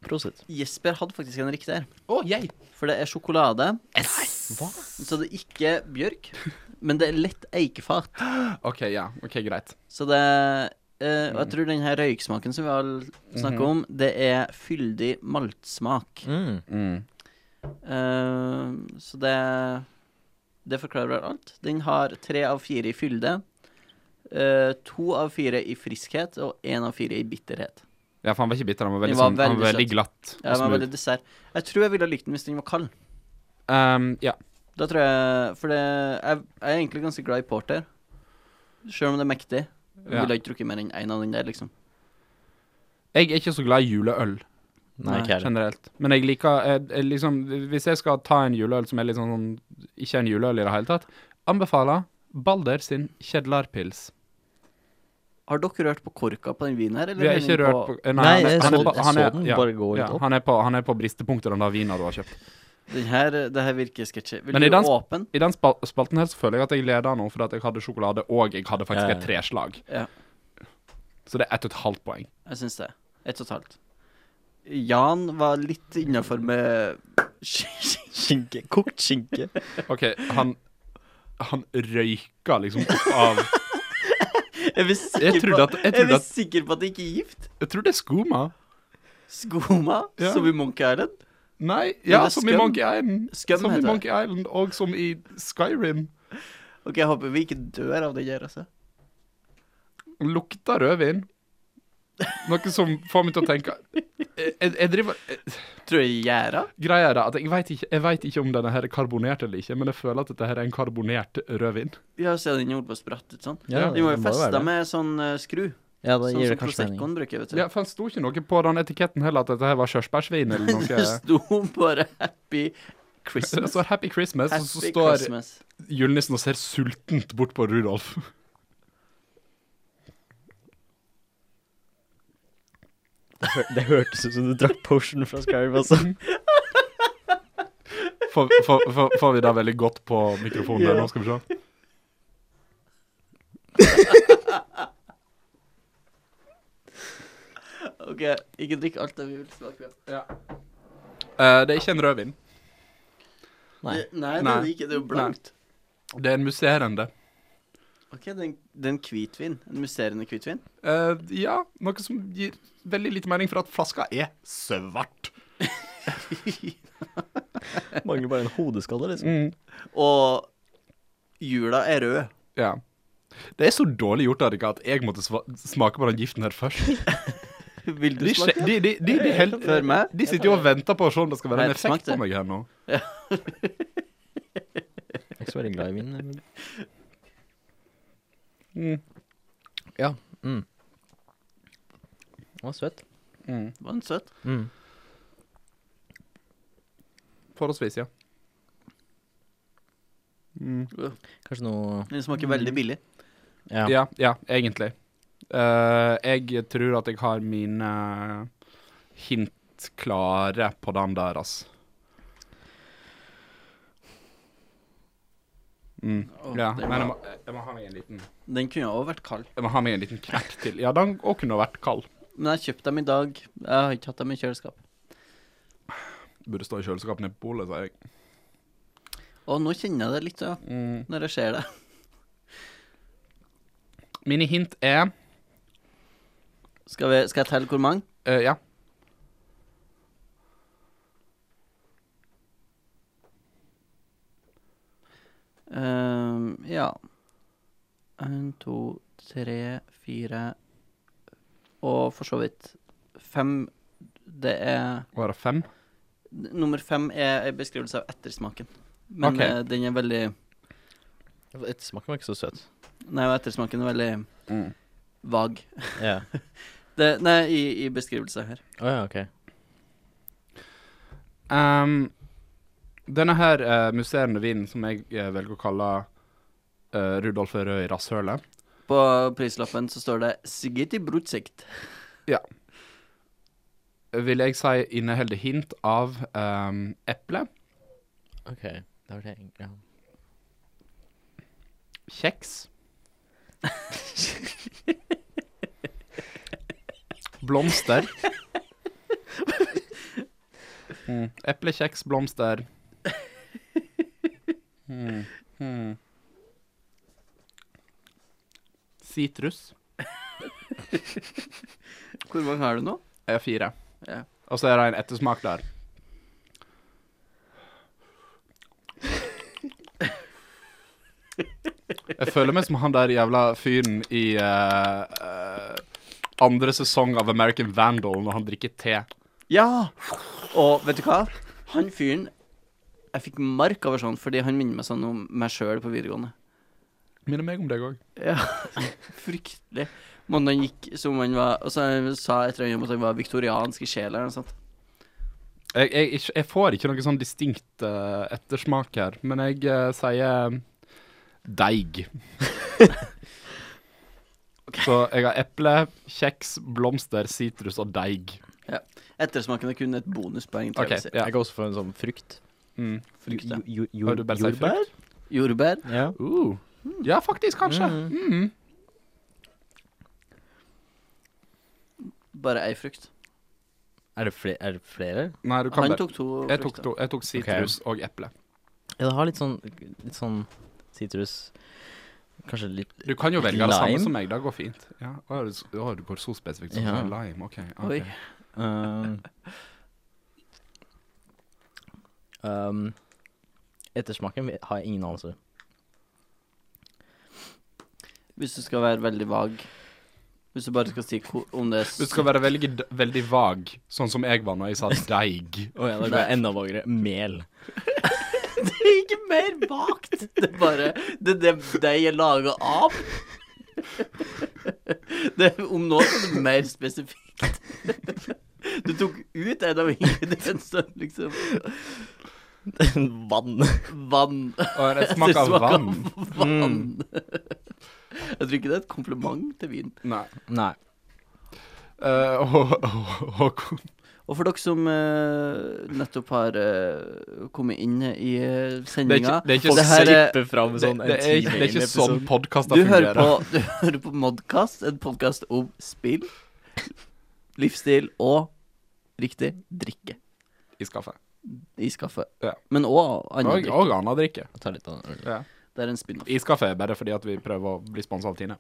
Speaker 3: Prosit.
Speaker 2: Jesper hadde faktisk en riktig her.
Speaker 4: Å, jeg!
Speaker 2: For det er sjokolade,
Speaker 3: Hva?
Speaker 2: så det er ikke bjørk. Men det er lett eikefat.
Speaker 4: OK, ja. OK, greit.
Speaker 2: Så det eh, Og jeg tror den her røyksmaken som vi alle snakker om, det er fyldig maltsmak.
Speaker 3: Mm.
Speaker 4: Mm.
Speaker 2: Eh, så det Det forklarer vel alt. Den har tre av fire i fylde. eh, to av fire i friskhet og én av fire i bitterhet.
Speaker 4: Ja, for han var ikke bitter, han var veldig,
Speaker 2: Den var
Speaker 4: sånn, han
Speaker 2: veldig
Speaker 4: var veldig
Speaker 2: søt.
Speaker 4: glatt.
Speaker 2: Ja,
Speaker 4: og
Speaker 2: den var
Speaker 4: smooth.
Speaker 2: veldig dessert. Jeg tror jeg ville ha likt den hvis den var kald.
Speaker 4: Ehm, ja.
Speaker 2: Da tror jeg For det, jeg, jeg er egentlig ganske glad i porter. Sjøl om det er mektig. Jeg
Speaker 4: Ja.
Speaker 2: ville ikke drukket mer enn én av den der, liksom.
Speaker 4: Jeg er ikke så glad i juleøl
Speaker 3: Nei,
Speaker 2: Nei,
Speaker 3: ikke heller.
Speaker 4: generelt, men jeg liker jeg, jeg, liksom, Hvis jeg skal ta en juleøl som er litt sånn sånn- ikke er en juleøl i det hele tatt, anbefaler Balder sin Kjedlarpils.
Speaker 2: Har dere rørt på korka på den vinen her, eller
Speaker 4: Vi har
Speaker 2: er den
Speaker 4: ikke rørt på Nei,
Speaker 3: Nei,
Speaker 4: han er-
Speaker 3: jeg
Speaker 4: han er
Speaker 3: så-
Speaker 4: på-
Speaker 3: jeg
Speaker 4: han
Speaker 3: så
Speaker 4: er-
Speaker 3: den
Speaker 4: ja,
Speaker 3: bare gå litt
Speaker 4: ja,
Speaker 3: opp.
Speaker 4: Han er på, han er på bristepunktet, den der vina du har kjøpt.
Speaker 2: Den her, det her virker sketchy. Vil
Speaker 4: Men i
Speaker 2: du
Speaker 4: dans-
Speaker 2: åpen?
Speaker 4: I den spal spalten her så føler jeg at jeg leder nå fordi at jeg hadde sjokolade og jeg hadde
Speaker 3: Ja,
Speaker 4: faktisk
Speaker 3: ja.
Speaker 4: et treslag.
Speaker 2: Ja.
Speaker 4: Så det er ett og et halvt poeng.
Speaker 2: Jeg syns det. Ett og et halvt. Jan var litt innafor med <laughs>
Speaker 3: Skinke. Kokt skinke.
Speaker 4: OK, han Han røyka liksom opp av
Speaker 2: Jeg er sikker
Speaker 4: Jeg trodde
Speaker 2: på-
Speaker 4: at- jeg
Speaker 2: er
Speaker 4: trodde at-
Speaker 2: sikker på at det ikke er gift.
Speaker 4: Jeg tror det er skuma.
Speaker 2: Skoma,
Speaker 4: Ja.
Speaker 2: som i Monkey Island.
Speaker 4: Nei,
Speaker 2: Men det
Speaker 4: ja,
Speaker 2: er
Speaker 4: som i
Speaker 2: skum.
Speaker 4: Monkey Island.
Speaker 2: Skum
Speaker 4: som i
Speaker 2: heter det.
Speaker 4: Monkey Island, og som i Skyrim.
Speaker 2: Ok, Jeg håper vi ikke dør av det der, altså.
Speaker 4: Lukta rødvin. Noe som får meg til å tenke eh, Jeg, jeg driver
Speaker 2: Tror jeg gjæra?
Speaker 4: Greia er det at jeg vet ikke, jeg vet ikke om denne her er karbonert eller ikke, men jeg føler at dette her er en karbonert rødvin.
Speaker 2: Ja, se den gjorde på spratt ut sånn.
Speaker 3: Ja,
Speaker 2: De må jo
Speaker 3: det må jo være
Speaker 2: feste
Speaker 3: det.
Speaker 2: med sånn eh, skru.
Speaker 3: Ja, da
Speaker 2: Sånn
Speaker 3: gir det
Speaker 2: som
Speaker 3: kanskje mening.
Speaker 2: Proseccoen bruker, vet du. <laughs>
Speaker 4: Ja, for det sto ikke noe på den etiketten heller at dette her var kjørsbærsvin eller
Speaker 2: Det <laughs>
Speaker 4: noe.
Speaker 2: sto bare 'Happy
Speaker 4: Det
Speaker 2: Christmas'.
Speaker 4: står 'Happy Christmas', og Altså, så
Speaker 2: Happy
Speaker 4: står
Speaker 2: Christmas.
Speaker 4: julenissen og ser sultent bort på Rudolf.
Speaker 3: <laughs>
Speaker 4: <laughs>
Speaker 3: Det hørtes ut som du drakk potion fra Skyrim, altså.
Speaker 4: Får, får, får, får vi det veldig godt på mikrofonen der nå, skal vi se.
Speaker 2: Ok, ikke drikk alt det vi vil smake på.
Speaker 4: Eh, det er ikke en rødvin.
Speaker 3: Nei.
Speaker 2: Det- Nei, det
Speaker 4: Nei.
Speaker 2: er det ikke. Det er jo blankt.
Speaker 4: Det er en musserende.
Speaker 2: Ok, det er en- det er en hvitvin. En musserende hvitvin.
Speaker 4: Eh, ja, noe som gir veldig lite mening, for at flaska er svart.
Speaker 3: Mangler bare en hodeskalle, liksom.
Speaker 2: Og jula er rød. <laughs>
Speaker 4: Ja. Det er så dårlig gjort Erika, at jeg måtte sva- smake på den giften her først.
Speaker 2: Vil du
Speaker 4: De,
Speaker 2: smake?
Speaker 4: skje- de, de, de, de, held,
Speaker 2: Før meg?
Speaker 4: de sitter jo og venter på å se om det skal være
Speaker 2: Nei,
Speaker 4: en effekt
Speaker 2: smakte.
Speaker 4: på meg her nå.
Speaker 3: Jeg er ikke så veldig glad i vin. men-
Speaker 4: Mm.
Speaker 3: Ja. Mm. Den var søt.
Speaker 2: Var den søt?
Speaker 3: Mm.
Speaker 4: Forholdsvis, ja.
Speaker 3: Kanskje noe
Speaker 2: Den smaker veldig billig.
Speaker 3: Ja.
Speaker 4: Ja, ja egentlig. Eh, jeg tror at jeg har mine hint klare på den der, ass. Mm.
Speaker 2: Åh,
Speaker 4: ja,
Speaker 2: den
Speaker 4: men
Speaker 2: var-
Speaker 4: jeg må, jeg må ha meg en liten
Speaker 2: Den kunne jo også vært kald.
Speaker 4: Jeg må ha meg en liten knekk til. Ja, den òg kunne vært kald.
Speaker 2: Men jeg kjøpte dem i dag. Jeg har ikke hatt dem i kjøleskap.
Speaker 4: Burde stå i kjøleskapet nede på polet, sier jeg.
Speaker 2: Og nå kjenner jeg det litt, ja.
Speaker 4: Mm.
Speaker 2: Når jeg ser det.
Speaker 4: Mine hint er
Speaker 2: Skal, vi, skal jeg telle hvor mange?
Speaker 4: eh, Ja.
Speaker 2: Ehm, ja. En, to, tre, fire Og for så vidt fem. Det er
Speaker 4: Var det fem?
Speaker 2: Nummer fem er en beskrivelse av ettersmaken. Men
Speaker 4: Ok.
Speaker 2: eh, den er veldig
Speaker 3: Ettersmaken var ikke så søt.
Speaker 2: Nei, og ettersmaken er veldig
Speaker 4: Mm.
Speaker 2: vag.
Speaker 3: Ja.
Speaker 2: Det, nei, i, i beskrivelse her.
Speaker 3: Å ja, ok.
Speaker 4: Ehm, denne her eh, musserende vinen, som jeg eh, velger å kalle eh, Rudolf er rød i rasshølet
Speaker 2: På prislappen så står det 'Sigeti Brutsikt'.
Speaker 4: vil jeg si inneholder hint av ehm, eple,
Speaker 3: Ok, da var det en- ja.
Speaker 4: kjeks <laughs> Blomster. Mm. Eple, kjeks, blomster. Mm. Mm. Sitrus.
Speaker 2: Hvor mange har du nå?
Speaker 4: er fire.
Speaker 2: Ja.
Speaker 4: Og så er det en ettersmak der. Jeg føler meg som han der jævla fyren i eh, eh, andre sesong av American Vandal når han drikker te.
Speaker 2: Ja! Og vet du hva? Han fyren Jeg fikk mark over sånn fordi han minner meg sånn om meg sjøl på videregående.
Speaker 4: Minner meg om deg òg.
Speaker 2: Ja, <laughs> Fryktelig. Måten han gikk som om han var Og så sa etter han at han var viktoriansk i sjela eller noe sånt.
Speaker 4: Jeg, jeg, ikke- jeg får ikke noe sånn distinkt eh, ettersmak her, men jeg eh, sier eh, deig. Så jeg har eple, kjeks, blomster, sitrus og deig.
Speaker 2: Ettersmaken er kun et bonuspoeng. til
Speaker 4: Ok,
Speaker 2: å si.
Speaker 4: ja.
Speaker 3: Jeg går også for en sånn frukt.
Speaker 4: Mm.
Speaker 2: Frukt, ja.
Speaker 3: Jo- jo-
Speaker 4: Har du bare sagt
Speaker 3: jordbær?
Speaker 2: Jordbær.
Speaker 3: Ja.
Speaker 4: Uh. Ja, faktisk, kanskje. Mhm.
Speaker 2: Bare ei frukt.
Speaker 3: Er det, fle er det flere?
Speaker 4: Nei, du kan
Speaker 2: Han
Speaker 4: bare
Speaker 2: tok to
Speaker 4: Jeg tok
Speaker 2: frukter.
Speaker 4: to. Jeg tok sitrus og eple.
Speaker 3: Ja, det har litt sånn Litt sånn sitrus Kanskje litt
Speaker 4: Du kan jo velge det
Speaker 3: Lime?
Speaker 4: samme som meg, det går fint. Ja, å, er det s- å, du går så spesifikt som
Speaker 3: Ja.
Speaker 4: lime, ok. ok.
Speaker 2: Oi.
Speaker 3: ehm, ehm, Ettersmaken vet- har jeg ingen anelse.
Speaker 2: Hvis du skal være veldig vag. Hvis du bare skal si ko- om det er
Speaker 4: Du skal være veldig, veldig vag, sånn som jeg var når jeg sa deig.
Speaker 3: Oh, ja, det er enda vagere. <laughs> Mel.
Speaker 2: <laughs> Det er ikke mer bakt. Det er bare Det er det deig er laga av. Det, om nå er det mer spesifikt. Du tok ut en av ingrediensene, liksom.
Speaker 3: Vann.
Speaker 2: Vann.
Speaker 4: Og
Speaker 2: Det
Speaker 4: det smaker av
Speaker 2: smaker
Speaker 4: vann.
Speaker 2: av vann.
Speaker 4: Mm.
Speaker 2: Jeg tror ikke det er et kompliment til vin.
Speaker 4: Nei.
Speaker 3: Nei.
Speaker 4: Eh, og, og, Håkon.
Speaker 2: Og for dere som eh, nettopp har eh, kommet inn i uh,
Speaker 4: Det er ikke,
Speaker 2: sendinga
Speaker 4: det er ikke, sånn
Speaker 2: Det her er-
Speaker 3: Strippe fram
Speaker 4: det,
Speaker 3: sånn
Speaker 4: det
Speaker 3: en
Speaker 4: er, ikke- det er ikke sånn
Speaker 3: time-episode.
Speaker 4: podkaster
Speaker 2: Du hører
Speaker 4: fungerer.
Speaker 2: på, <laughs> du hører på Modcast, en podkast om spill, livsstil og riktig drikke
Speaker 4: i skaffet.
Speaker 2: i skaffet.
Speaker 4: Ja.
Speaker 2: Men òg annen
Speaker 4: Og,
Speaker 2: drikke.
Speaker 4: og annen drikke.
Speaker 3: Jeg tar litt av den.
Speaker 4: Ja.
Speaker 2: Det er en spin-off.
Speaker 4: I skaffet er bare fordi at vi prøver å bli sponsa av Tine.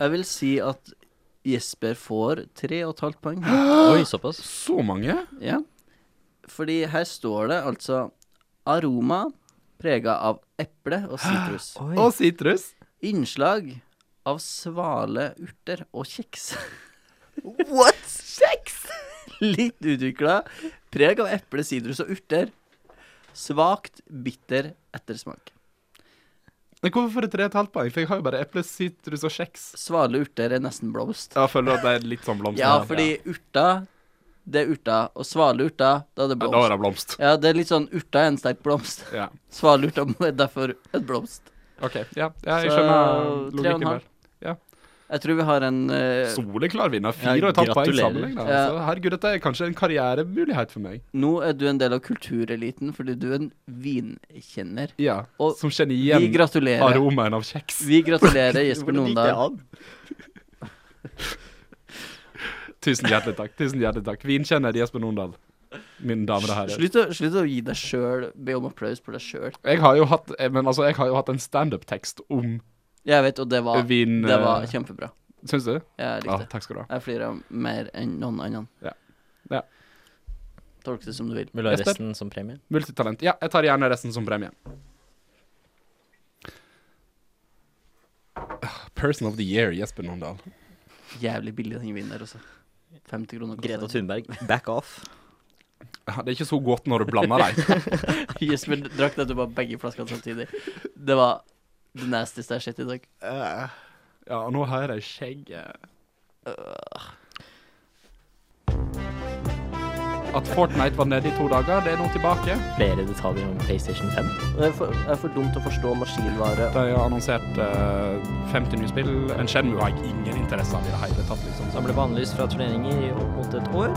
Speaker 2: Jeg vil si at Jesper får tre og et halvt poeng.
Speaker 4: <gasps>
Speaker 3: Oi, såpass.
Speaker 4: Så mange?
Speaker 2: Ja. Fordi her står det altså aroma prega av eple og
Speaker 4: <gasps>
Speaker 2: sitrus.
Speaker 4: Og sitrus.
Speaker 2: Innslag av svale urter og kjeks.
Speaker 3: What?
Speaker 2: Kjeks! Litt utvikla. Preg av eple, sitrus og urter. Svakt, bitter ettersmak.
Speaker 4: Men hvorfor får jeg tre og et halvt poeng? For jeg har jo bare eple, sitrus og kjeks.
Speaker 2: Svale urter er nesten blomst.
Speaker 4: Jeg føler at det er litt sånn blomst.
Speaker 2: Ja, fordi urta, det er urta. Og svale urta, da er det
Speaker 4: Ja, Da
Speaker 2: blomst.
Speaker 4: er det blomst.
Speaker 2: Ja, det er litt sånn urta er en sterk blomst.
Speaker 4: Ja.
Speaker 2: Svale urta er derfor et blomst.
Speaker 4: <laughs> OK. Ja, ja jeg
Speaker 2: Så,
Speaker 4: skjønner
Speaker 2: tre og en
Speaker 4: logikken
Speaker 2: halv.
Speaker 4: der.
Speaker 2: Jeg tror vi har en eh,
Speaker 4: Soleklar vinner.
Speaker 3: Ja,
Speaker 4: Fire og et halvt poeng
Speaker 3: gratulerer.
Speaker 4: sammenligna.
Speaker 2: Ja.
Speaker 4: Så Herregud, dette er kanskje en karrieremulighet for meg.
Speaker 2: Nå er du en del av kultureliten fordi du er en vinkjenner.
Speaker 4: Ja.
Speaker 2: Og
Speaker 4: Som kjenner
Speaker 2: Vi
Speaker 4: igjen
Speaker 2: gratulerer.
Speaker 4: aromaen av kjeks.
Speaker 2: Vi
Speaker 3: <laughs>
Speaker 2: gratulerer Jesper
Speaker 3: Hvordan gikk det
Speaker 2: Nondal.
Speaker 3: an?
Speaker 4: Tusen hjertelig takk. tusen hjertelig takk Vinkjenner Jesper Nondal, mine damer og herrer.
Speaker 2: Slutt å, slutt å gi deg sjøl Be om applaus for deg sjøl.
Speaker 4: Jeg har jo hatt, eh, men altså, jeg har jo hatt en standup-tekst om
Speaker 2: Jeg vet, og det var,
Speaker 4: vin...
Speaker 2: det var
Speaker 4: eh,
Speaker 2: kjempebra.
Speaker 4: Syns du?
Speaker 2: Jeg
Speaker 4: Ja,
Speaker 2: likte det.
Speaker 4: takk skal du ha.
Speaker 2: Jeg flirer mer enn noen annen.
Speaker 4: Ja. Ja.
Speaker 2: Tolk det som du vil.
Speaker 3: Vil du ha
Speaker 4: Jesper?
Speaker 3: resten som premie?
Speaker 4: Multitalent. Ja, jeg tar gjerne resten som premie. Ah, Person of the year, Jesper Nondal.
Speaker 2: Jævlig billig den vinen der, altså. 50 kroner
Speaker 3: Greta Thunberg, back off.
Speaker 4: Ja, Det er ikke så godt når du blander deg.
Speaker 2: <laughs> Jesper drakk nettopp av begge flaskene samtidig. Det var det nastieste jeg har sett i dag.
Speaker 4: <laughs> Eh, Ja, og nå har jeg skjegget. Øh. At Fortnite var nede i to dager, det er nå tilbake.
Speaker 3: Flere detaljer om PlayStation 5.
Speaker 2: Det er for, det er for dumt å forstå maskinvare.
Speaker 4: De har annonsert eh, 50 nye spill. En Shenmue har jeg ingen interesse av i det hele tatt. liksom.
Speaker 3: Han ble bannlyst fra turneringer i opp mot et år.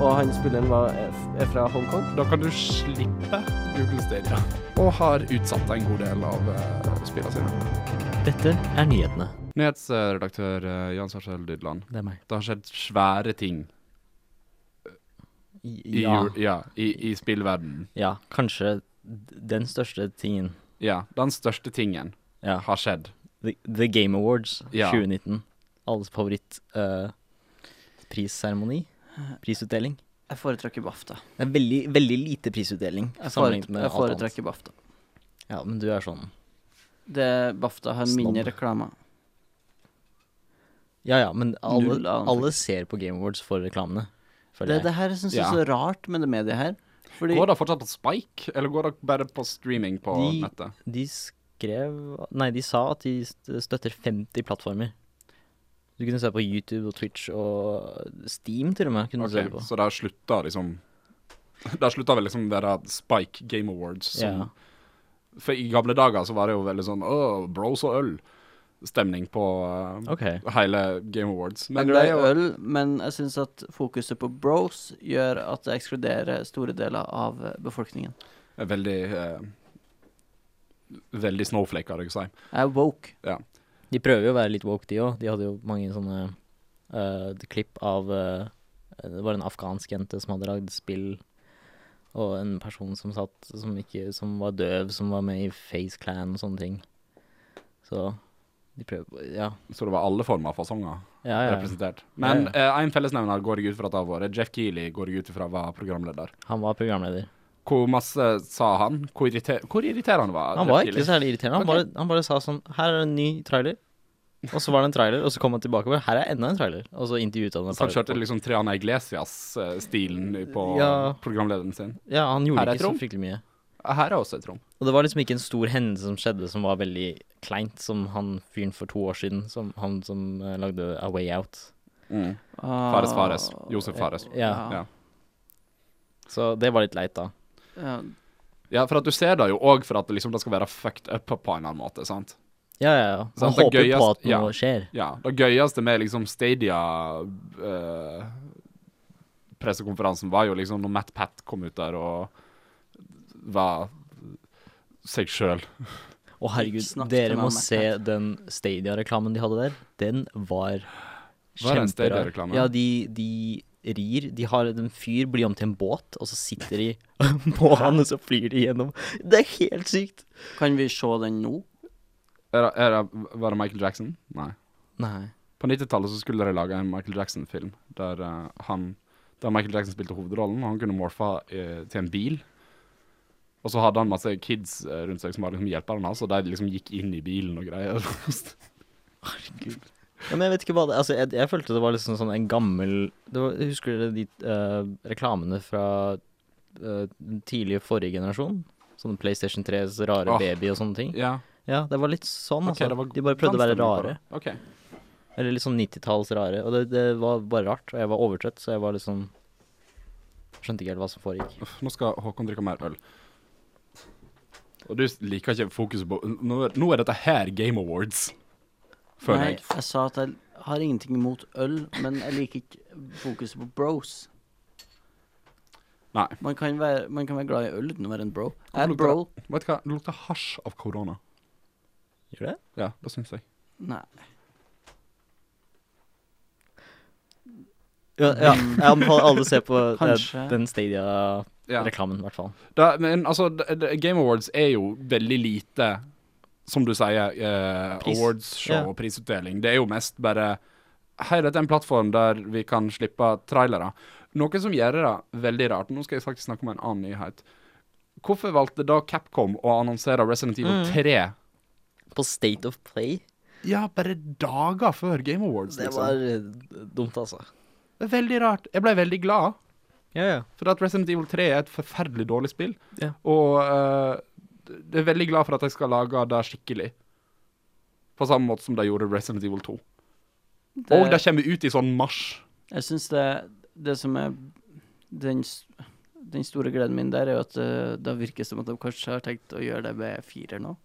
Speaker 2: og han spilleren er fra Hongkong.
Speaker 4: Da kan du slippe Google Stadia. Og har utsatt en god del av uh, spillene sine.
Speaker 3: Dette er nyhetene.
Speaker 4: Nyhetsredaktør eh, Jan Sarsel Dydland.
Speaker 3: Det er meg.
Speaker 4: Det har skjedd svære ting i,
Speaker 3: Ja.
Speaker 4: jul- ja, i, i spillverdenen.
Speaker 3: ja. Kanskje d- den største tingen.
Speaker 4: Ja, den største tingen
Speaker 3: Ja.
Speaker 4: har skjedd.
Speaker 3: The, The Game Awards
Speaker 4: Ja.
Speaker 3: 2019. Alles favoritt eh, prisseremoni. Prisutdeling.
Speaker 2: Jeg foretrekker BAFTA.
Speaker 3: Det er veldig, veldig lite prisutdeling
Speaker 2: Jeg,
Speaker 3: sammenlignet
Speaker 2: foretre
Speaker 3: med
Speaker 2: jeg
Speaker 3: alt annet.
Speaker 2: foretrekker BAFTA.
Speaker 3: Ja, men du er sånn
Speaker 2: Det BAFTA har
Speaker 3: Snobb.
Speaker 2: mindre reklamer.
Speaker 3: Ja ja, men alle,
Speaker 2: Null annen,
Speaker 3: alle ser på Game Awards for reklamene. føler
Speaker 2: Det,
Speaker 3: jeg.
Speaker 2: det her syns jeg
Speaker 4: Ja.
Speaker 2: er så rart med det mediet her. Fordi
Speaker 4: Går det fortsatt på Spike, eller går det bare på streaming på
Speaker 3: De-
Speaker 4: nettet?
Speaker 3: De skrev Nei, de sa at de st- støtter 50 plattformer. Du kunne se på YouTube og Twitch og Steam til og med. kunne du se
Speaker 4: Ok,
Speaker 3: det på.
Speaker 4: så da slutta liksom <laughs> Da slutta vel liksom være Spike Game Awards som
Speaker 3: Ja.
Speaker 4: For i gamle dager så var det jo veldig sånn Åh, bros og øl-stemning på eh,
Speaker 3: Ok.
Speaker 4: hele Game Awards.
Speaker 2: jeg
Speaker 4: Men
Speaker 2: er
Speaker 4: det
Speaker 2: glad
Speaker 4: er
Speaker 2: i
Speaker 4: jo
Speaker 2: øl, men jeg syns at fokuset på bros gjør at det ekskluderer store deler av eh, befolkningen.
Speaker 4: veldig eh, Veldig snowflake, hadde jeg sagt.
Speaker 2: Jeg er woke.
Speaker 3: De prøver jo å være litt woke, de òg. De hadde jo mange sånne eh, klipp av eh, Det var en afghansk jente som hadde lagd spill, og en person som satt som, ikke, som var døv, som var med i Face Clan og sånne ting. Så de prøver Ja.
Speaker 4: Så det var alle former for sanger
Speaker 3: Ja, ja, ja.
Speaker 4: representert. Men
Speaker 3: Ja,
Speaker 4: eh, en fellesnevner går jeg ut fra at det har vært. Jeff Keeley går jeg ut ifra var programleder.
Speaker 3: Han var programleder.
Speaker 4: Hvor masse sa han? Hvor, irriter hvor irriterende var
Speaker 3: Han
Speaker 4: Jeff
Speaker 3: var
Speaker 4: Keighley?
Speaker 3: ikke særlig irriterende. Han,
Speaker 4: Ok.
Speaker 3: bare, han bare sa sånn Her er en ny trailer. Og så var det en trailer, og så kom han tilbake og bare Her er enda en trailer. Og så intervjuet han et
Speaker 4: Så han
Speaker 3: par-
Speaker 4: kjørte liksom Triana Iglesias-stilen på
Speaker 3: Ja.
Speaker 4: programlederen sin.
Speaker 3: Ja, han
Speaker 4: Her
Speaker 3: gjorde
Speaker 4: er
Speaker 3: ikke så
Speaker 4: Trump.
Speaker 3: fryktelig mye.
Speaker 4: Her er også et rom.
Speaker 3: Og det var liksom ikke en stor hendelse som skjedde som var veldig kleint, som han fyren for to år siden, som han som eh, lagde A Way Out.
Speaker 4: Mm.
Speaker 2: Ah,
Speaker 4: Fares Fares. Josef Fares.
Speaker 3: Ja.
Speaker 4: Ja.
Speaker 3: Så det var litt leit, da.
Speaker 2: ja.
Speaker 4: Ja, for at du ser det jo òg for at liksom det skal være fucked up på en eller annen måte, sant?
Speaker 3: Ja, ja, ja.
Speaker 4: Så
Speaker 3: Han
Speaker 4: det
Speaker 3: håper på
Speaker 4: gøyeste-
Speaker 3: at noe skjer.
Speaker 4: Ja. Det gøyeste med liksom Stadia eh, Pressekonferansen var jo liksom når Matt Pat kom ut der og var seg sjøl.
Speaker 3: Å, herregud,
Speaker 2: Ikke snakk til
Speaker 3: dere
Speaker 2: meg
Speaker 3: må
Speaker 2: om
Speaker 3: se
Speaker 2: Mac-Pat.
Speaker 3: den Stadia-reklamen de hadde der. Den var
Speaker 4: Var det
Speaker 3: kjemperar.
Speaker 4: en Stadia-reklame?
Speaker 3: Ja, de, de rir. De har en fyr blir om til en båt, og så sitter de <laughs> på han, og så flyr de gjennom. Det er helt sykt!
Speaker 2: Kan vi se den nå?
Speaker 4: Er det- er det- Var det Michael Jackson? Nei.
Speaker 3: Nei.
Speaker 4: På 90-tallet så skulle de lage en Michael Jackson-film der eh, han Der Michael Jackson spilte hovedrollen, og han kunne morfa eh, til en bil. Og så hadde han masse kids eh, rundt seg som var liksom hjelperne hans, og de liksom gikk inn i bilen og greier. <laughs>
Speaker 3: Ja, men jeg vet ikke hva det Altså, jeg, jeg følte det var liksom sånn en gammel det var, Husker dere de eh, reklamene fra eh, den tidlige forrige generasjon? Sånne PlayStation 3s rare
Speaker 4: Åh.
Speaker 3: baby og sånne ting.
Speaker 4: ja,
Speaker 3: Ja, det var litt sånn,
Speaker 4: ok,
Speaker 3: altså.
Speaker 4: det var
Speaker 3: de bare prøvde å være
Speaker 4: brannstemning på
Speaker 3: rare.
Speaker 4: det. Ok.
Speaker 3: Eller litt sånn 90-talls rare. Og det, det var bare rart. Og jeg var overtrøtt, så jeg var liksom Skjønte ikke helt hva som foregikk.
Speaker 4: Uff, Nå skal Håkon drikke mer øl. Og du liker ikke fokuset på Nå er, nå er dette her Game Awards,
Speaker 2: Nei,
Speaker 4: føler jeg.
Speaker 2: jeg sa at jeg har ingenting imot øl, men jeg liker ikke fokuset på bros.
Speaker 4: Nei.
Speaker 2: Man kan være, man kan være glad i øl uten å være en bro. Jeg er
Speaker 4: Hvorfor
Speaker 2: bro.
Speaker 4: lukter det- Vet du hva, det lukter hasj av korona.
Speaker 3: Gjør det?
Speaker 4: Ja, det syns jeg.
Speaker 2: Nei.
Speaker 3: Ja, ja. Jeg anbefaler alle å se på eh,
Speaker 2: Kanskje.
Speaker 3: den Stadia-reklamen,
Speaker 4: Ja.
Speaker 3: i hvert fall.
Speaker 4: Da, men altså, d- d- Game Awards er jo veldig lite, som du sier, eh,
Speaker 3: Pris.
Speaker 4: awards-show
Speaker 3: Ja.
Speaker 4: og prisutdeling. Det er jo mest bare Hei, dette er en plattform der vi kan slippe trailere. Noe som gjør det veldig rart. Nå skal jeg faktisk snakke om en annen nyhet. Hvorfor valgte da Capcom å annonsere Resident Evil
Speaker 3: Mm.
Speaker 4: 3
Speaker 3: På State of Play.
Speaker 4: ja, bare dager før Game Awards?
Speaker 3: Det
Speaker 4: Liksom.
Speaker 3: var eh, dumt, altså.
Speaker 4: Det er veldig rart. Jeg ble veldig glad.
Speaker 3: Ja, ja.
Speaker 4: For at Resident Evil 3 er et forferdelig dårlig spill.
Speaker 3: Ja.
Speaker 4: Og eh, jeg er veldig glad for at jeg skal lage det skikkelig. På samme måte som de gjorde Resident Evil 2.
Speaker 2: Det,
Speaker 4: Og det kommer ut i sånn mars.
Speaker 2: jeg syns det, det som er den, s- den store gleden min der, er jo at det, det virker som at de kanskje har tenkt å gjøre det med firer nå.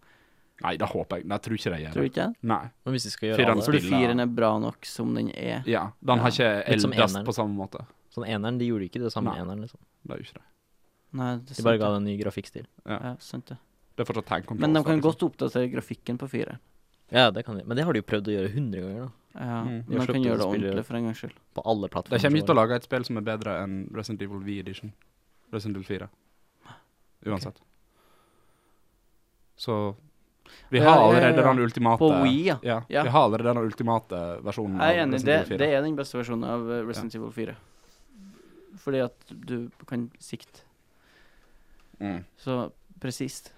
Speaker 4: Nei, det håper jeg. Nei, jeg tror ikke de gjør
Speaker 2: Tror
Speaker 4: det.
Speaker 2: du ikke det?
Speaker 4: Nei.
Speaker 3: Men hvis de skal gjøre
Speaker 4: Fyren
Speaker 3: alle
Speaker 4: som-
Speaker 2: Fordi
Speaker 4: Spillet-
Speaker 2: firen er bra nok som den er.
Speaker 4: Ja, den har ikke
Speaker 3: Litt som
Speaker 4: eldast
Speaker 3: eneren.
Speaker 4: på samme måte.
Speaker 3: Sånn eneren, de gjorde ikke det samme
Speaker 4: Nei.
Speaker 3: med eneren, liksom.
Speaker 4: Det er jo ikke det.
Speaker 2: Nei, det er
Speaker 3: De bare
Speaker 2: sant.
Speaker 3: ga
Speaker 2: det.
Speaker 3: det en ny grafikkstil.
Speaker 4: det.
Speaker 2: Ja, sant det.
Speaker 4: Det er fortsatt tag controls.
Speaker 2: Men de
Speaker 4: der,
Speaker 2: kan
Speaker 4: liksom.
Speaker 2: godt oppdatere grafikken på firer.
Speaker 3: Ja, det kan de. Men det har de jo prøvd å gjøre 100 ganger, da.
Speaker 2: Ja,
Speaker 3: Vi
Speaker 4: Mm.
Speaker 3: har
Speaker 2: Man kan
Speaker 3: sluppet
Speaker 2: gjøre
Speaker 3: å
Speaker 2: det
Speaker 3: spille-
Speaker 2: ordentlig for en gangs skyld.
Speaker 3: På alle plattformer.
Speaker 4: De kommer ikke til å lage et spill som er bedre enn Resident Evil V Edition. Resident Evil 4. Uansett. Så Vi
Speaker 2: Ja,
Speaker 4: har
Speaker 2: ja, ja,
Speaker 4: allerede
Speaker 2: ja.
Speaker 4: den ultimate
Speaker 2: På Wii, ja.
Speaker 4: Ja,
Speaker 2: Ja.
Speaker 4: vi har allerede den ultimate versjonen.
Speaker 2: Jeg er
Speaker 4: av
Speaker 2: enig, det,
Speaker 4: Resident Evil 4.
Speaker 2: det er den beste versjonen av eh, Resident Evil 4. Fordi at du kan sikte
Speaker 4: Mm.
Speaker 2: så presist.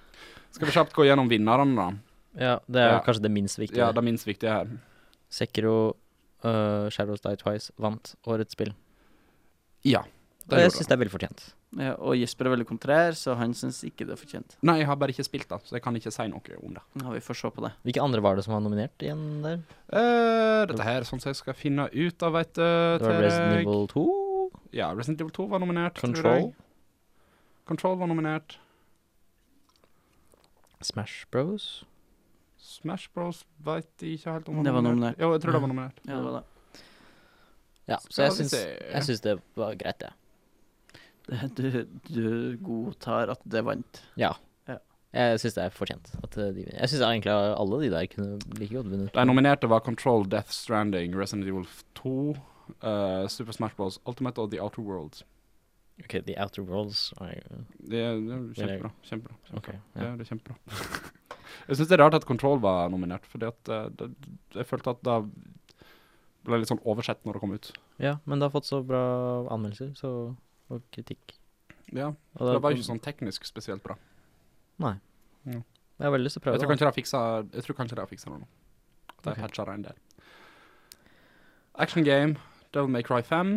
Speaker 4: Skal vi kjapt gå gjennom vinnerne, da?
Speaker 3: Ja, det er
Speaker 4: Ja.
Speaker 3: kanskje det minst viktige.
Speaker 4: Ja, det minst viktige her.
Speaker 3: Sekiro øh, Shadows Die Twice vant årets spill.
Speaker 4: Ja.
Speaker 3: Og
Speaker 4: Det
Speaker 3: jeg
Speaker 4: gjorde
Speaker 3: syns
Speaker 4: det.
Speaker 3: det er velfortjent.
Speaker 2: Ja, og Jesper er veldig kontrær, så han syns ikke det er fortjent.
Speaker 4: Nei, jeg har bare ikke spilt det, så jeg kan ikke si noe om det.
Speaker 2: Ja, vi får se på det.
Speaker 3: Hvilke andre var det som var nominert igjen der?
Speaker 4: Eh, dette her er sånn som jeg skal finne ut av, vet du.
Speaker 3: Det var Resident Evil 2,
Speaker 4: Ja, Resident Evil 2 var nominert. tror
Speaker 3: Control,
Speaker 4: jeg. Control var nominert.
Speaker 3: Smash Bros.
Speaker 4: Smash Bros veit de ikke helt om
Speaker 2: Det var nominert.
Speaker 4: Jo, jeg tror det var nominert.
Speaker 2: Ja, det var det.
Speaker 3: Ja, så
Speaker 4: Skal
Speaker 3: jeg
Speaker 4: vi
Speaker 3: syns,
Speaker 4: se.
Speaker 3: jeg syns det var greit, det.
Speaker 2: Det- <laughs> Du, du godtar at det vant.
Speaker 3: Ja.
Speaker 2: Ja.
Speaker 3: Jeg syns det er fortjent. At eh, de, jeg syns egentlig alle de der kunne like godt vunnet.
Speaker 4: De nominerte var Control, Death Stranding, Resident Evil 2, eh, Super Smash Bros, Ultimate og The Outer Worlds.
Speaker 3: Ok, The Outer Worlds er jo-
Speaker 4: Det er, det er kjempebra. kjempebra, kjempebra.
Speaker 3: Ok.
Speaker 4: Det,
Speaker 3: Ja.
Speaker 4: er, det er kjempebra. <laughs> jeg syns det er rart at Control var nominert, fordi at eh, det, jeg følte at det ble litt sånn oversett når det kom ut.
Speaker 3: ja, men det har fått så bra anmeldelser så, og kritikk.
Speaker 4: Ja,
Speaker 3: Og
Speaker 4: Det var jo ikke sånn teknisk spesielt bra.
Speaker 3: Nei.
Speaker 4: Ja.
Speaker 3: Jeg har veldig lyst til å prøve
Speaker 4: Jeg tror
Speaker 3: det. da.
Speaker 4: kanskje de har fiksa, jeg tror kanskje de har fiksa det nå. At de
Speaker 3: Ok.
Speaker 4: okay. patcha det en del. Action game, Devil May Cry 5.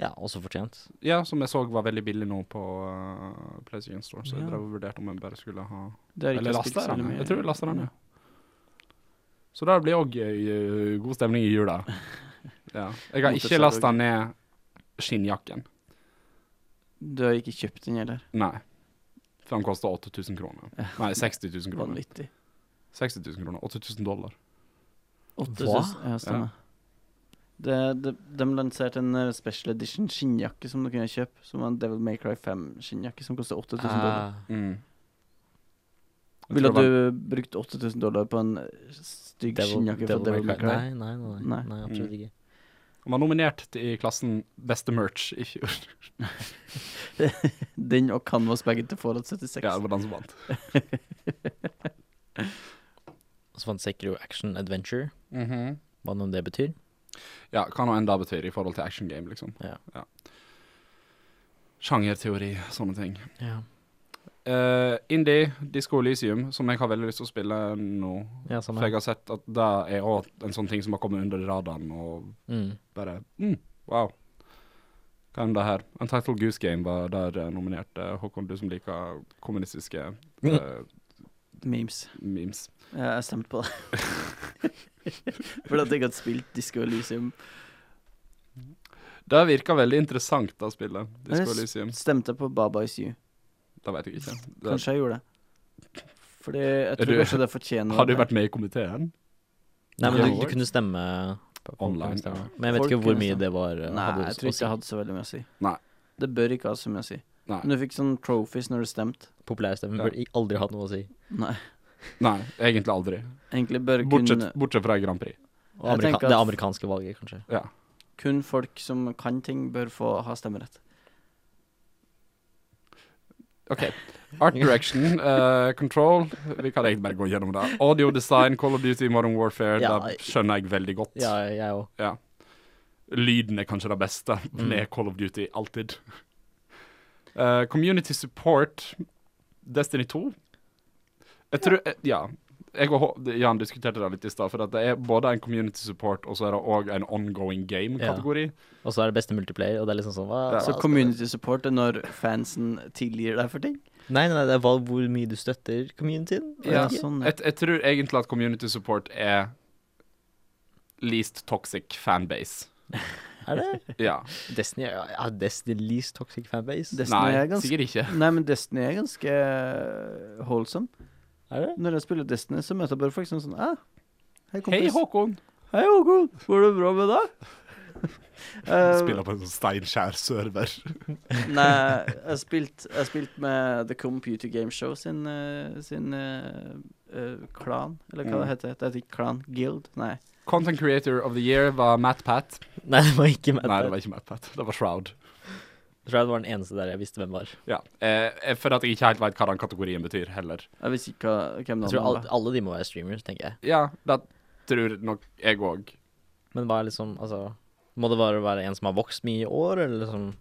Speaker 3: Ja, også fortjent.
Speaker 4: Ja, som jeg så var veldig billig nå på eh, PlayStation Store, så jeg
Speaker 2: Ja.
Speaker 4: drev og vurderte om jeg bare skulle ha
Speaker 2: Det har ikke
Speaker 4: Eller
Speaker 2: jeg spilt
Speaker 4: lasta
Speaker 2: så
Speaker 4: den.
Speaker 2: veldig
Speaker 4: Jeg
Speaker 2: mye.
Speaker 4: tror jeg lasta den, ja. Så det blir òg eh, god stemning i <laughs> jula. Ja. Jeg har ikke lasta ned skinnjakken.
Speaker 2: Du har ikke kjøpt den heller.
Speaker 4: Nei. For den koster 8000 kroner. Nei, 60 000 kroner.
Speaker 2: Vanvittig.
Speaker 4: 60 000 kroner. 8000 dollar.
Speaker 2: 8000. Ja, stemmer. Det, de, de lanserte en eh, special edition skinnjakke som du kunne kjøpe. Som var en Devil May Cry 5-skinnjakke som kostet 8000
Speaker 3: Ah.
Speaker 2: dollar.
Speaker 4: Mm. Jeg
Speaker 2: Ville
Speaker 4: tror det var-
Speaker 2: du brukt 8000 dollar på en eh, stygg skinnjakke fra Devil May Cry?
Speaker 3: Nei, nei, nei, nei,
Speaker 2: Nei.
Speaker 3: nei
Speaker 4: Mm.
Speaker 3: absolutt ikke.
Speaker 4: Han var nominert til- i klassen Beste merch i fjor.
Speaker 2: <laughs> Den og canvasbagen til Fallout 76.
Speaker 4: Ja, det var den som vant.
Speaker 3: Og så fant Sekiro Action Adventure,
Speaker 4: Mhm.
Speaker 3: hva nå det betyr.
Speaker 4: Ja, hva nå enn det betyr i forhold til action game, liksom.
Speaker 3: Ja.
Speaker 4: Sjangerteori, sånne ting.
Speaker 3: Ja,
Speaker 4: Eh, Indie, Disco Elysium, som jeg har veldig lyst til å spille nå.
Speaker 3: ja
Speaker 4: For
Speaker 3: samme
Speaker 4: jeg
Speaker 3: her.
Speaker 4: har sett at det er òg en sånn ting som har kommet under radaren, og
Speaker 3: Mm.
Speaker 4: bare mm, wow. Hva enn det her? Untitled Goose Game var der eh, nominert. eh, Håkon, du som liker kommunistiske
Speaker 3: Mm.
Speaker 4: eh,
Speaker 2: Memes.
Speaker 4: memes.
Speaker 2: Ja, jeg stemte
Speaker 4: <laughs>
Speaker 2: på det. <laughs> Fordi at jeg hadde spilt Disco Elysium.
Speaker 4: Det virker veldig interessant, det spillet. Disco
Speaker 2: Jeg s-
Speaker 4: Elysium.
Speaker 2: Stemte på Baba Is You.
Speaker 4: Det vet jeg ikke. Det,
Speaker 2: Kanskje jeg gjorde det. Fordi jeg
Speaker 4: Er
Speaker 2: tror
Speaker 4: du-
Speaker 2: kanskje det fortjener
Speaker 4: har du vært med i komiteen?
Speaker 3: Nei, men
Speaker 4: Ja.
Speaker 3: du, du kunne stemme på- på-
Speaker 4: Online,
Speaker 3: kunne stemme.
Speaker 4: ja.
Speaker 3: Men jeg vet
Speaker 2: Folk
Speaker 3: ikke hvor
Speaker 2: kunne
Speaker 3: mye
Speaker 2: stemme.
Speaker 3: det var. eh,
Speaker 2: Nei,
Speaker 3: hadde å-
Speaker 2: jeg tror
Speaker 3: å si.
Speaker 2: ikke jeg hadde så veldig mye å si.
Speaker 4: Nei.
Speaker 2: Det bør ikke ha så mye å si.
Speaker 4: Nei.
Speaker 2: Men du fikk sånn trophies når du stemte.
Speaker 3: Populærstemmen
Speaker 4: Ja.
Speaker 3: burde i- aldri hatt noe å si.
Speaker 2: Nei,
Speaker 4: Nei, egentlig aldri.
Speaker 2: egentlig bør kun,
Speaker 4: Bortsett, bortsett fra Grand Prix.
Speaker 3: Og
Speaker 2: Jeg
Speaker 3: amerika
Speaker 2: tenker
Speaker 3: det
Speaker 2: at-
Speaker 3: amerikanske valget, kanskje.
Speaker 4: Ja.
Speaker 2: kun folk som kan ting, bør få ha stemmerett.
Speaker 4: OK.
Speaker 3: <laughs>
Speaker 4: Art direction, eh, control Vi kan egentlig bare gå gjennom det. Audio design, Call of Duty, Modern Warfare,
Speaker 3: Ja.
Speaker 4: det skjønner jeg veldig godt.
Speaker 3: Ja, jeg òg.
Speaker 4: Lyden er kanskje det beste
Speaker 3: Mm.
Speaker 4: med Call of Duty, alltid. Eh, community support, Destiny 2. Jeg tror eh, Ja. Jeg og Hå- Jan diskuterte det litt i stad, for at det er både en community support og så er det òg en ongoing game-kategori.
Speaker 3: Og så er det beste multiplayer, og det er liksom sånn hva,
Speaker 4: Ja.
Speaker 3: hva
Speaker 2: Så
Speaker 3: skal-
Speaker 2: community support er når fansen tilgir deg for ting?
Speaker 3: Nei, nei, nei, det er hva, hvor mye du støtter communityen. Jeg
Speaker 2: Ja,
Speaker 3: vet ikke.
Speaker 2: sånn. ja.
Speaker 4: Jeg, jeg tror egentlig at community support er least toxic fanbase.
Speaker 3: Er
Speaker 4: <laughs>
Speaker 3: det?
Speaker 4: Ja.
Speaker 3: Destiny er ja, Destiny least toxic fanbase.
Speaker 2: Destiny
Speaker 4: Nei,
Speaker 2: er ganske
Speaker 4: sikkert ikke.
Speaker 2: Nei, men Destiny er ganske holdsom.
Speaker 3: er det?
Speaker 2: Når jeg spiller Destiny, så møter jeg bare folk som sånn ah, Hei,
Speaker 4: Hei,
Speaker 2: kompis.
Speaker 4: Håkon!
Speaker 2: Hei, Håkon. Går det bra
Speaker 4: <laughs>
Speaker 2: med deg? Eh,
Speaker 4: på en sånn steinskjær server.
Speaker 2: <laughs> Nei, jeg spilte jeg spilt med The Computer Game Show sin, eh, sin eh, eh, klan, eller hva
Speaker 4: Mm.
Speaker 2: det heter. Det heter ikke klan, guild, nei.
Speaker 4: Content creator of the year var Matt Pat.
Speaker 3: Nei, det var ikke Matt.
Speaker 4: Nei, det
Speaker 3: Nei,
Speaker 4: var ikke Matt Pat. Det var Shroud.
Speaker 3: Jeg tror det var den eneste der jeg visste hvem var.
Speaker 4: Ja. Eh, eh, for at jeg ikke helt veit hva den kategorien betyr, heller.
Speaker 2: Jeg visste ikke hva, hvem
Speaker 3: Jeg
Speaker 2: det
Speaker 3: tror alle,
Speaker 2: var.
Speaker 3: alle de må være streamers, tenker jeg.
Speaker 4: Ja, det tror nok jeg òg.
Speaker 3: Men hva er liksom Altså Må det bare være en som har vokst mye i år, eller liksom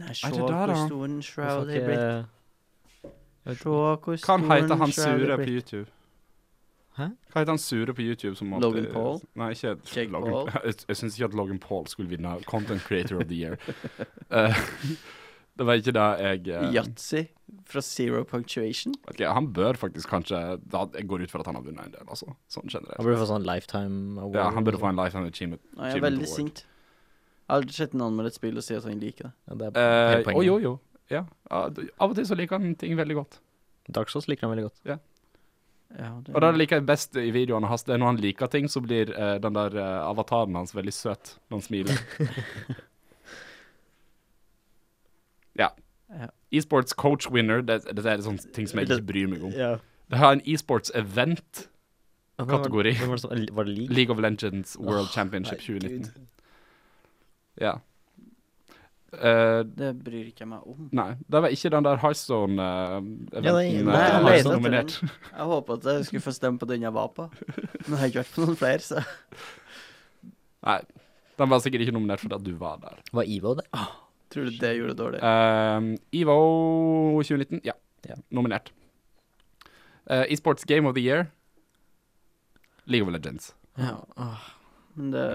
Speaker 2: Nei, se
Speaker 4: Er det
Speaker 2: hvor
Speaker 4: der, da?
Speaker 2: stor en
Speaker 3: Jeg
Speaker 2: Shroud
Speaker 3: får
Speaker 2: er blitt.
Speaker 3: ikke-
Speaker 2: Se hvor stor
Speaker 4: Hva
Speaker 2: en
Speaker 4: heter han
Speaker 2: Shroud er
Speaker 4: sure på
Speaker 2: blitt.
Speaker 4: YouTube?
Speaker 3: Hæ?
Speaker 4: Hva heter han sure på YouTube som alltid-
Speaker 2: Logan Paul?
Speaker 4: Nei, ikke
Speaker 2: Jake
Speaker 4: Logan
Speaker 2: Paul?
Speaker 4: <laughs> Jeg, jeg syns ikke at Logan Paul skulle vinne Content Creator of
Speaker 2: <laughs>
Speaker 4: the Year. Eh, <laughs> det var ikke det jeg eh,
Speaker 2: Yatzy fra Zero Punctuation.
Speaker 4: vet ikke, Han bør faktisk kanskje da, Jeg går ut fra at han har vunnet en del, altså. Sånn
Speaker 3: Han
Speaker 4: generelt.
Speaker 3: burde få sånn lifetime award.
Speaker 4: Ja, han burde få en lifetime achievement.
Speaker 2: Nei, jeg er
Speaker 4: Achievement
Speaker 2: veldig
Speaker 4: Award.
Speaker 2: sint. Jeg har aldri sett noen med et spill og si at han liker det.
Speaker 3: Ja, det er hele
Speaker 4: Eh, Å
Speaker 3: poenget.
Speaker 4: jo, jo. Ja. Ja, d- Av og til så liker han ting veldig godt.
Speaker 3: Dark Souls liker han veldig godt.
Speaker 2: Ja, det,
Speaker 4: Og det jeg liker best i videoene hans, det er når han liker ting, så blir eh, den der eh, avataren hans veldig søt når han smiler. <laughs> ja.
Speaker 2: Ja.
Speaker 4: E-sports coach winner, det, det er sånne ting som jeg ikke bryr meg om.
Speaker 3: Ja.
Speaker 4: Det har en e-sports event, Kategori.
Speaker 3: Var, det som- var det league?
Speaker 4: League of Legends World Championship
Speaker 3: nei,
Speaker 4: 2019. Ja. Eh,
Speaker 2: det bryr ikke jeg meg om.
Speaker 4: nei, det var ikke den der eh, Hearthstone-eventen.
Speaker 3: Ja, nei, nei,
Speaker 2: jeg leter etter
Speaker 4: eh, nominert.
Speaker 2: <laughs> Jeg håpa at jeg skulle få stemme på den jeg var på, men jeg har ikke vært på noen flere, så
Speaker 4: Nei, den var sikkert ikke nominert fordi at du var der.
Speaker 3: Var Evo der?
Speaker 2: tror du det gjorde det dårlig?
Speaker 4: Ehm, EVO 2019, ja.
Speaker 3: Ja.
Speaker 4: Nominert. Eh, Esports Game of the Year. League of Legends.
Speaker 3: Ja.
Speaker 2: Men det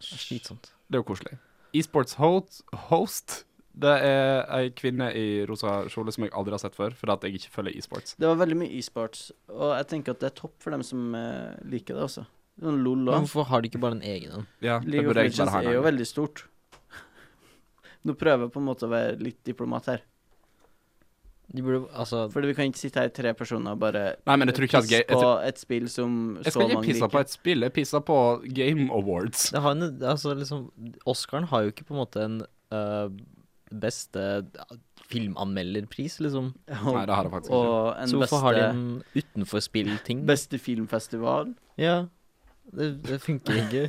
Speaker 3: Slitsomt.
Speaker 4: Det er jo koselig. Esports host, host. Det er ei kvinne i rosa kjole som jeg aldri har sett før, fordi at jeg ikke følger esports.
Speaker 2: Det var veldig mye e-sports, og jeg tenker at det er topp for dem som eh, liker det også. Sånn LOL
Speaker 3: Men
Speaker 2: òg.
Speaker 3: hvorfor har de ikke bare en egen en?
Speaker 4: Ja, det
Speaker 2: League of
Speaker 4: burde jeg bare
Speaker 2: Legends
Speaker 4: ha
Speaker 2: er jo
Speaker 4: en.
Speaker 2: veldig stort. <laughs> Nå prøver jeg på en måte å være litt diplomat her.
Speaker 3: De burde altså
Speaker 2: Fordi vi kan ikke sitte her tre personer og bare
Speaker 4: Nei, men jeg tror ikke at
Speaker 2: pisse
Speaker 4: ga- jeg
Speaker 2: på
Speaker 4: tror-
Speaker 2: et spill som
Speaker 4: Jeg
Speaker 2: så
Speaker 4: skal ikke
Speaker 2: mange
Speaker 4: pisse på
Speaker 2: liker.
Speaker 4: et spill, jeg pisser på Game Awards.
Speaker 3: Det har en Altså, liksom Oscaren har jo ikke på en måte en øh, beste ja, filmanmelderpris, liksom.
Speaker 2: Og,
Speaker 4: Nei, det har jeg faktisk ikke.
Speaker 2: og en
Speaker 3: Så hvorfor har de
Speaker 2: beste,
Speaker 3: en utenfor spill-ting?
Speaker 2: beste filmfestival.
Speaker 3: Ja. Det, det funker ikke.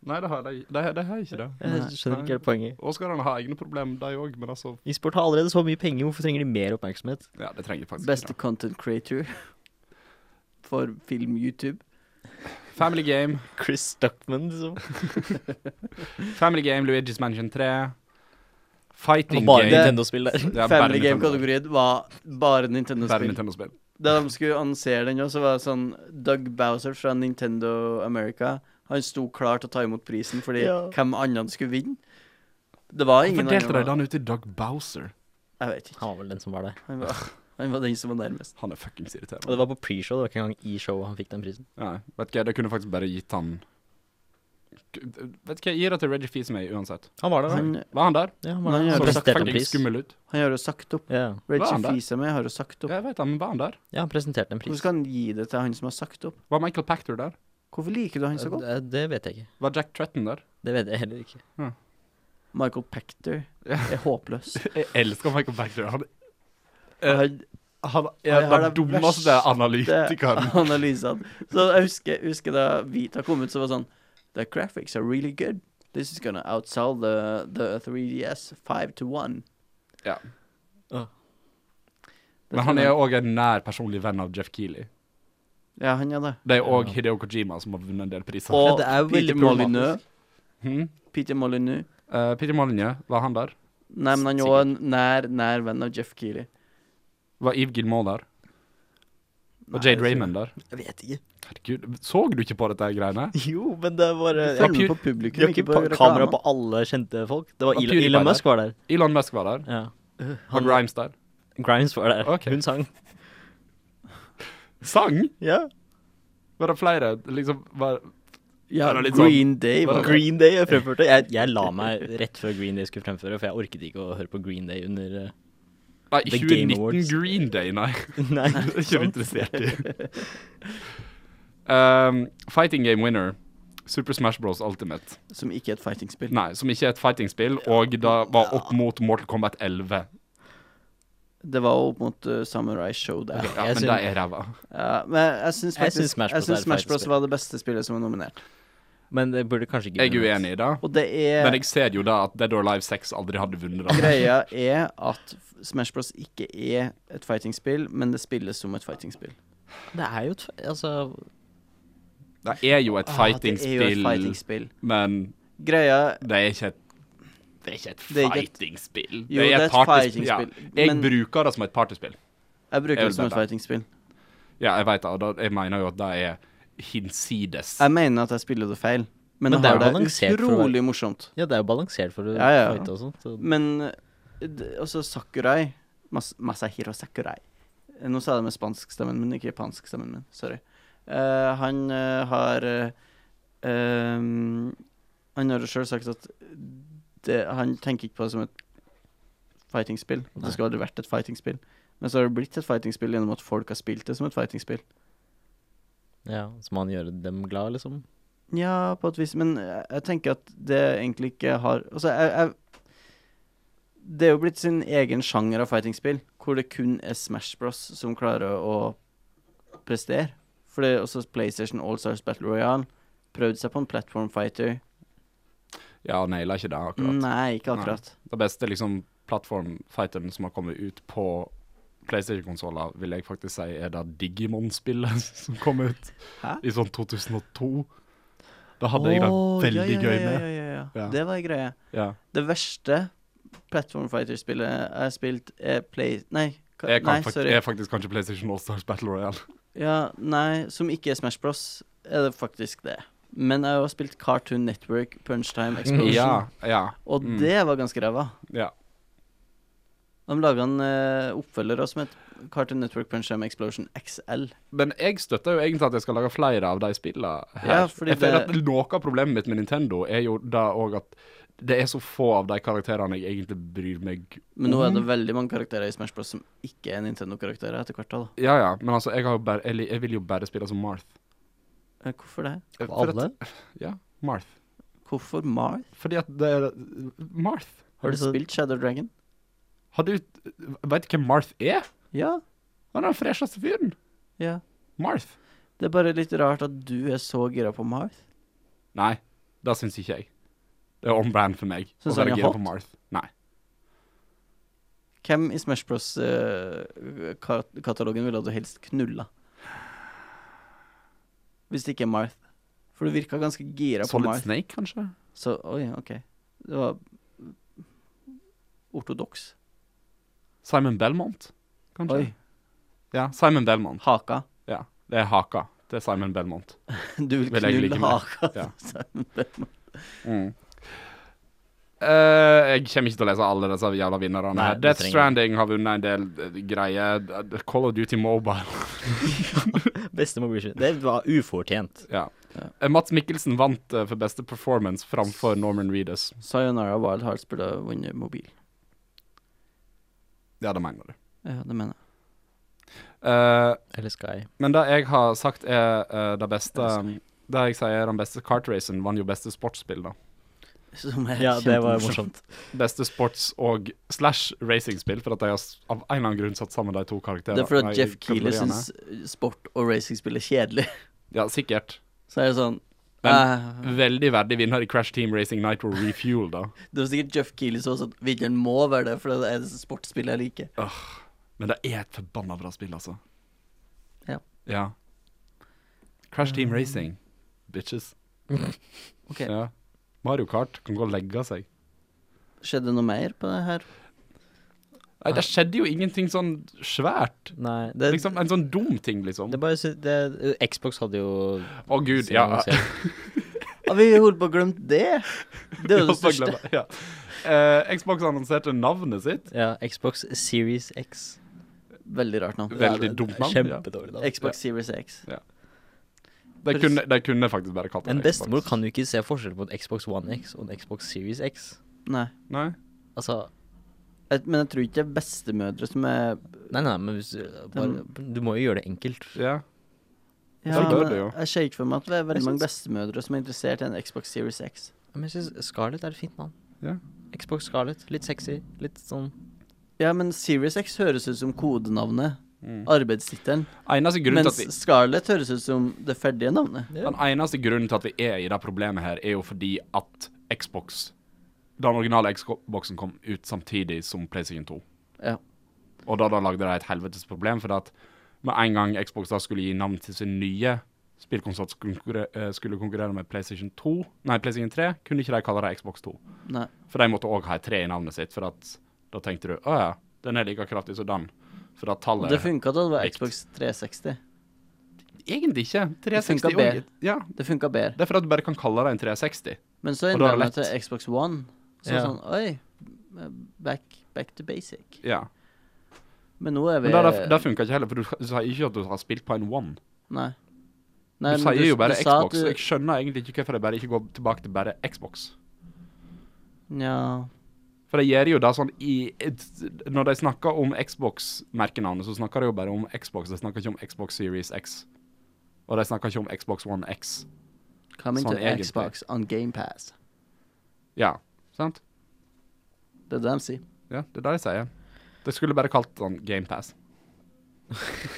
Speaker 4: Nei, det har jeg, det, det har jeg ikke. det
Speaker 3: Jeg skjønner ikke helt poenget.
Speaker 4: Oscarene har egne problemer, de òg, men altså
Speaker 3: E-sport har allerede så mye penger, hvorfor trenger de mer oppmerksomhet?
Speaker 4: Ja, det trenger jeg faktisk
Speaker 2: Beste
Speaker 4: ikke.
Speaker 2: content creator <laughs> for film-YouTube.
Speaker 4: da. Family Game.
Speaker 3: Chris Stuckman, <laughs> liksom.
Speaker 4: Family Game, Luigi's Mansion 3. Fighting
Speaker 3: bare
Speaker 4: Game.
Speaker 3: Nintendo-spill der.
Speaker 4: Det er bare
Speaker 2: Family
Speaker 4: Nintendo.
Speaker 2: Game-kategorien var bare
Speaker 4: Bare
Speaker 2: Nintendo-spill.
Speaker 4: Nintendo-spill.
Speaker 2: Da de skulle annonsere den, også, var det sånn Doug Bowser fra Nintendo America Han sto klar til å ta imot prisen fordi
Speaker 3: Ja.
Speaker 2: hvem annen skulle vinne? Det var ingen
Speaker 4: Fordelte de
Speaker 2: andre.
Speaker 4: den ut til Doug Bowser?
Speaker 2: Jeg vet ikke.
Speaker 3: Han var vel den som var der.
Speaker 2: Han
Speaker 4: <laughs>
Speaker 2: var, han var den som var nærmest.
Speaker 4: Han er fuckings
Speaker 3: Og det
Speaker 4: irriterende.
Speaker 3: var på pre-show, det var ikke engang i showet han fikk den prisen.
Speaker 4: Nei, vet ikke, det kunne faktisk bare gitt han K- Vet ikke, jeg gir det til Reggie Fils meg uansett.
Speaker 3: Han var
Speaker 2: Han,
Speaker 4: Var han der?
Speaker 3: Ja, han
Speaker 2: Men
Speaker 3: var
Speaker 2: han
Speaker 3: der.
Speaker 2: har
Speaker 4: Så
Speaker 3: Han presenterte en
Speaker 4: fucking
Speaker 3: pris.
Speaker 4: skummel ut.
Speaker 2: han har jo sagt opp.
Speaker 3: Ja.
Speaker 4: Var han
Speaker 2: Reggie
Speaker 4: der?
Speaker 2: Fisa mi har jo sagt opp.
Speaker 4: Jeg vet det, men var han der?
Speaker 3: ja, han presenterte en pris.
Speaker 2: Hvorfor skal han gi det til han som har sagt opp?
Speaker 4: Var Michael Pachter der?
Speaker 2: Hvorfor liker du han så godt?
Speaker 3: Eh, Det vet jeg ikke.
Speaker 4: Var Jack Tretton der?
Speaker 3: Det vet jeg heller ikke.
Speaker 2: Michael Pactor
Speaker 4: Ja.
Speaker 2: er håpløs.
Speaker 4: <laughs> Jeg elsker Michael Pachter. Han,
Speaker 2: Han
Speaker 4: er
Speaker 2: har det
Speaker 4: den dummeste
Speaker 2: verste- <laughs>
Speaker 4: analytikeren.
Speaker 2: Det- Analysene. Så jeg husker, husker da Vita kom ut, så var det sånn The graphics are really good. This is gonna outsell the, the 3DS 5 to 1.
Speaker 4: Ja.
Speaker 3: Ah.
Speaker 4: Men han er òg en nær personlig venn av Jeff Keeley.
Speaker 2: Ja, han er det.
Speaker 4: Det er òg Hideo Kojima som har vunnet en del priser.
Speaker 2: Og
Speaker 3: Ja, det er jo
Speaker 2: Peter
Speaker 3: veldig problematisk.
Speaker 2: Molyneux.
Speaker 4: Hmm?
Speaker 2: Peter Molyneux.
Speaker 4: Eh, Peter Molyneux, var han der?
Speaker 2: Nei, men han er også en nær, nær venn av Jeff Keeley.
Speaker 4: Var Eve Gilmore der? Og
Speaker 2: Nei,
Speaker 4: Jade
Speaker 2: det er
Speaker 4: Raymond der?
Speaker 3: Jeg vet ikke.
Speaker 4: Herregud, så du ikke på dette her greiene?
Speaker 3: <laughs> Jo, men det var
Speaker 2: sikkert.
Speaker 4: Ja,
Speaker 2: Du
Speaker 4: Pew-
Speaker 2: følger med på
Speaker 3: De har
Speaker 2: publikum,
Speaker 3: ikke
Speaker 2: ikke på
Speaker 3: pa- kamera
Speaker 2: reklamen.
Speaker 3: på alle kjente folk. Det var
Speaker 4: Og
Speaker 3: Elon,
Speaker 4: PewDiePie
Speaker 3: Elon
Speaker 4: der.
Speaker 3: Musk var der.
Speaker 4: Elon Musk var der.
Speaker 3: Ja.
Speaker 4: Og Grimes der.
Speaker 3: Grimes var der.
Speaker 4: Ok.
Speaker 3: Hun sang.
Speaker 4: Sang?
Speaker 3: Ja.
Speaker 4: Var det flere? Liksom, var,
Speaker 2: Ja,
Speaker 4: Det er litt sånn-
Speaker 2: Green Day var
Speaker 4: Var
Speaker 2: det.
Speaker 3: Green Day jeg fremførte. Jeg, jeg la meg rett før Green Day skulle fremføre, for jeg orket ikke å høre på Green Day under eh,
Speaker 4: nei,
Speaker 3: The Game
Speaker 4: 2019
Speaker 3: Awards.
Speaker 4: Green Day, <laughs> nei.
Speaker 3: Nei.
Speaker 4: Det er ikke vi interessert i. Um, fighting Game Winner. Super Smash Bros. Ultimate.
Speaker 2: Som ikke er et fighting-spill.
Speaker 4: Nei, som ikke er et fightingspill, og da var opp mot Mortal Kombat 11.
Speaker 2: Det var opp mot uh, Samurai Showdown.
Speaker 4: Ja,
Speaker 3: Jeg
Speaker 4: men
Speaker 3: syns-
Speaker 4: det er ræva.
Speaker 2: Ja, men jeg syns
Speaker 3: Jeg syns
Speaker 2: faktisk
Speaker 3: Smash
Speaker 2: Jeg
Speaker 3: Bros. er et
Speaker 2: syns Smash Bros.
Speaker 3: fighting-spill.
Speaker 2: var det beste spillet som var nominert.
Speaker 3: <laughs> Men det burde kanskje ikke
Speaker 4: Jeg er uenig i det,
Speaker 2: Og det er
Speaker 4: men jeg ser jo da at Dead or Alive 6 aldri hadde vunnet
Speaker 2: <laughs>
Speaker 4: det.
Speaker 2: Greia er at Smash Bros ikke er et fighting-spill, men det spilles som et fighting-spill.
Speaker 3: Det er jo et f- Altså
Speaker 4: Det er jo et
Speaker 2: Ah, Det er jo
Speaker 4: fightingspill,
Speaker 2: et fighting-spill.
Speaker 4: men
Speaker 2: Greia
Speaker 4: Det er ikke et det er ikke et
Speaker 2: Det er ikke et-
Speaker 4: fightingspill.
Speaker 2: Jo, det er et
Speaker 4: partyspill,
Speaker 2: fightingspill,
Speaker 4: Ja. Jeg
Speaker 2: men-
Speaker 4: bruker det som et partyspill.
Speaker 2: Jeg bruker
Speaker 4: Jeg
Speaker 2: det som
Speaker 4: vil
Speaker 2: et
Speaker 4: bare-
Speaker 2: fighting-spill.
Speaker 4: Ja, jeg veit det. og da- Jeg mener jo at det er hinsides.
Speaker 2: Jeg mener at jeg spiller det feil, men,
Speaker 3: Men
Speaker 2: jeg
Speaker 3: det er
Speaker 2: har det
Speaker 3: balansert for å være-
Speaker 2: utrolig morsomt.
Speaker 3: Ja, det er jo balansert for å
Speaker 2: Ja, ja, ja.
Speaker 3: fighte og sånt. Så.
Speaker 2: Men eh, d- altså Sakurai Mas Masahiro Sakurai Eh, Nå sa jeg det med spansk stemmen min, ikke japansk stemmen min. Sorry. Eh, han eh, har eh, ehm, Han har jo sjøl sagt at det, han tenker ikke på det som et fightingspill. At
Speaker 3: Nei.
Speaker 2: det skulle aldri vært et fightingspill. Men så har det blitt et fightingspill gjennom at folk har spilt det som et fightingspill.
Speaker 3: Ja, så må han gjøre dem glad, liksom.
Speaker 2: Ja, på et vis, men jeg jeg tenker at det egentlig ikke har Altså, jeg, jeg Det er jo blitt sin egen sjanger av fightingspill, hvor det kun er Smash Bros som klarer å prestere. For det er også PlayStation Allstars Battle Royale prøvde seg på en platform fighter.
Speaker 4: Ja, naila ikke det, akkurat.
Speaker 2: Nei, ikke akkurat.
Speaker 4: Det beste liksom plattformfighteren som har kommet ut på PlayStation-konsoller, vil jeg faktisk si er det Digimon-spillet <laughs> som kom ut
Speaker 2: Hæ?
Speaker 4: i sånn 2002. Da hadde jeg det
Speaker 2: Åh, ja,
Speaker 4: veldig
Speaker 2: ja,
Speaker 4: gøy
Speaker 2: ja,
Speaker 4: med.
Speaker 2: Ja, ja, ja, ja.
Speaker 4: Ja.
Speaker 2: Det var ei greie.
Speaker 4: Ja.
Speaker 2: Det verste platform fighter-spillet jeg har spilt, er Play... Nei, hva-
Speaker 4: Jeg, kan
Speaker 2: nei
Speaker 4: fakt
Speaker 2: sorry.
Speaker 4: jeg er faktisk kanskje PlayStation Allstars Battle
Speaker 2: <laughs>
Speaker 4: Royale.
Speaker 2: Ja, nei, som ikke er Smash Bros, er det faktisk det. Men jeg har jo spilt Cartoon Network, Punchtime, Explosion,
Speaker 4: <laughs> Ja, ja,
Speaker 2: og
Speaker 4: mm.
Speaker 2: det var ganske ræva.
Speaker 4: ja.
Speaker 2: De laga en eh, oppfølger også som het Cartoon Network, Punchtime, Explosion XL.
Speaker 4: Men jeg støtter jo egentlig at jeg skal lage flere av de spillene her.
Speaker 2: Ja, fordi
Speaker 4: jeg føler
Speaker 2: det-
Speaker 4: at Noe av problemet mitt med Nintendo er jo da òg at det er så få av de karakterene jeg egentlig bryr meg
Speaker 2: Men nå er
Speaker 4: Mhm.
Speaker 2: det veldig mange karakterer i Smash Bros som ikke er Nintendo-karakterer etter hvert. da da.
Speaker 4: Ja ja, men altså, jeg, har jo bare, jeg, li- jeg vil jo bare spille som Marth.
Speaker 2: Eh, Hvorfor det?
Speaker 4: For at-
Speaker 3: Alle?
Speaker 4: Ja, Marth.
Speaker 2: Hvorfor Marth?
Speaker 4: Fordi at det er Marth.
Speaker 2: Har du
Speaker 3: Altså-
Speaker 2: spilt Shadow Dragon?
Speaker 4: Har du Veit du hvem Marth er?
Speaker 2: Ja.
Speaker 4: Han er den fresheste fyren.
Speaker 2: ja.
Speaker 4: Marth.
Speaker 2: Det er bare litt rart at du er så gira på Marth.
Speaker 4: Nei, det syns ikke jeg. Det er on brand for meg.
Speaker 2: Syns
Speaker 4: å
Speaker 2: han
Speaker 4: være
Speaker 2: er
Speaker 4: gira
Speaker 2: hot?
Speaker 4: på Marth. Nei.
Speaker 2: Hvem i Smash Bros-katalogen ville du helst knulla? Hvis det ikke er Marth. For du virka ganske gira på
Speaker 4: Solid
Speaker 2: Marth.
Speaker 4: Snake, kanskje?
Speaker 2: Så oi, OK. Det var ortodoks.
Speaker 4: Simon Belmont, kanskje?
Speaker 2: Oi.
Speaker 4: Ja, Simon Belmont.
Speaker 2: Haka. <laughs>
Speaker 4: Ja, det er haka til Simon Belmont.
Speaker 2: Du vil,
Speaker 4: Vil jeg ligge
Speaker 2: knulle
Speaker 4: med.
Speaker 2: haka. <laughs>
Speaker 4: Ja.
Speaker 2: Ja.
Speaker 4: Mm. Eh, jeg kommer ikke til å lese alle disse jævla vinnerne.
Speaker 3: Nei,
Speaker 4: her.
Speaker 3: det
Speaker 4: Death
Speaker 3: trenger
Speaker 4: Stranding har vunnet en del eh, greier. Eh, Call of Duty Mobile.
Speaker 3: <laughs>
Speaker 4: <laughs>
Speaker 3: Beste mobilspill. Det var ufortjent.
Speaker 4: Ja.
Speaker 2: Ja.
Speaker 4: Eh, Mats Mikkelsen vant eh, for beste performance framfor Norman Reedus.
Speaker 2: Sayonara Wild Hearts burde ha vunnet mobil.
Speaker 4: Ja, det mener du.
Speaker 2: Ja, det mener jeg.
Speaker 4: Eh,
Speaker 3: Eller Sky.
Speaker 4: men det jeg har sagt er eh, det beste
Speaker 2: Ja, sorry.
Speaker 4: Det jeg sier er den beste kartracen, vant jo beste sportsspill, da.
Speaker 2: <laughs> Som er
Speaker 3: Ja, det var jo
Speaker 2: kjempemorsomt.
Speaker 3: morsomt.
Speaker 4: Beste sports- og slash racingspill, for at de har s- av en eller annen grunn satt sammen de to karakterene.
Speaker 2: Det er fordi
Speaker 4: nei,
Speaker 2: at Jeff Keeler
Speaker 4: kategoriene.
Speaker 2: syns sport og racingspill er kjedelig. <laughs>
Speaker 4: Ja, sikkert.
Speaker 2: Så er det sånn eh,
Speaker 4: Veldig verdig vinner i Crash Team Racing Nitro Refuel, da.
Speaker 2: Det var sikkert Jeff Keeley som også at vinneren må være det, for det er det sportsspillet jeg liker.
Speaker 4: <laughs> Men det er et forbanna bra spill, altså.
Speaker 2: Ja.
Speaker 4: ja. Crash Team Racing, bitches.
Speaker 2: <laughs> Ok,
Speaker 4: Ja. Mario Kart kan gå og legge seg.
Speaker 2: Skjedde noe mer på det her?
Speaker 4: Nei, det skjedde jo ingenting sånn svært.
Speaker 3: Nei, det,
Speaker 4: Liksom En sånn dum ting, liksom.
Speaker 3: det
Speaker 4: Å
Speaker 3: bare sy- det, eh, Xbox hadde jo
Speaker 4: gud,
Speaker 3: sin
Speaker 4: ja. <laughs>
Speaker 3: annonsering.
Speaker 2: Ah, vi holdt på å glemme det! Det er jo det
Speaker 4: Jeg holdt på å
Speaker 2: største.
Speaker 4: glemme- Ja. Eh, Xbox annonserte navnet sitt.
Speaker 3: Ja, Xbox Series X.
Speaker 2: Veldig rart navn.
Speaker 4: Veldig dumt navn. Ja.
Speaker 3: Kjempedårlig navn.
Speaker 2: Xbox Series X.
Speaker 4: De, kunne, de kunne faktisk bare kalt det
Speaker 3: En
Speaker 4: Xbox.
Speaker 3: bestemor kan jo ikke se forskjell på en Xbox One X og en Xbox Series X.
Speaker 2: Nei.
Speaker 4: Nei.
Speaker 3: Altså
Speaker 2: Jeg, men jeg tror ikke det er bestemødre som er
Speaker 3: Nei, nei, men hvis du bare, Du må jo gjøre det enkelt.
Speaker 4: Ja.
Speaker 2: ja,
Speaker 4: Så dør
Speaker 2: men
Speaker 4: det jo.
Speaker 2: Jeg ser ikke for meg at det er
Speaker 3: Jeg
Speaker 2: veldig mange
Speaker 3: syns-
Speaker 2: bestemødre som er interessert i en Xbox Series X.
Speaker 3: Men jeg syns Scarlett er et fint navn.
Speaker 4: Ja.
Speaker 3: Xbox Scarlett. Litt sexy. Litt sånn
Speaker 2: Ja, men Series X høres ut som kodenavnet.
Speaker 4: Mm.
Speaker 2: Arbeidstittelen.
Speaker 4: Eneste grunnen til
Speaker 2: Mens
Speaker 4: at vi
Speaker 2: Scarlett høres ut som det ferdige navnet.
Speaker 3: ja.
Speaker 4: Den eneste grunnen til at vi er i det problemet her, er jo fordi at Xbox Den originale Xboxen kom ut samtidig som PlayStation 2.
Speaker 2: Ja.
Speaker 4: Og da, da lagde de et helvetes problem, for at med en gang Xbox da skulle gi navn til sin nye spillkonsoll som konkurre- eh, skulle konkurrere med PlayStation 2, nei, PlayStation 3, kunne ikke de kalle det Xbox 2.
Speaker 2: Nei.
Speaker 4: For de måtte òg ha et 3 i navnet sitt, for at da tenkte du å ja, den er like kraftig som den. For at
Speaker 2: Det
Speaker 4: tallet
Speaker 2: funka da det var
Speaker 4: Likt.
Speaker 2: Xbox 360.
Speaker 4: egentlig ikke.
Speaker 2: Det
Speaker 4: 360
Speaker 2: funker bedre.
Speaker 4: også. Ja,
Speaker 2: Det funka bedre.
Speaker 4: det er fordi du bare kan kalle det en 360.
Speaker 2: Men så
Speaker 4: Og da er
Speaker 2: endra
Speaker 4: det
Speaker 2: jeg til Xbox One. Så
Speaker 3: Ja.
Speaker 2: sånn Oi, back, back to basic.
Speaker 4: Ja.
Speaker 2: Men nå er vi
Speaker 4: Men det, det, det funka ikke heller, for du, du sier ikke at du har spilt på en One.
Speaker 2: Nei.
Speaker 4: Du
Speaker 2: Nei, men
Speaker 4: sier jo bare
Speaker 2: du sa at
Speaker 4: Xbox.
Speaker 2: du-
Speaker 4: så Jeg skjønner egentlig ikke hvorfor jeg bare ikke går tilbake til bare Xbox.
Speaker 2: Nja
Speaker 4: For jeg gjør jo det sånn i et- Når de snakker om Xbox-merkenavnet, så snakker de jo bare om Xbox. De snakker ikke om Xbox Series X. Og de snakker ikke om Xbox One X.
Speaker 2: Coming
Speaker 4: Sånn
Speaker 2: to
Speaker 4: egentlig.
Speaker 2: Xbox on GamePass.
Speaker 4: Ja, sant?
Speaker 2: Det er det de sier.
Speaker 4: Ja, det er det de sier. De skulle bare kalt den GamePass.
Speaker 3: <laughs> <laughs>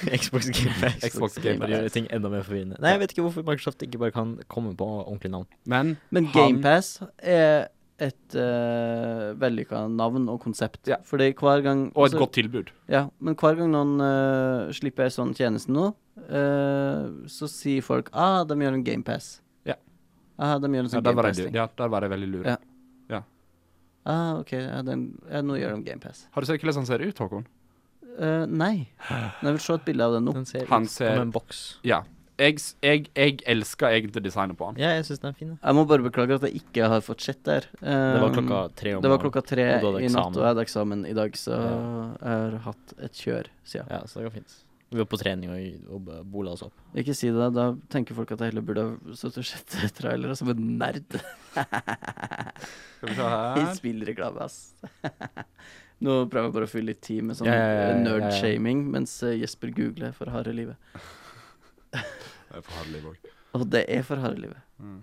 Speaker 3: Xbox Game Pass.
Speaker 4: Xbox
Speaker 3: Det
Speaker 4: Game Pass.
Speaker 3: gjør ting enda mer forvirrende. Nei, jeg vet ikke hvorfor Microsoft ikke bare kan komme på ordentlig navn.
Speaker 4: Men,
Speaker 2: Men
Speaker 4: han-
Speaker 2: GamePass er et uh, vellykka navn og konsept.
Speaker 4: Ja.
Speaker 2: Fordi hver gang
Speaker 4: Og et
Speaker 2: altså-
Speaker 4: godt tilbud.
Speaker 2: Ja, men hver gang noen eh, slipper en sånn tjeneste nå, eh, så sier folk ah, de gjør en GamePass.
Speaker 4: Ja.
Speaker 2: Ah, de gjør en
Speaker 4: Ja,
Speaker 2: sånn
Speaker 4: der var jeg,
Speaker 2: GamePass-ting.
Speaker 4: ja, der var jeg veldig lur.
Speaker 2: Ja. Ah, OK, ja, den- ja, nå gjør de GamePass.
Speaker 4: Har du sett hvordan han ser ut, Håkon?
Speaker 2: Uh, nei. Men jeg vil se et bilde av den nå.
Speaker 3: Den ser
Speaker 4: Han
Speaker 3: ut
Speaker 4: ser-
Speaker 3: som en boks.
Speaker 4: Ja. Jeg, s- jeg, jeg elsker egentlig designet på han.
Speaker 3: Ja, jeg syns den er fin. da.
Speaker 2: Jeg må bare beklage at jeg ikke har fått sett der.
Speaker 3: Det var
Speaker 2: Eh,
Speaker 3: klokka tre om
Speaker 2: det var
Speaker 3: morgenen.
Speaker 2: klokka tre
Speaker 3: og du hadde
Speaker 2: i natt,
Speaker 3: eksamen.
Speaker 2: og jeg hadde eksamen i dag, så
Speaker 3: Ja.
Speaker 2: jeg har hatt et kjør siden.
Speaker 3: Ja, så det går fint. Vi var på trening og, og bola oss opp.
Speaker 2: Ikke si det, da tenker folk at jeg heller burde ha sittet og sett <laughs> trailere som en nerd. <laughs>
Speaker 4: Skal vi se her.
Speaker 2: Spillreklame, ass. <laughs> Nå prøver jeg bare å fylle litt tid med sånn
Speaker 3: Ja, ja, ja, ja, ja, ja.
Speaker 2: nerd-shaming, mens eh, Jesper googler for harde livet. Og det er for harde livet.
Speaker 4: Mm.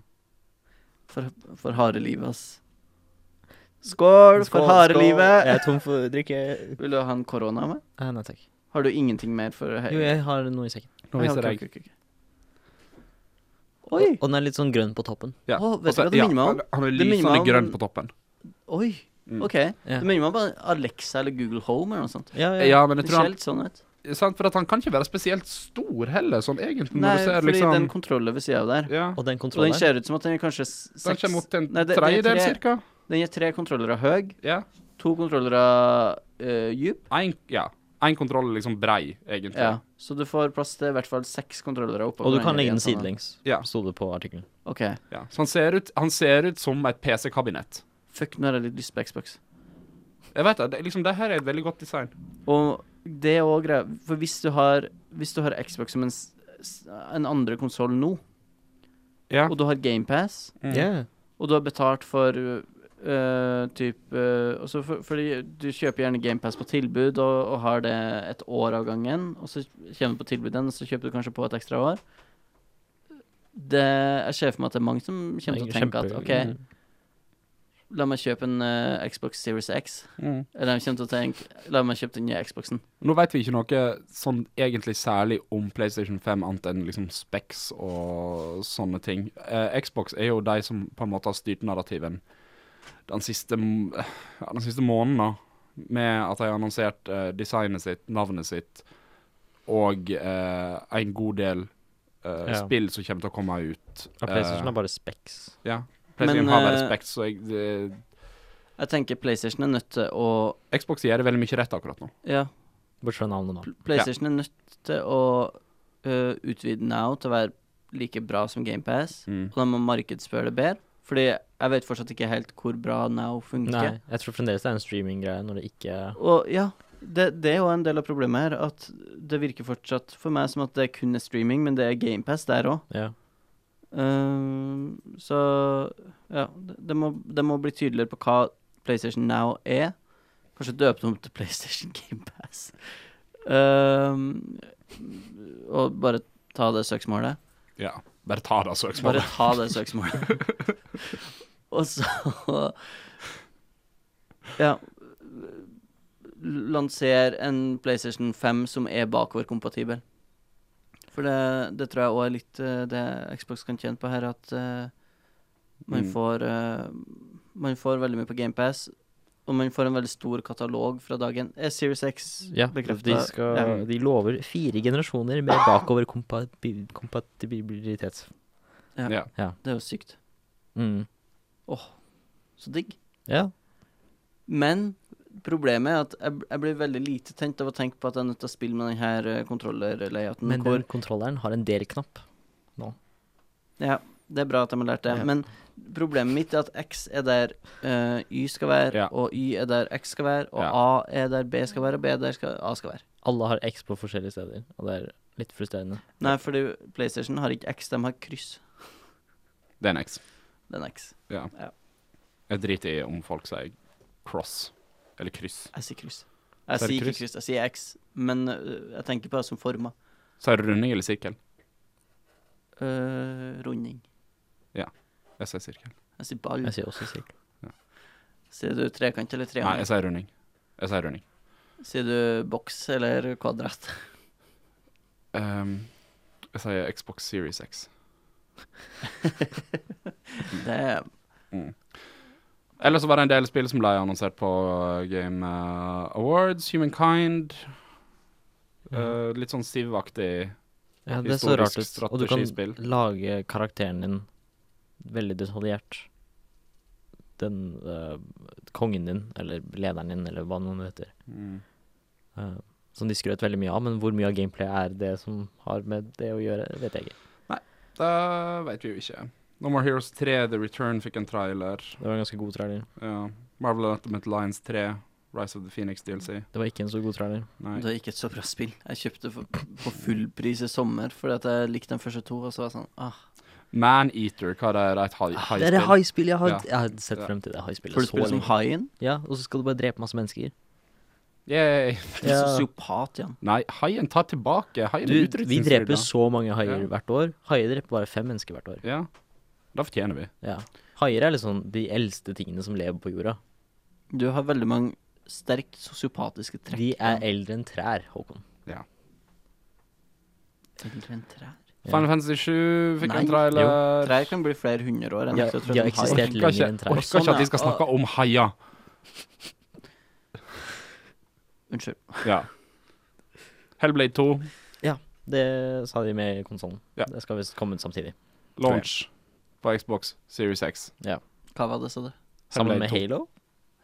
Speaker 2: For, for harde livet, ass. Skål, for harde livet!
Speaker 3: Jeg er tom for drikke.
Speaker 2: <laughs> Vil du ha en korona med?
Speaker 3: Eh, nei takk.
Speaker 2: Har du ingenting mer for hei?
Speaker 3: Jo, jeg har noe i sekken.
Speaker 4: Nå
Speaker 2: Ja, ok,
Speaker 4: viser
Speaker 2: ok,
Speaker 4: jeg.
Speaker 2: ok, ok. Oi!
Speaker 3: Og den er litt sånn grønn på toppen.
Speaker 4: Ja.
Speaker 2: Å, vet
Speaker 4: Og så-
Speaker 2: du hva det
Speaker 4: ja,
Speaker 2: minner meg om?
Speaker 4: han- Han er
Speaker 2: Det minner meg
Speaker 4: lysende
Speaker 2: om-
Speaker 4: grønn på toppen.
Speaker 2: Oi,
Speaker 4: Mm.
Speaker 2: ok. Det minner meg om bare Alexa eller Google Home eller noe sånt.
Speaker 3: Ja, ja.
Speaker 4: Ja, men
Speaker 2: Det
Speaker 4: jeg tror
Speaker 2: ser
Speaker 4: han
Speaker 2: litt sånn ut.
Speaker 4: sant, For at han kan ikke være spesielt stor heller, sånn egentlig.
Speaker 2: Nei,
Speaker 4: Når du ser
Speaker 2: fordi
Speaker 4: liksom
Speaker 2: den kontrollen ved sida av der.
Speaker 4: Ja.
Speaker 3: Og den
Speaker 2: Og den
Speaker 3: kontrollen.
Speaker 2: ser ut som at den er kanskje s-
Speaker 4: Den
Speaker 2: seks
Speaker 4: kommer opp til en
Speaker 2: Nei, det- det er
Speaker 4: tredjedel,
Speaker 2: tre-
Speaker 4: cirka.
Speaker 2: Den er tre kontrollere høy,
Speaker 4: Ja.
Speaker 2: to kontrollere uh, djup.
Speaker 4: En, ja. en kontroll er liksom brei, egentlig.
Speaker 2: Ja. Så du får plass til i hvert fall seks kontrollere oppå.
Speaker 3: Og du
Speaker 2: hverandre
Speaker 3: kan
Speaker 2: i
Speaker 3: legge
Speaker 2: en
Speaker 3: den
Speaker 2: sånn-
Speaker 3: sidelengs,
Speaker 4: Ja.
Speaker 3: sto det på artikkelen.
Speaker 2: OK.
Speaker 4: Ja. Så han ser, ut, han ser ut som et PC-kabinett.
Speaker 2: Fuck, nå har jeg litt lyst på Xbox.
Speaker 4: Jeg vet det, det, liksom, det her er et veldig godt design.
Speaker 2: Og det er òg greia For hvis du har, hvis du har Xbox som en, s- s- en andre konsoll nå,
Speaker 4: Ja.
Speaker 2: og du har GamePass,
Speaker 4: Mm.
Speaker 2: og du har betalt for øh, typ øh, også for, Fordi du kjøper gjerne GamePass på tilbud og, og har det et år av gangen, og så kommer du på tilbud igjen, og så kjøper du kanskje på et ekstra år. Det, jeg ser for meg at det er mange som kommer til å tenke at OK, la meg kjøpe en øh, Xbox Series X.
Speaker 4: Mm.
Speaker 2: Eller de kommer til å tenke La meg kjøpe den nye Xboxen.
Speaker 4: Nå vet vi ikke noe sånn egentlig særlig om PlayStation 5, annet enn liksom Specs og sånne ting. Eh, Xbox er jo de som på en måte har styrt narrativen den siste, m- ja, den siste måneden, da. Med at de har annonsert eh, designet sitt, navnet sitt, og eh, en god del eh,
Speaker 3: Ja.
Speaker 4: spill som kommer til å komme ut.
Speaker 3: Ja, PlayStation
Speaker 4: Eh,
Speaker 3: er bare Specs.
Speaker 4: ja. PlayStation
Speaker 2: Men,
Speaker 4: har bare
Speaker 2: eh,
Speaker 4: Specs, så jeg, det-
Speaker 2: Jeg tenker PlayStation er nødt til å
Speaker 4: Xbox gjør det veldig mye rett akkurat nå.
Speaker 2: Ja,
Speaker 3: Bortsett fra navnet, da.
Speaker 2: Pl- PlayStation er nødt til å øh, utvide Now til å være like bra som GamePass.
Speaker 4: Mm.
Speaker 2: Og de må markedsføre det bedre. Fordi jeg vet fortsatt ikke helt hvor bra Now
Speaker 3: Nei,
Speaker 2: funker.
Speaker 3: jeg tror fremdeles det er en streaminggreie når det ikke
Speaker 2: Og ja, det, det er jo en del av problemet her. At det virker fortsatt for meg som at det kun er streaming, men det er GamePass der òg.
Speaker 3: Ja.
Speaker 2: så ja, det, det, må, det må bli tydeligere på hva PlayStation Now er. Kanskje døpe det om til PlayStation GamePass. Um, og bare ta det søksmålet.
Speaker 4: Ja. Bare ta det, altså, så
Speaker 2: Bare
Speaker 4: eksponerer.
Speaker 2: ta det søksmålet.
Speaker 3: <laughs>
Speaker 2: og så Ja. Lanser en PlayStation 5 som er bakoverkompatibel. For det, det tror jeg òg er litt eh, det Xbox kan tjene på her, at eh, man
Speaker 4: Mm.
Speaker 2: får eh, Man får veldig mye på GamePass, og man får en veldig stor katalog fra dagen. Er Series X
Speaker 3: ja
Speaker 2: Bekreftet.
Speaker 3: de, skal,
Speaker 2: Ja.
Speaker 3: de lover fire generasjoner med bakoverkompatibilitet.
Speaker 4: Ja.
Speaker 2: Det er jo sykt.
Speaker 3: Mm.
Speaker 2: Så digg.
Speaker 3: Ja.
Speaker 2: Men Problemet er at jeg, jeg blir veldig lite tent av å tenke på at jeg er nødt til å spille med denne eh, kontroller-layouten.
Speaker 3: Men
Speaker 2: hvor-
Speaker 3: den kontrolleren har en E del-knapp.
Speaker 2: Ja, det er bra at de har lært det.
Speaker 3: Ja.
Speaker 2: Men problemet mitt er at X er der eh, Y skal være,
Speaker 4: Ja.
Speaker 2: og Y er der X skal være, og
Speaker 4: Ja.
Speaker 2: A er der B skal være, og B er der skal, A skal være.
Speaker 3: Alle har X på forskjellige steder, og det er litt frustrerende.
Speaker 2: Nei, fordi PlayStation har ikke X, de har kryss.
Speaker 4: Det er en X.
Speaker 2: Det er en X.
Speaker 4: Ja.
Speaker 2: Ja.
Speaker 4: Jeg driter i om folk sier cross eller kryss.
Speaker 2: Jeg sier kryss. Jeg
Speaker 4: Så er det
Speaker 2: sier ikke
Speaker 4: kryss?
Speaker 2: kryss, jeg sier X, men øh, jeg tenker på det som former.
Speaker 4: Sier du runding eller sirkel?
Speaker 2: Øh, runding.
Speaker 4: Jeg sier sirkel.
Speaker 2: Jeg sier ball.
Speaker 3: Jeg sier også sirkel.
Speaker 2: Sier du trekant eller
Speaker 4: Nei,
Speaker 2: triangel?
Speaker 4: jeg sier runding. Jeg sier runding.
Speaker 2: Sier du boks eller kvadrat?
Speaker 4: Ehm, jeg sier Xbox Series X.
Speaker 2: Det er
Speaker 4: Eller så var det en del spill som ble annonsert på uh, Game uh, Awards, Humankind uh, Litt sånn Siv-aktig.
Speaker 3: Ja, det er så rart ut.
Speaker 4: Historisk
Speaker 3: Og du kan
Speaker 4: strategispill.
Speaker 3: lage karakteren din veldig detaljert. Den eh, kongen din, eller lederen din, eller hva noen heter. eh, som de skrøt veldig mye av, men hvor mye av gameplay er det som har med det å gjøre, vet jeg ikke.
Speaker 4: Det vet vi jo ikke. No More Heroes 3, The Return fikk en trailer.
Speaker 3: Det var en ganske god trailer.
Speaker 4: Ja. Marvel Ultimate Lions 3, Rise of the Phoenix DLC.
Speaker 3: Det var ikke en så god trailer.
Speaker 4: Nei.
Speaker 2: Det er ikke et så bra spill. Jeg kjøpte for- på full pris i sommer fordi at jeg likte de første to, og så var jeg sånn ah.
Speaker 4: Maneater, hva er Ah, det? Et hai-
Speaker 3: Ah,
Speaker 4: haispill?
Speaker 3: haispillet jeg
Speaker 4: har- Ja.
Speaker 3: Jeg har sett
Speaker 4: Ja.
Speaker 3: frem til det haispillet
Speaker 2: For du
Speaker 3: så
Speaker 2: spiller som
Speaker 3: lenge.
Speaker 2: haien?
Speaker 3: Ja, og så skal du bare drepe masse mennesker.
Speaker 4: Yay.
Speaker 2: Du er sosiopat, Jan.
Speaker 4: Nei, haien tar tilbake. Haien
Speaker 3: Du,
Speaker 4: er
Speaker 3: vi dreper
Speaker 4: utrydningstrua.
Speaker 3: så mange haier
Speaker 4: Ja.
Speaker 3: hvert år. Haier dreper bare fem mennesker hvert år.
Speaker 4: Ja. Da fortjener vi.
Speaker 3: Ja. Haier er liksom de eldste tingene som lever på jorda.
Speaker 2: Du har veldig mange sterkt sosiopatiske trekk.
Speaker 3: De er eldre enn trær, Håkon.
Speaker 2: Eldre enn trær.
Speaker 3: Ja.
Speaker 4: Final Fantasy 7 fikk
Speaker 2: Nei.
Speaker 4: en trailer.
Speaker 2: Trær kan bli flere hundre år. enn
Speaker 3: Ja,
Speaker 2: jeg tror
Speaker 3: de har
Speaker 2: en hai.
Speaker 3: eksistert.
Speaker 4: Orker
Speaker 3: lenger
Speaker 4: ikke,
Speaker 3: enn trær.
Speaker 4: orker ikke at vi skal
Speaker 2: Sånn, ja.
Speaker 4: snakke om haier.
Speaker 2: Unnskyld.
Speaker 4: Ja. Hellblade 2,
Speaker 3: Det sa de med i konsollen.
Speaker 4: Ja.
Speaker 3: Det skal visst komme ut samtidig.
Speaker 4: launch på Xbox Series X.
Speaker 2: Hva var det, sa du?
Speaker 3: Sammen med
Speaker 4: Hellblade 2.
Speaker 3: Halo.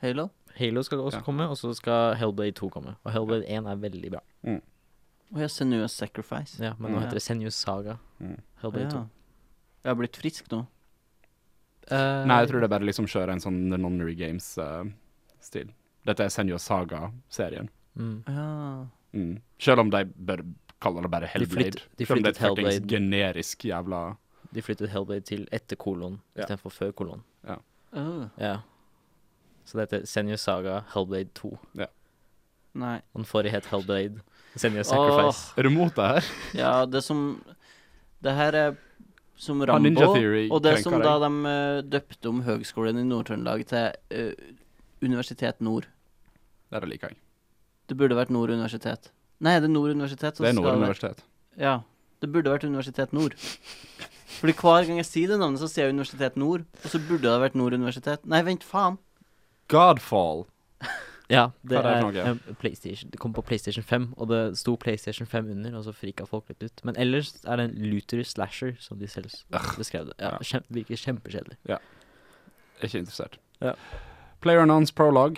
Speaker 2: Halo?
Speaker 3: Halo skal også
Speaker 4: Ja.
Speaker 3: komme, og så skal Hellblade 2 komme. Og Hellblade 1 er veldig bra.
Speaker 2: Å ja, Senua Sacrifice.
Speaker 3: Ja, men nå
Speaker 2: Mm.
Speaker 3: heter det Senjus Saga.
Speaker 2: Å
Speaker 4: Mm.
Speaker 3: Hellblade
Speaker 2: ja. Jeg har blitt frisk nå.
Speaker 3: 2. Eh,
Speaker 4: Nei, jeg tror det er bare liksom kjører en sånn Nonary Games-stil. Dette er Senjo Saga-serien.
Speaker 3: mm.
Speaker 2: Å Ja.
Speaker 4: Mm. Selv om de bør kalle det bare Hellblade.
Speaker 3: flytt- de
Speaker 4: Selv om det er et
Speaker 3: flyttet
Speaker 4: fuckings
Speaker 3: Hellblade.
Speaker 4: generisk jævla
Speaker 3: De flyttet Hellblade til etter kolon
Speaker 4: Ja.
Speaker 3: istedenfor før kolon.
Speaker 2: Å,
Speaker 3: Ja. Så det heter Senjus Saga Hellblade 2.
Speaker 2: Nei.
Speaker 3: Og den forrige het
Speaker 4: <laughs>
Speaker 3: Hellblade. Senjus Sacrifice.
Speaker 4: Er du mot det her?
Speaker 2: Ja, det som Det her er som
Speaker 4: Ja, Ninja
Speaker 2: Rambo,
Speaker 4: Theory
Speaker 2: og det som
Speaker 4: krenker
Speaker 2: da de eh, døpte om Høgskolen i Nord-Trøndelag til eh, Universitet Nord.
Speaker 4: Det er det liker jeg.
Speaker 2: Det burde vært Nord universitet. Nei, det er Nord universitet. som
Speaker 4: Det er
Speaker 2: skal
Speaker 4: Nord
Speaker 2: være-
Speaker 4: universitet.
Speaker 2: Ja. Det burde vært Universitet Nord. Fordi hver gang jeg sier det navnet, så sier jeg Universitet Nord. Og så burde det vært Nord universitet. Nei, vent, faen.
Speaker 4: Godfall.
Speaker 3: Ja, det
Speaker 4: Hva er det for
Speaker 3: er,
Speaker 4: noe?
Speaker 3: eh, PlayStation. Det kom på PlayStation 5, og det sto PlayStation 5 under, og så frika folk litt ut. Men ellers er det en looter slasher, som de selv s- beskrev det. Ja,
Speaker 4: Ja.
Speaker 3: kjem, virker kjempekjedelig.
Speaker 4: Jeg er Ikke interessert.
Speaker 3: Ja.
Speaker 4: Player Nons Prologue.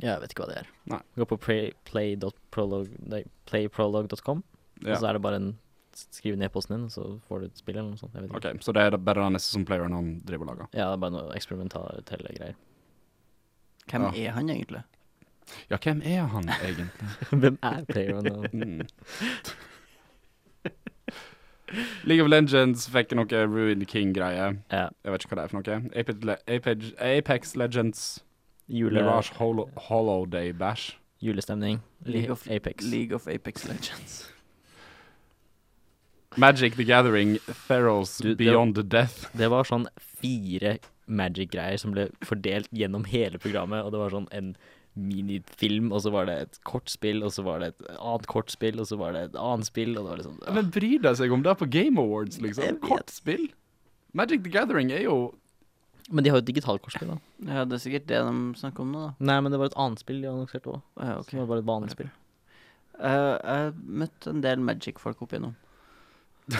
Speaker 3: Jeg vet ikke hva det er.
Speaker 4: Nei.
Speaker 3: Gå på play- play.prolog- nei, playprolog.com, og
Speaker 4: Ja.
Speaker 3: så er det bare en Skriv ned posten din, og så får du et spill eller noe sånt. Jeg vet ikke.
Speaker 4: OK, så det er det bare det neste som Player Non driver og lager.
Speaker 3: Ja, det er bare noe eksperimentelle greier.
Speaker 2: Hvem
Speaker 4: Ja.
Speaker 2: er han egentlig?
Speaker 4: Ja, hvem er han <laughs> egentlig?
Speaker 3: <laughs> Hvem er PlayerUnknown?
Speaker 4: Mm. <laughs> League of Legends fikk noe Ruined King-greie.
Speaker 3: <laughs> ja,
Speaker 4: Jeg vet ikke hva det er for noe. Apex, Le Apex, Apex Legends
Speaker 3: jule,
Speaker 4: Mirage Holo Holoday Bash.
Speaker 3: julestemning.
Speaker 2: League of-
Speaker 3: Apex.
Speaker 2: League of Apex Legends.
Speaker 4: Magic the Gathering Theros
Speaker 3: Du, det-
Speaker 4: Beyond the Death.
Speaker 3: Det var sånn fire Magic-greier som ble fordelt gjennom hele programmet, og det var sånn en minifilm, og så var det et kortspill, og så var det et annet kortspill, og så var det et annet spill, og det var liksom
Speaker 4: Men bryr de seg om det på Game Awards,
Speaker 3: Jeg
Speaker 4: liksom?
Speaker 3: vet.
Speaker 4: Kortspill? Magic the Gathering er jo
Speaker 3: Men de har jo et digitalt kortspill, da.
Speaker 2: Ja, det er sikkert det de snakker om nå, da.
Speaker 3: Nei, men det var et annet spill de annonserte òg.
Speaker 2: Å Ja,
Speaker 3: Okay.
Speaker 2: ok.
Speaker 3: Som var bare et vanlig spill.
Speaker 2: Eh, jeg møtte en del Magic-folk opp igjennom.
Speaker 3: <laughs>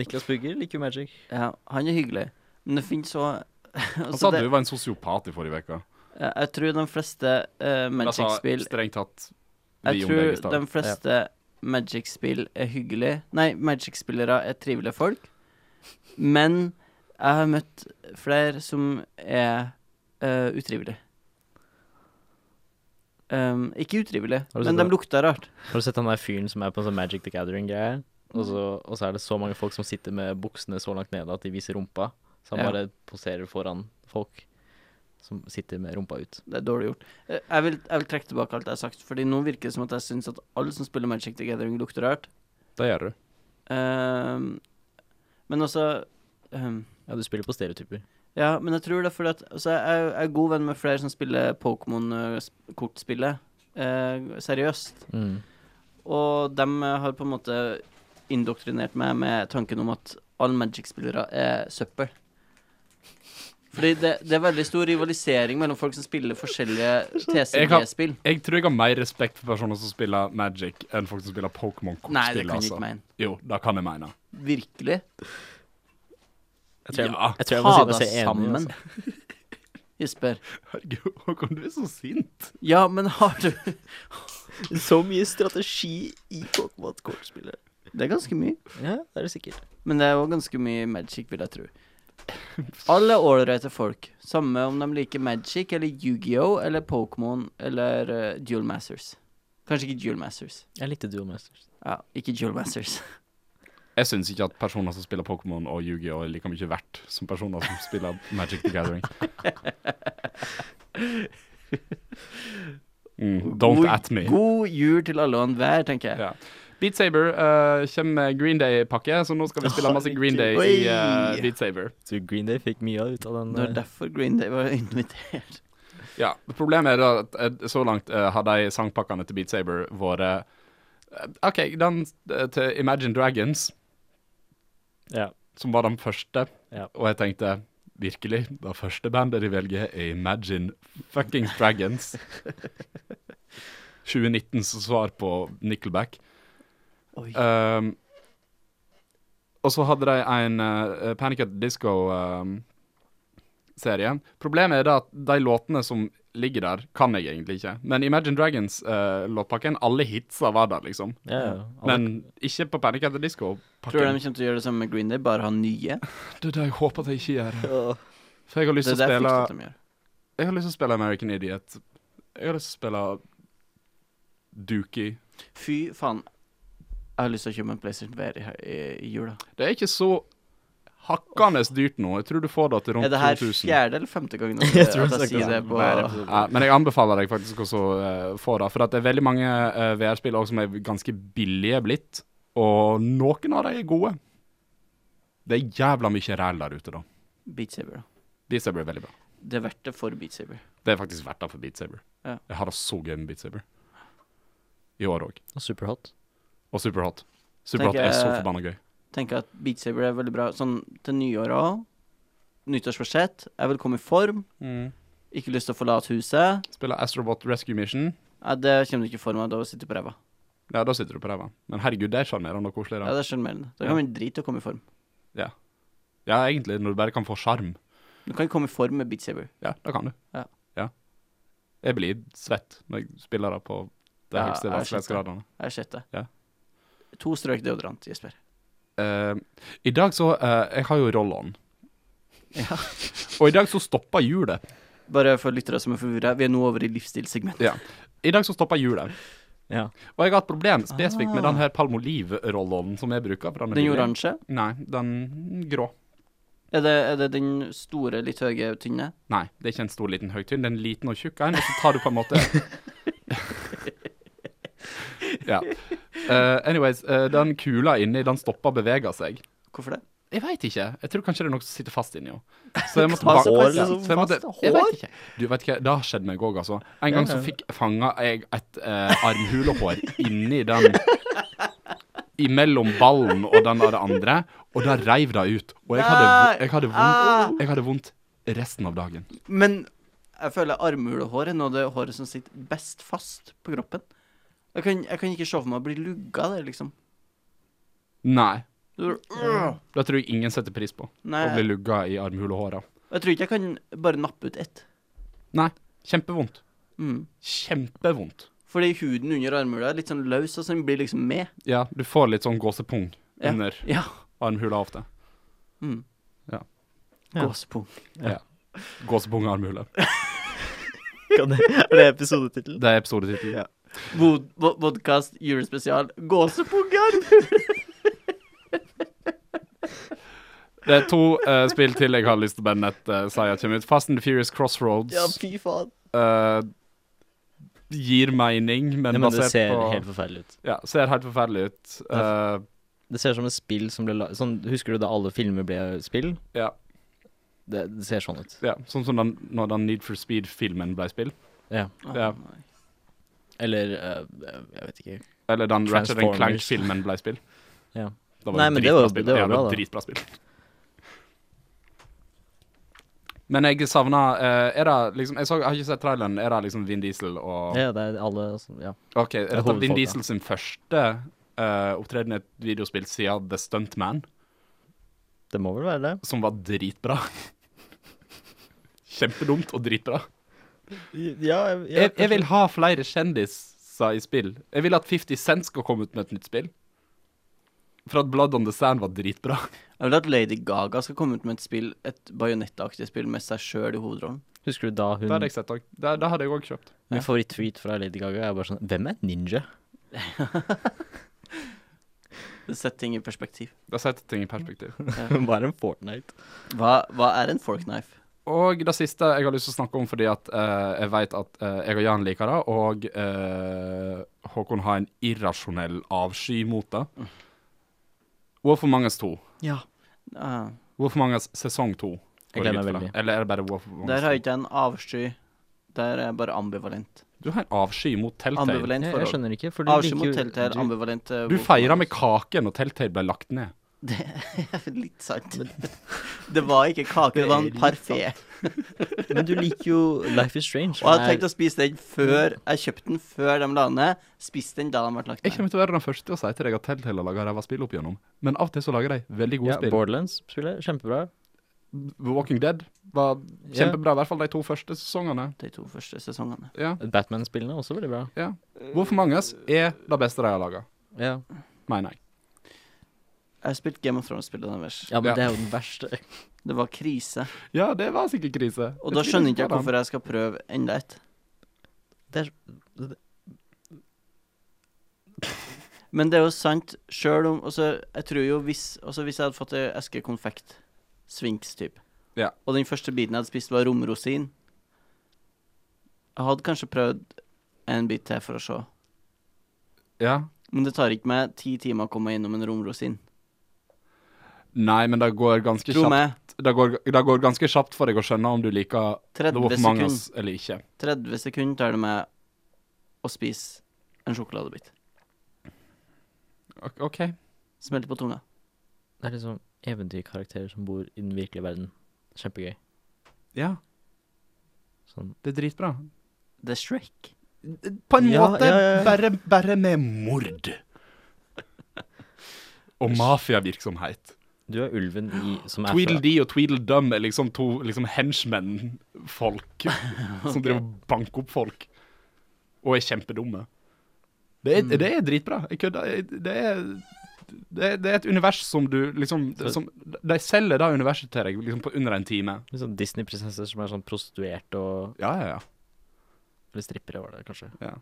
Speaker 3: Niklas Bugger liker jo Magic.
Speaker 2: Ja, han er hyggelig. Men det finnes så <laughs>
Speaker 4: Han
Speaker 2: altså,
Speaker 4: sa
Speaker 2: det-
Speaker 4: du var en sosiopat i forrige uke.
Speaker 2: Eh, Jeg tror de fleste eh, Magic-spill
Speaker 4: Altså, strengt tatt vi
Speaker 2: Jeg
Speaker 4: om det i
Speaker 2: tror
Speaker 4: stad.
Speaker 2: de fleste Magic-spill er hyggelige. Nei, Magic-spillere er trivelige folk. Men jeg har møtt flere som er eh, utrivelige. Um, ikke utrivelige,
Speaker 3: Har du
Speaker 2: men
Speaker 3: sett
Speaker 2: de
Speaker 3: det?
Speaker 2: lukta rart.
Speaker 3: Har du sett han der fyren som er på en sånn Magic the Gathering-greie? Og, så- og så er det så mange folk som sitter med buksene så langt nede at de viser rumpa. Så han
Speaker 2: Ja.
Speaker 3: bare poserer foran folk som sitter med rumpa ut.
Speaker 2: Det er dårlig gjort. Eh, Jeg vil, jeg vil trekke tilbake alt jeg har sagt, Fordi nå virker det som at jeg syns at alle som spiller Magic the Gathering, lukter rart.
Speaker 4: Det gjør du.
Speaker 2: Um, men altså um,
Speaker 3: Ja, du spiller på stereotyper.
Speaker 2: Ja, men jeg tror det er fordi at altså, jeg, jeg er god venn med flere som spiller Pokémon-kortspillet eh, seriøst.
Speaker 3: Mm.
Speaker 2: Og de har på en måte indoktrinert meg med tanken om at alle Magic-spillere er søppel. Fordi det, det er veldig stor rivalisering mellom folk som spiller forskjellige
Speaker 4: Jeg kan-
Speaker 2: TCG-spill.
Speaker 4: Jeg tror jeg har mer respekt for personer som spiller Magic, enn folk som spiller Pokémon-kortspill.
Speaker 2: Nei, det kan jeg
Speaker 4: altså.
Speaker 2: ikke mene.
Speaker 4: Jo, det kan jeg mene.
Speaker 2: Virkelig.
Speaker 3: Jeg tror jeg,
Speaker 4: Ja.
Speaker 3: jeg, tror jeg må
Speaker 2: Ta
Speaker 3: si meg
Speaker 2: deg
Speaker 3: enig,
Speaker 2: sammen.
Speaker 3: altså.
Speaker 2: <laughs> Jesper.
Speaker 4: Herregud, Håkon, du er så sint.
Speaker 2: Ja, men har
Speaker 4: <laughs>
Speaker 2: du
Speaker 3: <laughs> Så mye strategi i Pokémon-kortspillet.
Speaker 2: Det er ganske mye.
Speaker 3: Ja, det er det sikkert.
Speaker 2: Men det er òg ganske mye magic, vil jeg tro. Alle er ålreite folk, samme om de liker magic eller Yu-Gi-Oh eller Pokémon eller eh, Duel Masters. Kanskje ikke Duel Masters.
Speaker 3: Jeg likte Duel Masters.
Speaker 2: Ja, ikke Duel
Speaker 3: <laughs>
Speaker 2: Masters.
Speaker 4: Jeg syns ikke at personer som spiller Pokémon og Yu-Gi-Oh! er like mye verdt som personer som
Speaker 2: <laughs>
Speaker 4: spiller Magic the Gathering. Mm, don't
Speaker 2: God-
Speaker 4: at me.
Speaker 2: God jul til alle og enhver, tenker jeg.
Speaker 4: Ja. Beat Saber eh, kommer med Green Day-pakke, så nå skal vi spille masse Green Day i eh,
Speaker 2: Oi.
Speaker 4: Beat Saber.
Speaker 3: Så Green Day fikk mye ut av den.
Speaker 2: Det var
Speaker 3: eh,
Speaker 2: derfor Green Day var <laughs> invitert.
Speaker 4: Ja, Problemet er da at eh, så langt eh, har de sangpakkene til Beat Saber vært eh, OK, den eh, til Imagine Dragons,
Speaker 3: Ja.
Speaker 4: som var den første,
Speaker 3: Ja.
Speaker 4: og jeg tenkte Virkelig, det første bandet de velger, er Imagine Fucking
Speaker 2: <laughs>
Speaker 4: Dragons. 2019s svar på Nickelback.
Speaker 2: Oi.
Speaker 4: Um, og så hadde de en eh, Panic at the Disco-serie. Problemet er da at de låtene som ligger der, kan jeg egentlig ikke. Men Imagine Dragons-låtpakken, alle hitsa var der, liksom.
Speaker 3: ja, ja. <laughs> Alle-
Speaker 4: Men ikke på Panic at
Speaker 2: Tror du
Speaker 4: the
Speaker 2: de kommer
Speaker 4: Disco-pakken.
Speaker 2: til å gjøre det samme med Green Day, bare ha nye?
Speaker 4: Det er det jeg håper at jeg ikke eh, gjør.
Speaker 2: Åh.
Speaker 4: For jeg har lyst
Speaker 2: Det
Speaker 4: til
Speaker 2: er
Speaker 4: å
Speaker 2: det jeg
Speaker 4: spille
Speaker 2: frykter at de gjør.
Speaker 4: Jeg har lyst til å spille American Idiot. Jeg har lyst til å spille Dookie.
Speaker 2: Fy faen. Jeg har lyst til å kjøpe meg en PlayStation VR i, i, i jula.
Speaker 4: Det er ikke så hakkende dyrt nå. Jeg tror du får det til rundt
Speaker 2: Er det her
Speaker 4: 2000.
Speaker 2: fjerde eller femte gangen at
Speaker 3: <laughs> Jeg tror
Speaker 2: at
Speaker 3: jeg
Speaker 2: jeg
Speaker 3: snakket
Speaker 2: sier
Speaker 3: om
Speaker 2: det
Speaker 3: det
Speaker 2: på
Speaker 3: hver episode.
Speaker 4: Ja, men jeg anbefaler deg faktisk også å få det. For at det er veldig mange eh, VR-spill også som er ganske billige blitt. Og noen av dem er gode. Det er jævla mye ræl der ute, da.
Speaker 2: Beat Saber, da.
Speaker 4: Beat Saber er veldig bra.
Speaker 2: Det er verdt det for Beat Saber.
Speaker 4: Det er faktisk verdt det for Beat Saber.
Speaker 2: Ja.
Speaker 4: Jeg har det så gøy med Beat Saber. I år òg.
Speaker 3: Og Superhot.
Speaker 4: Og Superhot. Superhot
Speaker 2: Tenker
Speaker 4: er så
Speaker 2: jeg-
Speaker 4: forbanna gøy.
Speaker 2: Tenker at Beat Saber er veldig bra sånn til nyåret òg. Nyttårsforsett. Jeg vil komme i form. Ikke lyst til å forlate huset.
Speaker 4: Spiller Astrobot Rescue Mission.
Speaker 2: Ja, det kommer du ikke for meg da å sitte på ræva.
Speaker 4: Ja, da sitter du på ræva. Men herregud, det er sjarmerende og koselig.
Speaker 2: Ja,
Speaker 4: Da.
Speaker 2: det er sjarmerende. Da kan man drite i å komme i form.
Speaker 4: Ja, egentlig, når du bare kan få sjarm.
Speaker 2: Du kan ikke komme i form med Beat Saber.
Speaker 4: Ja, det kan du.
Speaker 2: Ja.
Speaker 4: Jeg blir svett når jeg spiller det på de
Speaker 2: Ja,
Speaker 4: høyeste
Speaker 2: jeg
Speaker 4: vanskelighetsgradene.
Speaker 2: Jeg har sett det.
Speaker 4: Ja.
Speaker 2: To strøk deodorant, Jesper.
Speaker 4: Eh, I dag så eh, Jeg har jo roll-on.
Speaker 2: Ja.
Speaker 4: Og i dag så stoppa hjulet.
Speaker 2: <laughs> Bare for lyttere som er forvirra, vi er nå over i livsstilssegmentet.
Speaker 4: Ja. I dag så stoppa hjulet.
Speaker 3: Ja.
Speaker 4: Og jeg har et problem spesifikt med den her Palmolive-roll-on som jeg bruker. for er
Speaker 2: Ah. Den
Speaker 4: billig.
Speaker 2: oransje,
Speaker 4: Nei, den grå.
Speaker 2: er det, er det den store, litt høye, tynne?
Speaker 4: Nei, det er ikke en stor, liten høytynn. Det er en liten og tjukk en, og så tar du på en måte Ja. Eh, anyways, eh, den kula inni, den stoppa beveger seg.
Speaker 2: Hvorfor det?
Speaker 4: Jeg veit ikke. Jeg tror kanskje det er noe som sitter fast inni henne. Så jeg måtte
Speaker 2: Hva som
Speaker 4: banke-
Speaker 2: helst,
Speaker 4: Ja,
Speaker 2: liksom,
Speaker 4: så jeg måtte-
Speaker 2: fast
Speaker 4: jeg
Speaker 2: hår?
Speaker 4: vet ikke. Du vet ikke, det har skjedd meg òg, altså. En gang så fikk fanga jeg et eh, armhulehår inni den Imellom ballen og den av det andre, og da reiv det ut. Og jeg hadde, jeg hadde
Speaker 2: Ah!
Speaker 4: vondt Jeg hadde vondt resten av dagen.
Speaker 2: Men jeg føler armhulehår er noe av det håret som sitter best fast på kroppen. Jeg kan, jeg kan ikke se for meg å bli lugga der, liksom.
Speaker 4: Nei.
Speaker 2: Du, Øh.
Speaker 4: Det tror jeg ingen setter pris på.
Speaker 2: Nei,
Speaker 4: Å bli lugga i armhulehåra.
Speaker 2: jeg tror ikke jeg kan bare nappe ut ett.
Speaker 4: Nei. Kjempevondt.
Speaker 2: Mm.
Speaker 4: Kjempevondt.
Speaker 2: Fordi huden under armhula er litt sånn løs, og så den blir liksom med.
Speaker 4: Ja, du får litt sånn gåsepung
Speaker 2: Ja.
Speaker 4: under
Speaker 2: Ja.
Speaker 4: armhula ofte.
Speaker 2: Mm.
Speaker 4: Ja.
Speaker 3: Ja.
Speaker 2: Gåsepung.
Speaker 4: Ja. Gåsepung og armhule.
Speaker 3: Kan det, er det episodetittelen?
Speaker 4: Det er episodetittelen.
Speaker 2: Ja. Vod- vo- Vodkast julespesial. Gåsepunger!
Speaker 4: Det er to eh, spill til jeg har lyst til å bare nett uh, si at kommer ut. Fast and the Furious Crossroads
Speaker 2: Ja, fy faen.
Speaker 4: eh, gir mening, men,
Speaker 3: Nei, men det
Speaker 4: basert
Speaker 3: ser
Speaker 4: på
Speaker 3: helt forferdelig ut.
Speaker 4: Ja, ser helt forferdelig ut. Eh,
Speaker 3: Det ser ut som et spill som ble la sånn, Husker du da alle filmer ble spill?
Speaker 4: ja,
Speaker 3: Det, det ser sånn ut.
Speaker 4: ja, sånn som den, når den Need for Speed-filmen ble spilt.
Speaker 3: Ja.
Speaker 2: Å,
Speaker 4: Ja.
Speaker 2: nei.
Speaker 3: Eller eh, jeg vet ikke.
Speaker 4: Eller den Ratchet
Speaker 3: Transformers.
Speaker 4: Clank-filmen ble spilt.
Speaker 3: Ja.
Speaker 4: Det
Speaker 3: Nei,
Speaker 4: et
Speaker 3: men det var-
Speaker 4: dritbra spill.
Speaker 3: det var
Speaker 4: Ja,
Speaker 3: bra,
Speaker 4: var
Speaker 3: da.
Speaker 4: et dritbra spill. Men jeg savna eh, Er det liksom Jeg, så, jeg har ikke sett traileren. Er det liksom Vin Diesel og
Speaker 3: Ja, det er alle som Ja.
Speaker 4: OK, er dette
Speaker 3: hovedfolk,
Speaker 4: Vin
Speaker 3: ja.
Speaker 4: Diesel sin første eh, opptreden i et videospill siden The Stuntman,
Speaker 3: Det må vel være det.
Speaker 4: som var dritbra? <laughs> Kjempedumt og dritbra.
Speaker 3: Ja,
Speaker 4: Jeg, jeg vil ha flere kjendiser i spill. Jeg vil at 50 Cent skal komme ut med et nytt spill. For at Blood on the Sand var dritbra.
Speaker 2: Jeg vil at Lady Gaga skal komme ut med et spill, et bajonettaktig spill med seg sjøl i hovedrollen.
Speaker 3: Husker du da hun
Speaker 4: Det hadde jeg sett òg. Det, det hadde jeg òg kjøpt.
Speaker 3: Min favoritt-tweet fra Lady Gaga er bare sånn Hvem er ninja? <laughs>
Speaker 2: <laughs> Det setter ting i perspektiv.
Speaker 4: Det setter ting i perspektiv.
Speaker 3: Hun var en Fortnite.
Speaker 2: Hva, hva er en forkknife?
Speaker 4: Og det siste jeg har lyst til å snakke om, fordi at eh, jeg vet at eh, jeg og Jan liker det, og eh, Håkon har en irrasjonell avsky mot det. Warfor Mangas 2.
Speaker 2: Ja. Ah,
Speaker 4: Warfor Mangas sesong 2.
Speaker 3: Jeg
Speaker 4: går jeg
Speaker 3: gleder
Speaker 4: ut
Speaker 3: meg
Speaker 4: fra.
Speaker 3: veldig.
Speaker 4: Eller er det bare Warfor
Speaker 2: der har
Speaker 4: Mangas 2?
Speaker 2: jeg ikke en avsky. Der er jeg bare ambivalent.
Speaker 4: Du har en avsky mot Telltale.
Speaker 2: Ambivalent
Speaker 3: Jeg, jeg
Speaker 2: forhold.
Speaker 3: skjønner ikke, for du
Speaker 2: Avsky
Speaker 3: liker
Speaker 2: mot
Speaker 3: jo
Speaker 2: Telltale,
Speaker 3: du-
Speaker 2: ambivalent eh,
Speaker 4: Du
Speaker 2: Wolf
Speaker 4: feira
Speaker 2: Among
Speaker 4: med
Speaker 2: Us.
Speaker 4: kake når Telltale ble lagt ned.
Speaker 2: <laughs> Det er litt sant. Det var <laughs> ikke kake, det var en
Speaker 3: Det er litt
Speaker 2: parfé.
Speaker 3: Men du liker jo Life is Strange.
Speaker 2: Og jeg hadde
Speaker 3: som er-
Speaker 2: tenkt å spise den før Jeg kjøpte den før de la den ned. Spiste den da den ble lagt
Speaker 4: Jeg
Speaker 2: ned.
Speaker 4: kommer til å være den første å si til deg at Telltale har laga ræva spill opp igjennom, men av og til så lager de veldig gode
Speaker 3: ja,
Speaker 4: spill.
Speaker 3: Borderlands-spillet, kjempebra.
Speaker 4: Walking Dead var
Speaker 3: Ja.
Speaker 4: kjempebra, i hvert fall de to første sesongene.
Speaker 2: De to første sesongene.
Speaker 4: Ja.
Speaker 3: Batman-spillene er også veldig bra.
Speaker 4: Ja. Hvorfor Mangas er det beste de har laga,
Speaker 3: Ja,
Speaker 4: mener jeg.
Speaker 2: Jeg har spilt Game of Thrones-spillet deres.
Speaker 3: men
Speaker 4: Ja.
Speaker 3: det er jo den verste.
Speaker 2: Det var krise.
Speaker 4: Ja, det var sikkert krise.
Speaker 2: Og da skjønner ikke jeg hvorfor jeg skal prøve enda et.
Speaker 3: Det er,
Speaker 2: Men det er jo sant, sjøl om altså, Jeg tror jo hvis altså, Hvis jeg hadde fått ei eske konfekt, Swinks-type,
Speaker 4: Ja.
Speaker 2: og den første biten jeg hadde spist, var romrosin Jeg hadde kanskje prøvd en bit til for å se,
Speaker 4: Ja.
Speaker 2: men det tar ikke meg ti timer å komme meg gjennom en romrosin.
Speaker 4: Nei, men det går ganske
Speaker 2: Tro
Speaker 4: kjapt.
Speaker 2: meg,
Speaker 4: Det går, det går ganske kjapt for deg å skjønne om du liker The
Speaker 2: 30
Speaker 4: Wolf Among
Speaker 2: sekunder
Speaker 4: Us eller ikke.
Speaker 2: 30 sekunder tar det meg å spise en sjokoladebit.
Speaker 4: Ok, OK.
Speaker 2: Smelter på tunga.
Speaker 3: det er liksom eventyrkarakterer som bor i den virkelige verden. Kjempegøy.
Speaker 4: Ja,
Speaker 3: Sånn.
Speaker 4: det er dritbra.
Speaker 2: Det er Shrek.
Speaker 4: På en
Speaker 3: Ja,
Speaker 4: måte,
Speaker 3: ja, ja, ja.
Speaker 4: Bare, bare med mord. Og mafiavirksomhet.
Speaker 3: Du er ulven i som er fra
Speaker 4: Tweedledee og Tweedledum er liksom to liksom
Speaker 2: <laughs>
Speaker 4: henchman-folk som driver og banker opp folk. Og er kjempedumme. Det er,
Speaker 2: Mm.
Speaker 4: det er dritbra. Jeg kødder. Jeg- Det er, det, er, det er et univers som du liksom
Speaker 3: Så-
Speaker 4: som, De selger det universet til deg liksom på under en time.
Speaker 3: liksom Disney-prinsesser som er sånn prostituerte og
Speaker 4: Ja, ja, ja.
Speaker 3: Eller strippere, var det kanskje.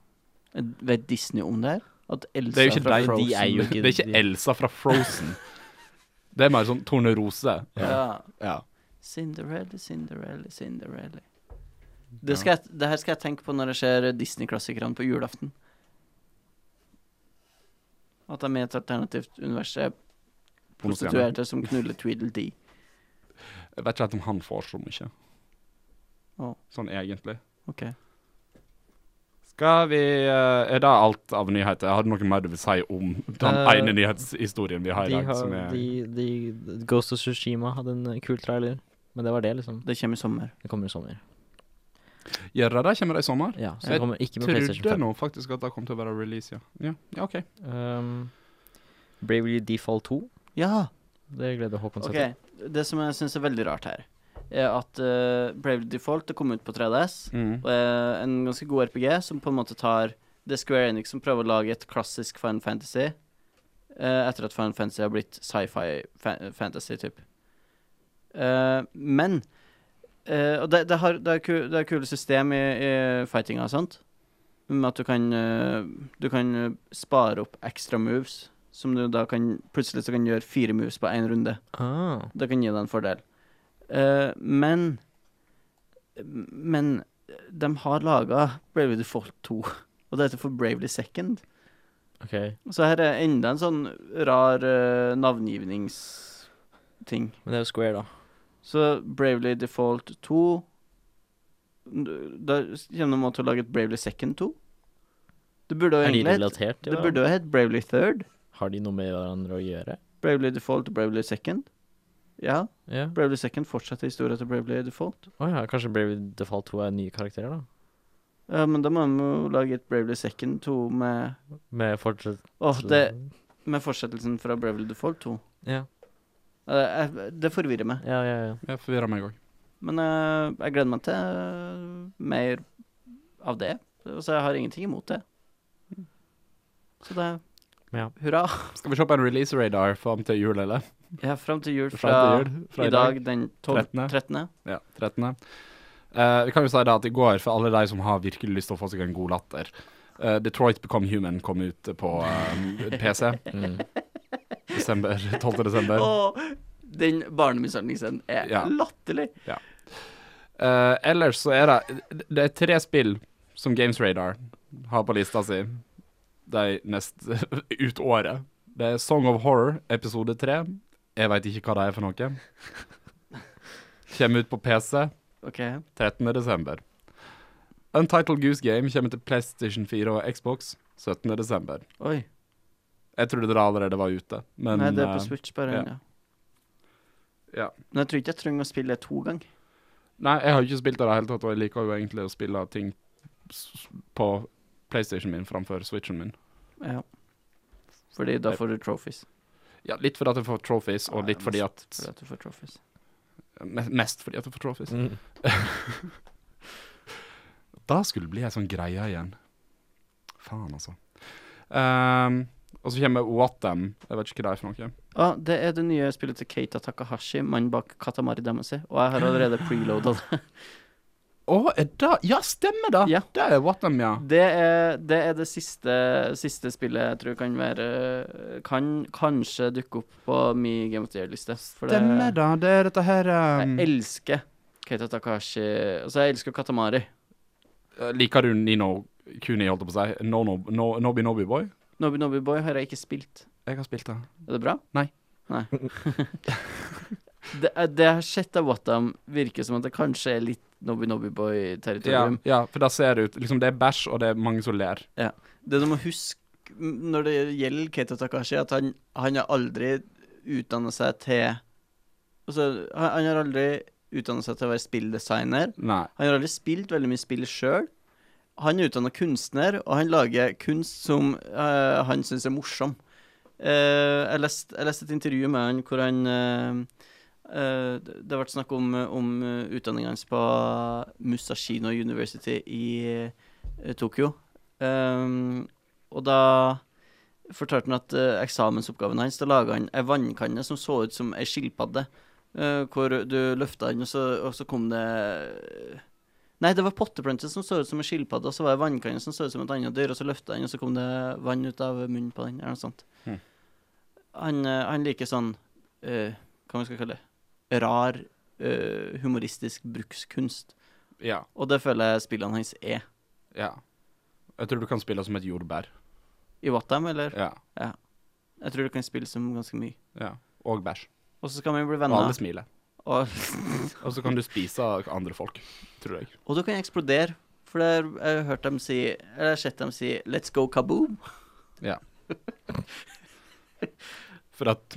Speaker 2: Vet Disney om det her? At Elsa
Speaker 4: Det er jo ikke
Speaker 2: fra
Speaker 4: deg.
Speaker 2: Frozen
Speaker 3: De er jo ikke-
Speaker 4: Det
Speaker 2: <laughs>
Speaker 4: er ikke Elsa fra Frozen. Det er mer sånn Tornerose.
Speaker 2: ja.
Speaker 4: Ja.
Speaker 2: Cinderella, Cinderella, Cinderella. Det, skal jeg, det her skal jeg tenke på når jeg ser Disney-klassikerne på julaften. At de er et alternativt univers er
Speaker 4: Jeg
Speaker 2: prostituerte som knuller Tweedledee.
Speaker 4: vet ikke helt om han får så mye.
Speaker 2: Å.
Speaker 4: Sånn egentlig.
Speaker 2: Ok.
Speaker 4: Skal vi eh, Er det alt av nyheter? Har du noe mer du vil si om den
Speaker 3: Eh,
Speaker 4: ene nyhetshistorien vi har i
Speaker 3: De
Speaker 4: dag?
Speaker 3: har,
Speaker 4: som er,
Speaker 3: de, de, Ghost of Tsushima hadde en eh, kul trailer, men det var det, liksom.
Speaker 2: Det kommer i sommer.
Speaker 3: Det kommer i sommer.
Speaker 4: Gjør det det? Kommer det i sommer?
Speaker 3: Ja, så
Speaker 4: Jeg
Speaker 3: det kommer ikke med PlayStation
Speaker 4: Trodde
Speaker 3: 5.
Speaker 4: nå faktisk at det kom til å være release, ja. Ja, ja OK.
Speaker 3: Um, Bravely Default 2.
Speaker 2: Ja!
Speaker 3: Det gleder Håkon seg
Speaker 2: Ok, det som jeg syns er veldig rart her, er at eh, Bravely Default det kom ut på 3DS.
Speaker 4: Mm.
Speaker 3: Mm.
Speaker 2: Og er en ganske god RPG som på en måte tar Det er Square Enix som prøver å lage et klassisk Final Fantasy. eh, etter at Final Fantasy har blitt sci-fi fa fantasy, type. men eh, Og det, det, har, det, er ku, det er kule system i, i fightinga og sånt. Med at du kan eh, Du kan eh, spare opp ekstra moves. Som du da kan Plutselig så kan du gjøre fire moves på én runde.
Speaker 3: Ah.
Speaker 2: Det kan gi deg en fordel. Eh, men Men de har laga Bravely Default 2, og det heter for Bravely Second.
Speaker 3: OK.
Speaker 2: Så her er enda en sånn rar eh, navngivningsting.
Speaker 3: Men det er jo Square, da.
Speaker 2: Så Bravely Default 2 Da kommer de til å lage et Bravely Second 2. Det burde jo
Speaker 3: Er de
Speaker 2: egentlig hett-
Speaker 3: relatert til
Speaker 2: Det burde jo hett Bravely Third.
Speaker 3: Har de noe med hverandre å gjøre?
Speaker 2: Bravely Default og Bravely Second. Ja,
Speaker 3: Ja.
Speaker 2: Bravely Second fortsetter historien til Bravely Default.
Speaker 3: Å ja, kanskje Brave Default 2 er nye karakterer, da?
Speaker 2: Ja, men da må vi jo lage et Bravely Second 2 med
Speaker 3: Med fortsatt
Speaker 2: Åh, det Med fortsettelsen fra Bravely Default 2.
Speaker 3: Ja,
Speaker 2: Eh, jeg, det forvirrer meg.
Speaker 3: ja, ja. ja.
Speaker 4: Jeg forvirrer meg òg.
Speaker 2: Men eh, jeg gleder meg til eh, mer av det. Så jeg har ingenting imot det. Så det
Speaker 3: Ja.
Speaker 2: Hurra.
Speaker 4: Skal vi se på en release radar fram til jul, eller?
Speaker 2: Ja, fram til jul
Speaker 4: Frem
Speaker 2: fra,
Speaker 4: til jul, fra
Speaker 2: i dag, den 12.
Speaker 4: 13..
Speaker 2: 13.
Speaker 4: Ja, 13. Eh, vi kan jo si det at i går, for alle de som har virkelig lyst til å få seg en god latter eh, Detroit Become Human kom ut på
Speaker 3: <laughs>
Speaker 4: eh, PC
Speaker 3: Mm.
Speaker 4: desember, <laughs> 12. desember.
Speaker 2: Og den barnemishandlingsscenen er
Speaker 4: Ja.
Speaker 2: latterlig.
Speaker 4: Eh, ellers så er det Det er tre spill som Games Radar har på lista si de neste <laughs> ut året. Det er Song of Horror episode tre. Jeg veit ikke hva det er for noe. Kommer ut på PC
Speaker 2: OK.
Speaker 4: 13. desember. Untitled Goose Game kommer til PlayStation 4 og Xbox 17. desember.
Speaker 2: Oi.
Speaker 4: Jeg trodde det allerede var ute, men
Speaker 2: Nei, det er
Speaker 4: eh,
Speaker 2: på Switch bare.
Speaker 4: ja.
Speaker 2: Ja.
Speaker 4: Ja.
Speaker 2: Men jeg tror ikke jeg trenger å spille det to ganger.
Speaker 4: Nei, jeg har jo ikke spilt det i det hele tatt, og jeg liker jo egentlig å spille ting s- på PlayStation min framfor Switchen min.
Speaker 2: Ja. Fordi da får du trophies.
Speaker 4: Ja, litt fordi at jeg får trophies, og
Speaker 2: Nei,
Speaker 4: litt fordi at
Speaker 2: Fordi at du får trophies.
Speaker 4: me- Mest fordi at jeg får trophies.
Speaker 3: <laughs> Mm.
Speaker 4: Da skulle det bli ei sånn greie igjen. Faen, altså. Ehm, og så kommer What Them. Jeg vet ikke hva det er for noe.
Speaker 2: Ja, Ah, det er det nye spillet til Keita Takahashi, mannen bak Katamari Damacy. Og jeg har allerede preloada <laughs> det.
Speaker 4: Å, er det Ja, stemmer det!
Speaker 2: Ja.
Speaker 4: Det er What Them, ja.
Speaker 2: Det er det, er det siste, siste spillet jeg tror kan være Kan kanskje dukke opp på min Game of the Year-liste. For det,
Speaker 4: Stemmer det. Det er dette her ehm,
Speaker 2: jeg elsker Keita Takahashi. Altså, jeg elsker Katamari.
Speaker 4: eh, Liker du Nino Kuni, holdt jeg på å si? No, no, no, Nobby Nobby Boy?
Speaker 2: Nobi Nobi Boy har jeg ikke spilt.
Speaker 4: Jeg har spilt det.
Speaker 2: Er det bra?
Speaker 4: Nei.
Speaker 2: <laughs> Nei. det, er- det jeg har sett av Wattam, virker som at det kanskje er litt Nobby Nobby
Speaker 4: Ja,
Speaker 2: Boy-territorium.
Speaker 4: ja, for da ser det ut Liksom, det er bæsj, og det er mange som ler.
Speaker 2: Det du må huske m- når det gjelder Keita Takashi, at han, han har aldri utdanna seg til Altså, han, han har aldri utdanna seg til å være spilldesigner.
Speaker 4: Nei.
Speaker 2: Han har aldri spilt veldig mye spill sjøl. Han er utdanna kunstner, og han lager kunst som eh, han syns er morsom. Eh, jeg, leste, jeg leste et intervju med han hvor han eh, eh, Det det ble snakk om, om eh, utdanningen hans på Musashino University i eh, Tokyo. Ehm, og da fortalte han at eh, eksamensoppgaven hans Da laga han ei vannkanne som så ut som ei skilpadde. eh, hvor du løfta den, og så, og så kom det Nei, det var potteplanter som så ut som en skilpadde, og så var det vannkanne som så ut som et annet dyr, og så løfta den, og så kom det vann ut av munnen på den, eller noe sånt.
Speaker 4: Mhm.
Speaker 2: Han, eh, han liker sånn eh, Hva man skal kalle det? Rar, eh, humoristisk brukskunst.
Speaker 4: Ja.
Speaker 2: Og det føler jeg spillene hans er.
Speaker 4: Ja. Jeg tror du kan spille som et jordbær.
Speaker 2: I Wattam, eller?
Speaker 4: Ja.
Speaker 2: Jeg tror du kan spille som ganske mye.
Speaker 4: ja. Og bæsj.
Speaker 2: Og så skal man jo bli
Speaker 4: Og
Speaker 2: venner.
Speaker 4: alle smiler.
Speaker 2: Og,
Speaker 4: Og så kan du spise andre folk, tror jeg.
Speaker 2: og du kan eksplodere. For det har jeg har hørt dem si Eller jeg har sett dem si 'let's go kaboom'.
Speaker 4: For at <laughs>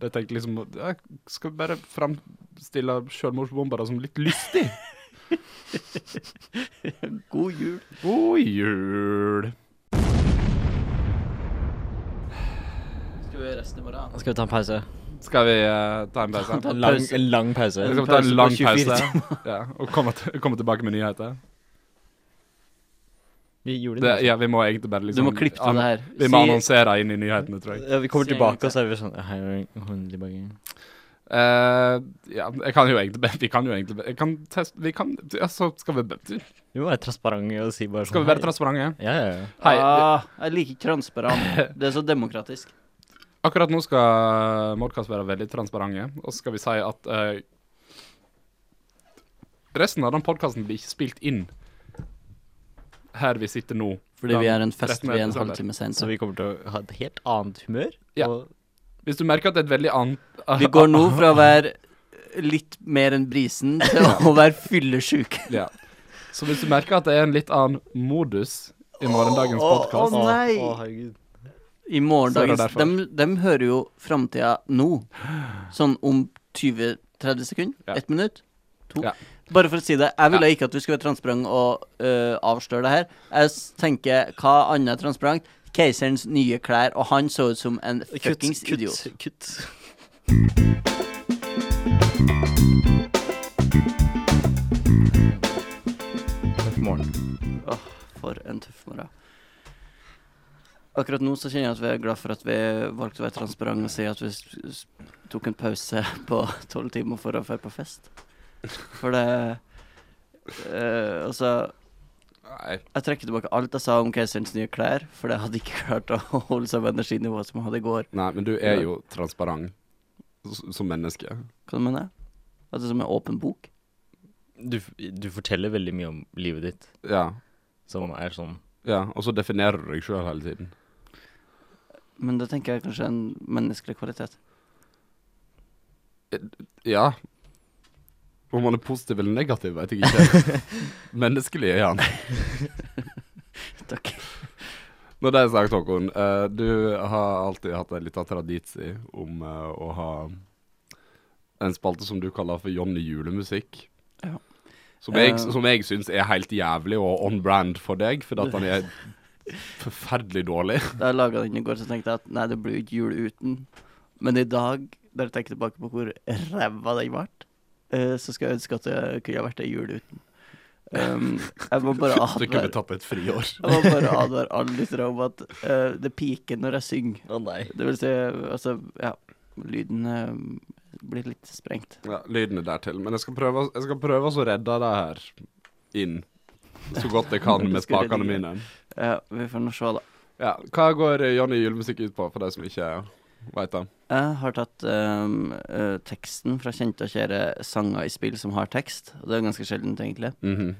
Speaker 4: jeg tenkte liksom at Jeg skal bare framstille sjølmordsbombere som litt <laughs> lystig.
Speaker 2: God jul.
Speaker 4: God jul!
Speaker 2: Skal vi gjøre resten i morgen?
Speaker 3: Skal vi ta en pause?
Speaker 4: Skal vi eh, ta en pause?
Speaker 2: <laughs> Ta- ta-
Speaker 3: Lang,
Speaker 2: pause.
Speaker 3: en lang pause.
Speaker 4: Vi
Speaker 2: en
Speaker 4: skal ta
Speaker 2: pause
Speaker 4: en
Speaker 2: på
Speaker 4: lang
Speaker 2: 24
Speaker 4: pause <laughs> ja, og komme, til, komme tilbake med nyheter.
Speaker 3: Vi gjorde
Speaker 4: Det,
Speaker 3: det.
Speaker 4: ja, vi må egentlig bare
Speaker 2: Du
Speaker 4: liksom
Speaker 2: må klippe av det her.
Speaker 4: Vi må
Speaker 2: Si-
Speaker 4: annonsere inn i nyhetene, tror jeg.
Speaker 3: Ja, vi kommer
Speaker 2: Si
Speaker 3: tilbake,
Speaker 2: ingenting.
Speaker 3: og så er vi sånn Hei, hun tilbake.
Speaker 4: Eh, ja, jeg kan jo egentlig be- Vi kan jo egentlig be- jeg kan teste, Vi kan ja, så skal vi, be-
Speaker 3: Vi må være transparente og si bare sånn
Speaker 4: skal vi være
Speaker 3: «Hei».
Speaker 4: transparente.
Speaker 3: Ja, ja, ja.
Speaker 4: Hei,
Speaker 2: ah, jeg liker ikke transparent. Det er så demokratisk.
Speaker 4: Akkurat nå skal Mordkast være veldig transparente, og så skal vi si at eh, Resten av den podkasten blir ikke spilt inn her vi sitter nå.
Speaker 2: <laughs> Fordi vi er en fest
Speaker 4: Resten
Speaker 2: vi
Speaker 4: er
Speaker 2: er en
Speaker 4: desember.
Speaker 2: halvtime
Speaker 3: Så
Speaker 2: senere.
Speaker 3: vi kommer til å ha et helt annet humør.
Speaker 4: Ja.
Speaker 3: Og
Speaker 4: Hvis du merker at det er et veldig annet
Speaker 2: Vi går nå fra å være litt mer enn brisen til å være fyllesyk.
Speaker 4: <laughs> ja. Så hvis du merker at det er en litt annen modus i morgendagens
Speaker 2: Å
Speaker 4: podkast
Speaker 2: nei!
Speaker 3: Å, herregud.
Speaker 2: I
Speaker 4: Så er
Speaker 2: morgendagens
Speaker 4: det
Speaker 2: dem, dem hører jo framtida nå. Sånn om 20-30 sekunder.
Speaker 4: Ja.
Speaker 2: Ett minutt. To.
Speaker 4: Ja.
Speaker 2: Bare for å si det, jeg ville ikke at du skulle være transparent og øh, avsløre det her. Jeg s- tenker, hva annet er transparent? Keiserens nye klær, og han så ut som en fuckings idiot.
Speaker 3: Kutt, kutt. God morgen.
Speaker 2: Åh, for en tøff morgen. Akkurat nå så kjenner jeg at vi er glad for at vi valgte å være transparente og si at vi s- s- tok en pause <laughs> på tolv timer for å dra på fest. For det eh, Altså,
Speaker 4: Nei.
Speaker 2: jeg trekker tilbake alt jeg sa om keiserens nye klær, for jeg hadde ikke klart å <laughs> holde seg på energinivået som jeg hadde i går.
Speaker 4: Nei, men du er jo transparent s- som menneske.
Speaker 2: Hva mener jeg? At det er som en åpen bok?
Speaker 3: Du, f- du forteller veldig mye om livet ditt,
Speaker 4: Ja.
Speaker 3: som er sånn
Speaker 4: ja. Og så definerer du deg sjøl hele tiden.
Speaker 2: Men det tenker jeg kanskje er en menneskelig kvalitet.
Speaker 4: Ja. Om han er positiv eller negativ, vet jeg ikke. Menneskelig er han.
Speaker 2: Takk.
Speaker 4: Når det er sagt, Håkon, eh, du har alltid hatt en liten tradisi om eh, å ha en spalte som du kaller for Johnny julemusikk.
Speaker 2: Ja.
Speaker 4: Som jeg,
Speaker 2: Eh.
Speaker 4: som jeg syns er helt jævlig og on brand for deg, fordi at han <laughs> er forferdelig dårlig.
Speaker 2: Da jeg laga den i går, så tenkte jeg at nei, det blir jo ikke jul uten. Men i dag, når jeg tenker tilbake på hvor ræva den ble, eh, så skal jeg ønske at det kunne ha vært ei jul uten. Um, jeg må bare
Speaker 4: Du kunne
Speaker 2: advare
Speaker 4: tatt et friår.
Speaker 2: Jeg må bare advare alle lyttere om at eh, det piker når jeg synger.
Speaker 3: Å nei.
Speaker 2: Det vil si, altså, ja Lyden eh, blir litt sprengt.
Speaker 4: Ja, lyden er dertil. Men jeg skal prøve, jeg skal prøve å redde det her inn så godt jeg
Speaker 2: <laughs>
Speaker 4: kan
Speaker 2: Du
Speaker 4: med
Speaker 2: skal redde
Speaker 4: spakene
Speaker 2: det.
Speaker 4: mine.
Speaker 2: Ja, vi får nå se, da.
Speaker 4: Ja, Hva går eh, Johnny julemusikk ut på, for de som ikke veit det?
Speaker 2: Jeg har tatt ehm, eh, teksten fra kjente og kjære sanger i spill som har tekst. Og det er ganske sjeldent, egentlig.
Speaker 4: Mhm.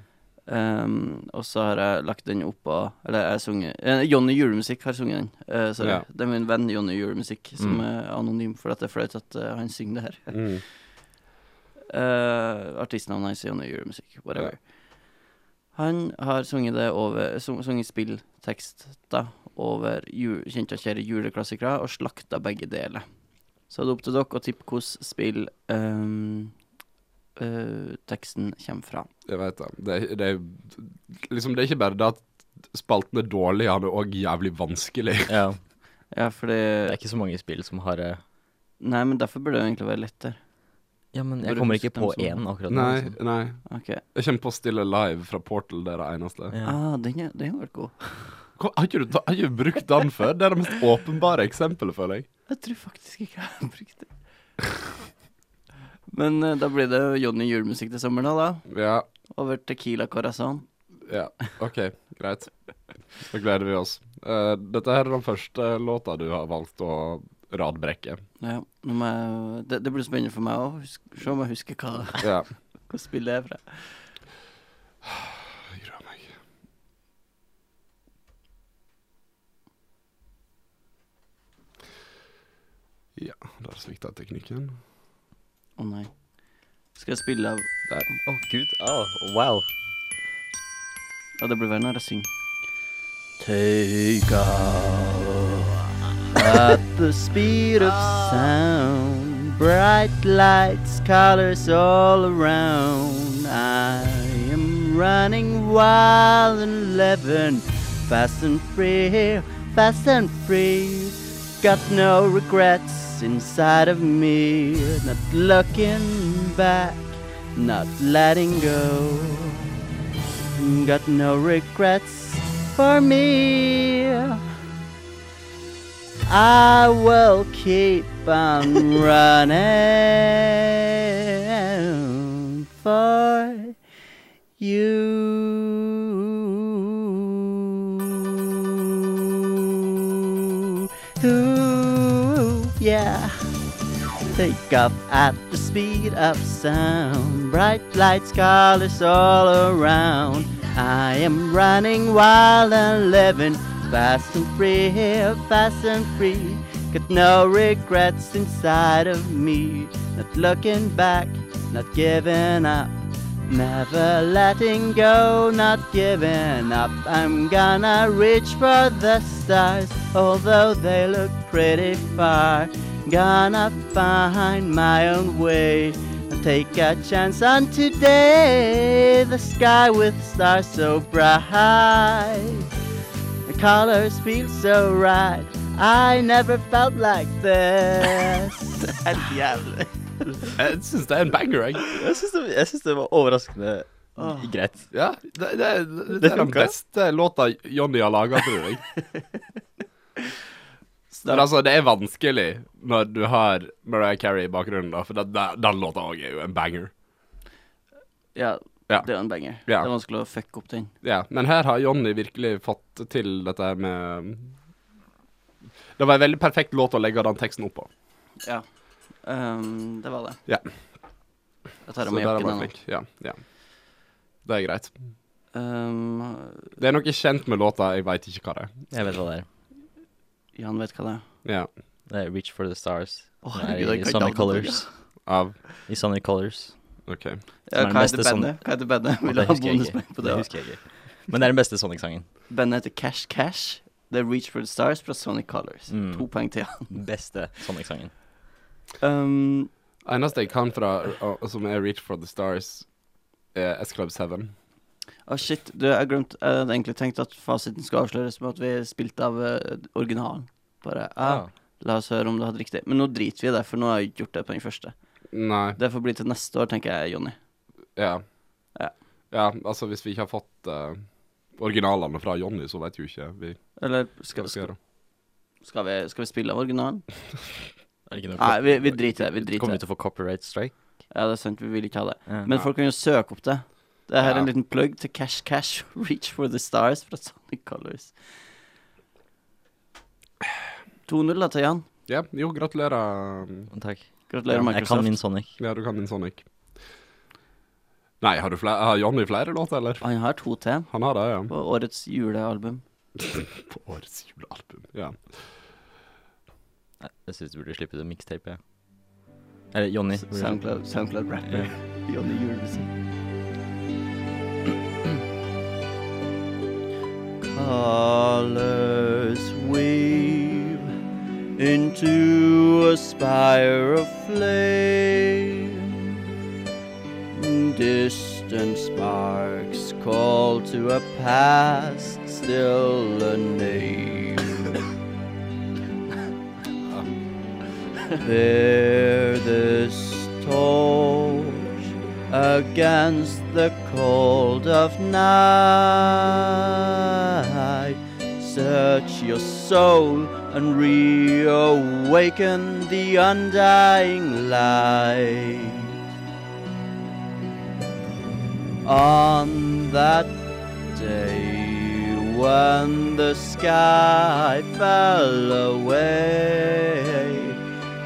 Speaker 2: Ehm, og så har jeg lagt den oppå Eller jeg har sunget eh, Johnny Julemusikk har sunget den. Eh, sorry.
Speaker 4: Ja.
Speaker 2: Det er min venn Johnny Julemusikk som
Speaker 4: Mm.
Speaker 2: er anonym, for at det er flaut at eh, han synger det her.
Speaker 4: Mm.
Speaker 2: Uh, artistnavnet hans er Johnny Julemusikk, whatever. Han har sunget det over sung- Sunget spilltekster over ju- kjente og kjære juleklassikere, og slakta begge deler. Så er det opp til dere å tippe hvordan spill ehm, eh, teksten kommer fra.
Speaker 4: Jeg veit det. Det, er- det. er- Liksom, det er ikke bare det at spalten er dårlig, han er òg jævlig vanskelig.
Speaker 3: <laughs> Ja.
Speaker 2: Ja,
Speaker 3: Det
Speaker 2: fordi
Speaker 3: er ikke så mange spill som har eh,
Speaker 2: Nei, men derfor burde det egentlig være lettere.
Speaker 3: Ja, men jeg
Speaker 2: Bare
Speaker 3: kommer
Speaker 2: husk
Speaker 3: ikke
Speaker 2: dem
Speaker 3: på
Speaker 2: som-
Speaker 3: én akkurat nå.
Speaker 4: Nei,
Speaker 3: liksom.
Speaker 4: nei.
Speaker 2: Ok.
Speaker 4: Jeg kommer på Stille Live fra Portal, det er det eneste.
Speaker 3: Ja.
Speaker 2: Ah, den er- den har vært god.
Speaker 4: Hva, har ikke du ta- har ikke du brukt den før? Det er det mest åpenbare eksempelet, føler jeg.
Speaker 2: Jeg tror faktisk ikke jeg har brukt det. Men eh, da blir det jo Johnny Julemusikk til sommeren, da. da.
Speaker 4: Ja,
Speaker 2: Over Tequila Corazon.
Speaker 4: Ja, OK. Greit. Da gleder vi oss. Eh, dette her er den første låta du har valgt å <laughs> radbrekke.
Speaker 2: Ja, nå må jeg, det, det blir spennende for meg òg. Se om jeg husker hva,
Speaker 4: Ja.
Speaker 2: hva spillet er fra.
Speaker 4: Jeg gruer meg. Ja, der svikta teknikken.
Speaker 2: Å nei. Skal jeg spille av
Speaker 3: Å,
Speaker 4: Der.
Speaker 3: gud. Au. wow.
Speaker 2: Ja, det blir verre når jeg synger.
Speaker 3: Tøyga.
Speaker 2: <laughs> At the speed of sound, bright lights, colors all around. I am running wild and living fast and free, fast and free. Got no regrets. what's inside of me. Not looking back, not letting go. Got no regrets for me. I will keep on running for you. Ooh, yeah. Take off at the speed of sound. Bright lights, colors all around. I am running wild and living fast and free, fast and free. Got no regrets inside of me. Not looking back, not giving up. Never letting go, not giving up. I'm gonna reach for the stars, although they look pretty far. Gonna find my own way and take a chance on today. The sky with stars so bright, the colors feel so right. I never felt like <laughs> this. Helt er jævlig.
Speaker 4: Jeg syns det er en banger, jeg.
Speaker 3: Jeg syns det, jeg synes det var overraskende
Speaker 2: Åh.
Speaker 3: greit.
Speaker 4: Ja, det, det, det,
Speaker 3: Det
Speaker 4: er den
Speaker 3: funka.
Speaker 4: beste låta Johnny har laga, tror jeg. <laughs> Men altså, det er vanskelig når du har Mariah Carey i bakgrunnen, da, for den, den- den låta òg er jo en banger.
Speaker 2: Ja,
Speaker 4: Ja.
Speaker 2: det var en banger.
Speaker 4: Ja.
Speaker 2: Det er vanskelig å fucke opp den.
Speaker 4: Ja, men her har Johnny virkelig fått til dette her med Det var en veldig perfekt låt å legge den teksten opp på.
Speaker 2: Ja. Ehm, det var det.
Speaker 4: Ja.
Speaker 2: Jeg tar
Speaker 4: Så
Speaker 2: av meg
Speaker 4: der var
Speaker 2: jakken ennå.
Speaker 4: jeg flink. Ja, ja. Det er greit.
Speaker 2: Ehm,
Speaker 4: Det er noe kjent med låta, jeg veit ikke hva det er.
Speaker 3: Jeg vet hva det er.
Speaker 2: Jan vet hva det er.
Speaker 4: Ja,
Speaker 3: Det er Reach for the Stars.
Speaker 2: Å,
Speaker 3: Det
Speaker 2: herregud,
Speaker 3: er
Speaker 2: jeg
Speaker 3: I
Speaker 2: kan ikke
Speaker 3: Sunny
Speaker 2: alle
Speaker 3: Colors.
Speaker 4: av
Speaker 3: I Sunny Colors.
Speaker 4: OK.
Speaker 2: Ja,
Speaker 3: Som er den
Speaker 2: hva
Speaker 3: beste
Speaker 2: heter
Speaker 3: sånn-
Speaker 2: bandet? Hva heter bandet?
Speaker 3: Og
Speaker 2: Vil du
Speaker 3: det
Speaker 2: ha
Speaker 3: husker jeg
Speaker 2: bonuspoeng
Speaker 3: ikke.
Speaker 2: på
Speaker 3: Det
Speaker 2: det?
Speaker 3: husker jeg ikke. Men det er den beste Sonic-sangen.
Speaker 2: Bandet heter Cash Cash. Det er Reach for the Stars fra Sonic Colors.
Speaker 3: Mm.
Speaker 2: To poeng til han.
Speaker 3: Beste Sonic-sangen.
Speaker 2: Um,
Speaker 4: Eneste jeg kan fra og- som er Reach for the Stars, er S Club 7.
Speaker 2: å, shit, du, jeg glemte Jeg hadde egentlig tenkt at fasiten skulle avsløres med at vi spilte av eh, originalen. Bare, ah, La oss høre om du hadde riktig. Men nå driter vi i det, for nå har jeg ikke gjort det på den første.
Speaker 4: Nei.
Speaker 2: Det får bli til neste år, tenker jeg, Jonny.
Speaker 4: Ja.
Speaker 2: Ja.
Speaker 4: ja. Altså, hvis vi ikke har fått eh, originalene fra Johnny, så veit jo ikke vi
Speaker 2: Eller
Speaker 4: hva
Speaker 2: skal,
Speaker 4: vi skal
Speaker 2: skal,
Speaker 4: gjøre.
Speaker 2: skal, vi, skal vi spille av originalen?
Speaker 3: Er det ikke noe
Speaker 2: Nei, vi, vi driter i det. vi driter
Speaker 3: Kommer
Speaker 2: i
Speaker 3: du
Speaker 2: det.
Speaker 3: til å få copyright strike?
Speaker 2: Ja, det er sant, vi vil ikke ha det.
Speaker 3: Ja.
Speaker 2: Men
Speaker 4: Ja.
Speaker 2: folk kan jo søke opp det. Det her er en
Speaker 4: Ja.
Speaker 2: liten plugg til Cash Cash <laughs> Reach for the Stars fra Sonic Colors. 2-0 da til Jan.
Speaker 4: Ja, jo, gratulerer. mm,
Speaker 3: Takk.
Speaker 2: Gratulerer,
Speaker 3: Jeg kan
Speaker 2: Microsoft.
Speaker 3: min Sonic.
Speaker 4: Ja, du kan din Sonic. Nei, har, du flere, har Johnny flere låter, eller?
Speaker 2: Han har to til
Speaker 4: Han har det, ja.
Speaker 2: på årets julealbum.
Speaker 4: På årets julealbum. Ja.
Speaker 3: Nei, Jeg syns du burde slippe det mixtape, jeg. Eller Jonny. burde slippe
Speaker 2: Soundcloud, Soundcloud rapper.
Speaker 3: det.
Speaker 2: Johnny Julemusikk. Colors weave into a spire of flame. Distant sparks call to a past still a name. Bear this torch against the cold of night. Search your soul and reawaken the undying light. On that day when the sky fell away,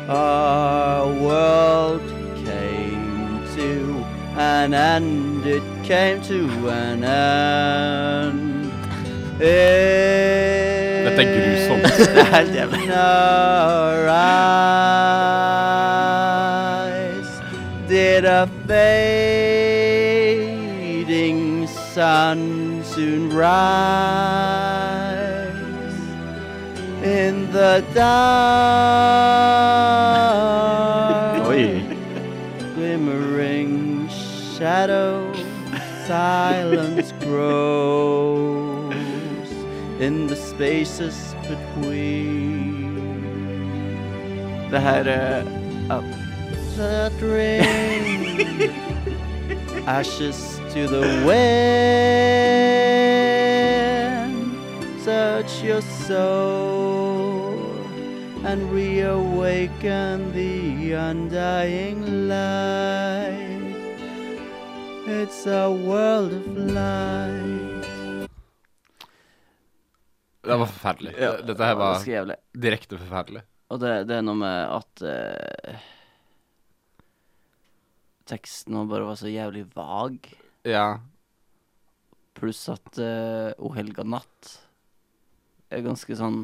Speaker 2: our world came to an end, it came to an end.
Speaker 4: Dette er grusomt.
Speaker 2: Helt jævlig. In our eyes did a fading sun soon rise in the dark. Glimmering shadow, silence grows in the spaces between. Det her eh, Up the drain. Ashes to the wind. Search your soul and reawaken the undying light. It's a world of light.
Speaker 4: Det var forferdelig. Dette her
Speaker 2: Det
Speaker 4: var
Speaker 2: skal jævlig.
Speaker 4: direkte forferdelig.
Speaker 2: Og det, det er noe med at eh, Teksten nå bare var så jævlig vag.
Speaker 4: Ja.
Speaker 2: Pluss at eh, O helga natt er ganske sånn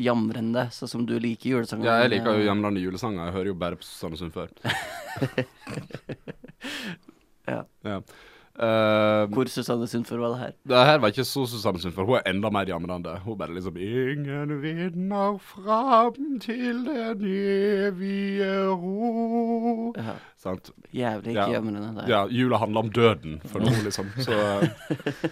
Speaker 2: jamrende, sånn som du liker julesanger.
Speaker 4: ja jeg liker
Speaker 2: eh,
Speaker 4: jo jamrende julesanger. Jeg hører jo bare på Susanne Sundfør.
Speaker 2: Ja.
Speaker 4: ja. Eh,
Speaker 2: Hvor Susanne Sundfør var det her?
Speaker 4: Det her var ikke så Susanne Sundfør. Hun er enda mer jamrende. Hun bare liksom Ingen vinner fram til den evige ro.
Speaker 2: Ja,
Speaker 4: Sant?
Speaker 2: jævlig ikke
Speaker 4: Ja.
Speaker 2: jamrende. Der.
Speaker 4: Ja, jula handler om døden for noe, liksom. Så eh,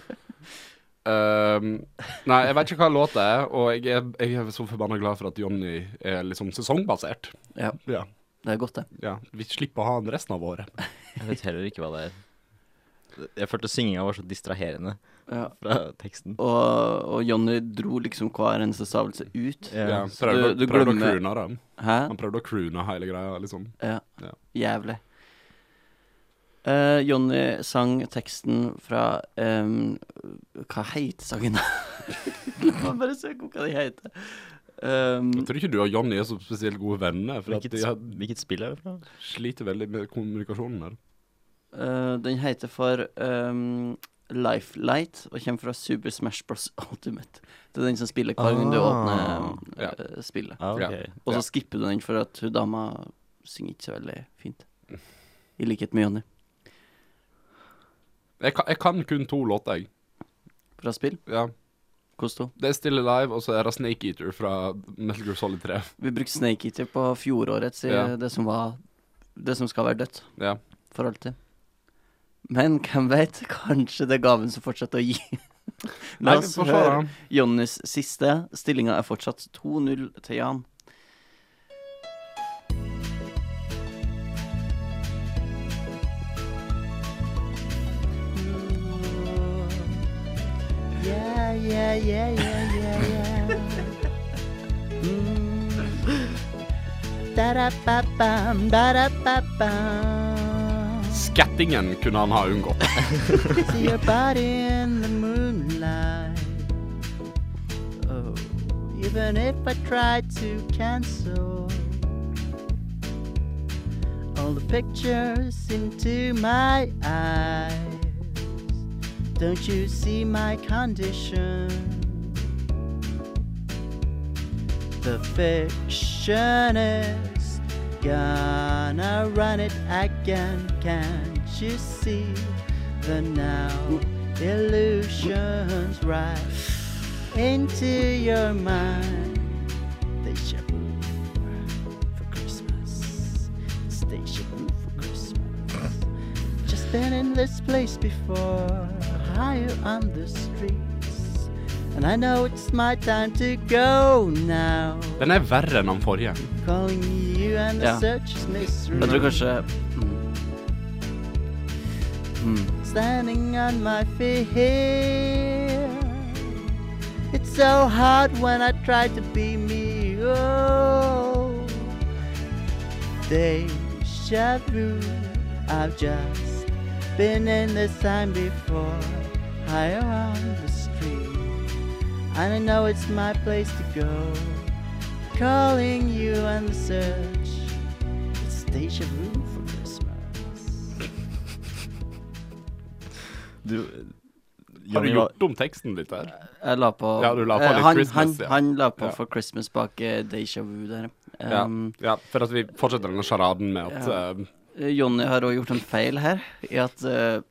Speaker 4: Ehm, Nei, jeg vet ikke hva låta er, og jeg er, jeg er så forbanna glad for at Jonny er liksom sesongbasert.
Speaker 2: Ja.
Speaker 4: Ja,
Speaker 2: Det er godt, det.
Speaker 4: ja. Vi slipper å ha han resten av året.
Speaker 3: Jeg vet heller ikke hva det er. Jeg følte synginga var så distraherende
Speaker 2: Ja.
Speaker 3: fra teksten.
Speaker 2: Og, og Jonny dro liksom hver eneste stavelse ut.
Speaker 4: Ja,
Speaker 3: Ja.
Speaker 4: prøvde,
Speaker 2: du- du
Speaker 4: prøvde å
Speaker 2: glemmer-
Speaker 4: croone den.
Speaker 2: Hæ?
Speaker 4: Han prøvde å croone hele greia, liksom.
Speaker 2: Ja.
Speaker 4: Ja.
Speaker 2: Jævlig. Eh, Jonny sang teksten fra ehm, Hva heter sangen, <laughs> da? Du må bare søke opp hva den heter.
Speaker 4: Jeg
Speaker 2: Ehm,
Speaker 4: tror ikke du og Jonny er så spesielt gode venner, for at
Speaker 3: Hvilket,
Speaker 4: de har
Speaker 3: hvilket spill er det fra?
Speaker 4: sliter veldig med kommunikasjonen her.
Speaker 2: eh, den heter for ehm, Lifelight og kommer fra Super Smash Bros. Ultimate. Det er den som spiller hver gang du
Speaker 3: Ah,
Speaker 2: åpner eh, spillet.
Speaker 3: Ah,
Speaker 4: Ja.
Speaker 3: ok.
Speaker 2: Og
Speaker 4: ja.
Speaker 2: så skipper du den for at hun dama synger ikke så veldig fint. I likhet med Jonny
Speaker 4: Jeg kan, jeg kan kun to låter, jeg.
Speaker 2: fra spill.
Speaker 4: Ja.
Speaker 2: Hvordan to?
Speaker 4: Det er Still Alive, og så er det Snake Eater fra Metal Gear Solid 3.
Speaker 2: Vi brukte Snake Eater på fjorårets i
Speaker 4: Ja.
Speaker 2: det som var Det som skal være dødt
Speaker 4: Ja.
Speaker 2: for alltid. Men hvem veit? Kanskje det er gaven som fortsetter å gi. La
Speaker 4: Nei,
Speaker 2: oss
Speaker 4: vi får se,
Speaker 2: høre
Speaker 4: da.
Speaker 2: Jonnys siste. Stillinga er fortsatt 2-0 til Jan. Yeah, yeah, yeah, yeah, yeah, yeah. Mm. Da-da-ba-bam, da-da-ba-bam.
Speaker 4: Skattingen kunne han ha unngått.
Speaker 2: <laughs> See your body in the moonlight. Oh, even if I tried to cancel all the pictures into my eyes. Don't you see my condition? The fiction is gonna run it again. Can't you see the now illusions rise into your mind? They should move for Christmas. They should move for Christmas. Just been in this place before, higher on the streets. And I know it's my time to go now.
Speaker 4: Den er verre enn den forrige.
Speaker 2: Calling you and the
Speaker 5: Ja.
Speaker 2: search is mystery.
Speaker 5: Jeg tror kanskje mm. Mm.
Speaker 2: standing on my feet. It's so hard when I try to be me. Oh, deja vu. I've just been in this time before, higher on the street. And I know it's my place to go. Calling you on the search. It's deja vu for Christmas.
Speaker 3: Du,
Speaker 4: Har du
Speaker 3: Johnny, var,
Speaker 4: gjort om teksten litt her?
Speaker 2: Jeg la på,
Speaker 4: Ja, du la på
Speaker 2: eh,
Speaker 4: litt
Speaker 2: han,
Speaker 4: Christmas,
Speaker 2: han,
Speaker 4: ja.
Speaker 2: han la på
Speaker 4: Ja.
Speaker 2: for Christmas bak eh, Deja Vu der.
Speaker 4: Ja.
Speaker 2: Um,
Speaker 4: ja, for at vi fortsetter denne sjaraden med at
Speaker 2: Ja.
Speaker 4: eh,
Speaker 2: eh, Jonny har også gjort en feil her, i at eh,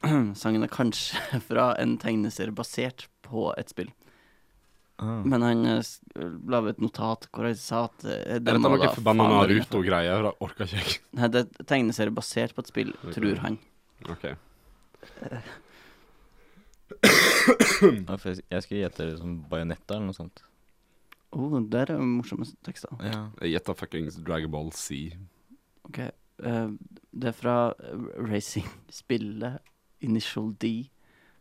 Speaker 2: <clears throat> sangen er kanskje <laughs> fra en tegneserie basert på et spill.
Speaker 4: Mm.
Speaker 3: ah.
Speaker 2: Men han eh, s- la ved et notat hvor han sa at eh,
Speaker 4: Er
Speaker 2: det
Speaker 4: dette
Speaker 2: må da
Speaker 4: noe forbanna
Speaker 2: faen være innenfor.
Speaker 4: Naruto-greier? Det orker ikke jeg.
Speaker 2: Nei, det er tegneserie basert på et spill,
Speaker 4: Ok.
Speaker 2: tror han.
Speaker 4: Ok.
Speaker 3: Ja, for jeg, jeg skulle gjette det som bajonetta eller noe sånt.
Speaker 2: Oh, der er jo morsomme tekster.
Speaker 3: Ja.
Speaker 4: <laughs> Jeg gjetter fuckings Dragon Ball Z.
Speaker 2: Ok, eh, det er fra eh, racing-spillet Initial D.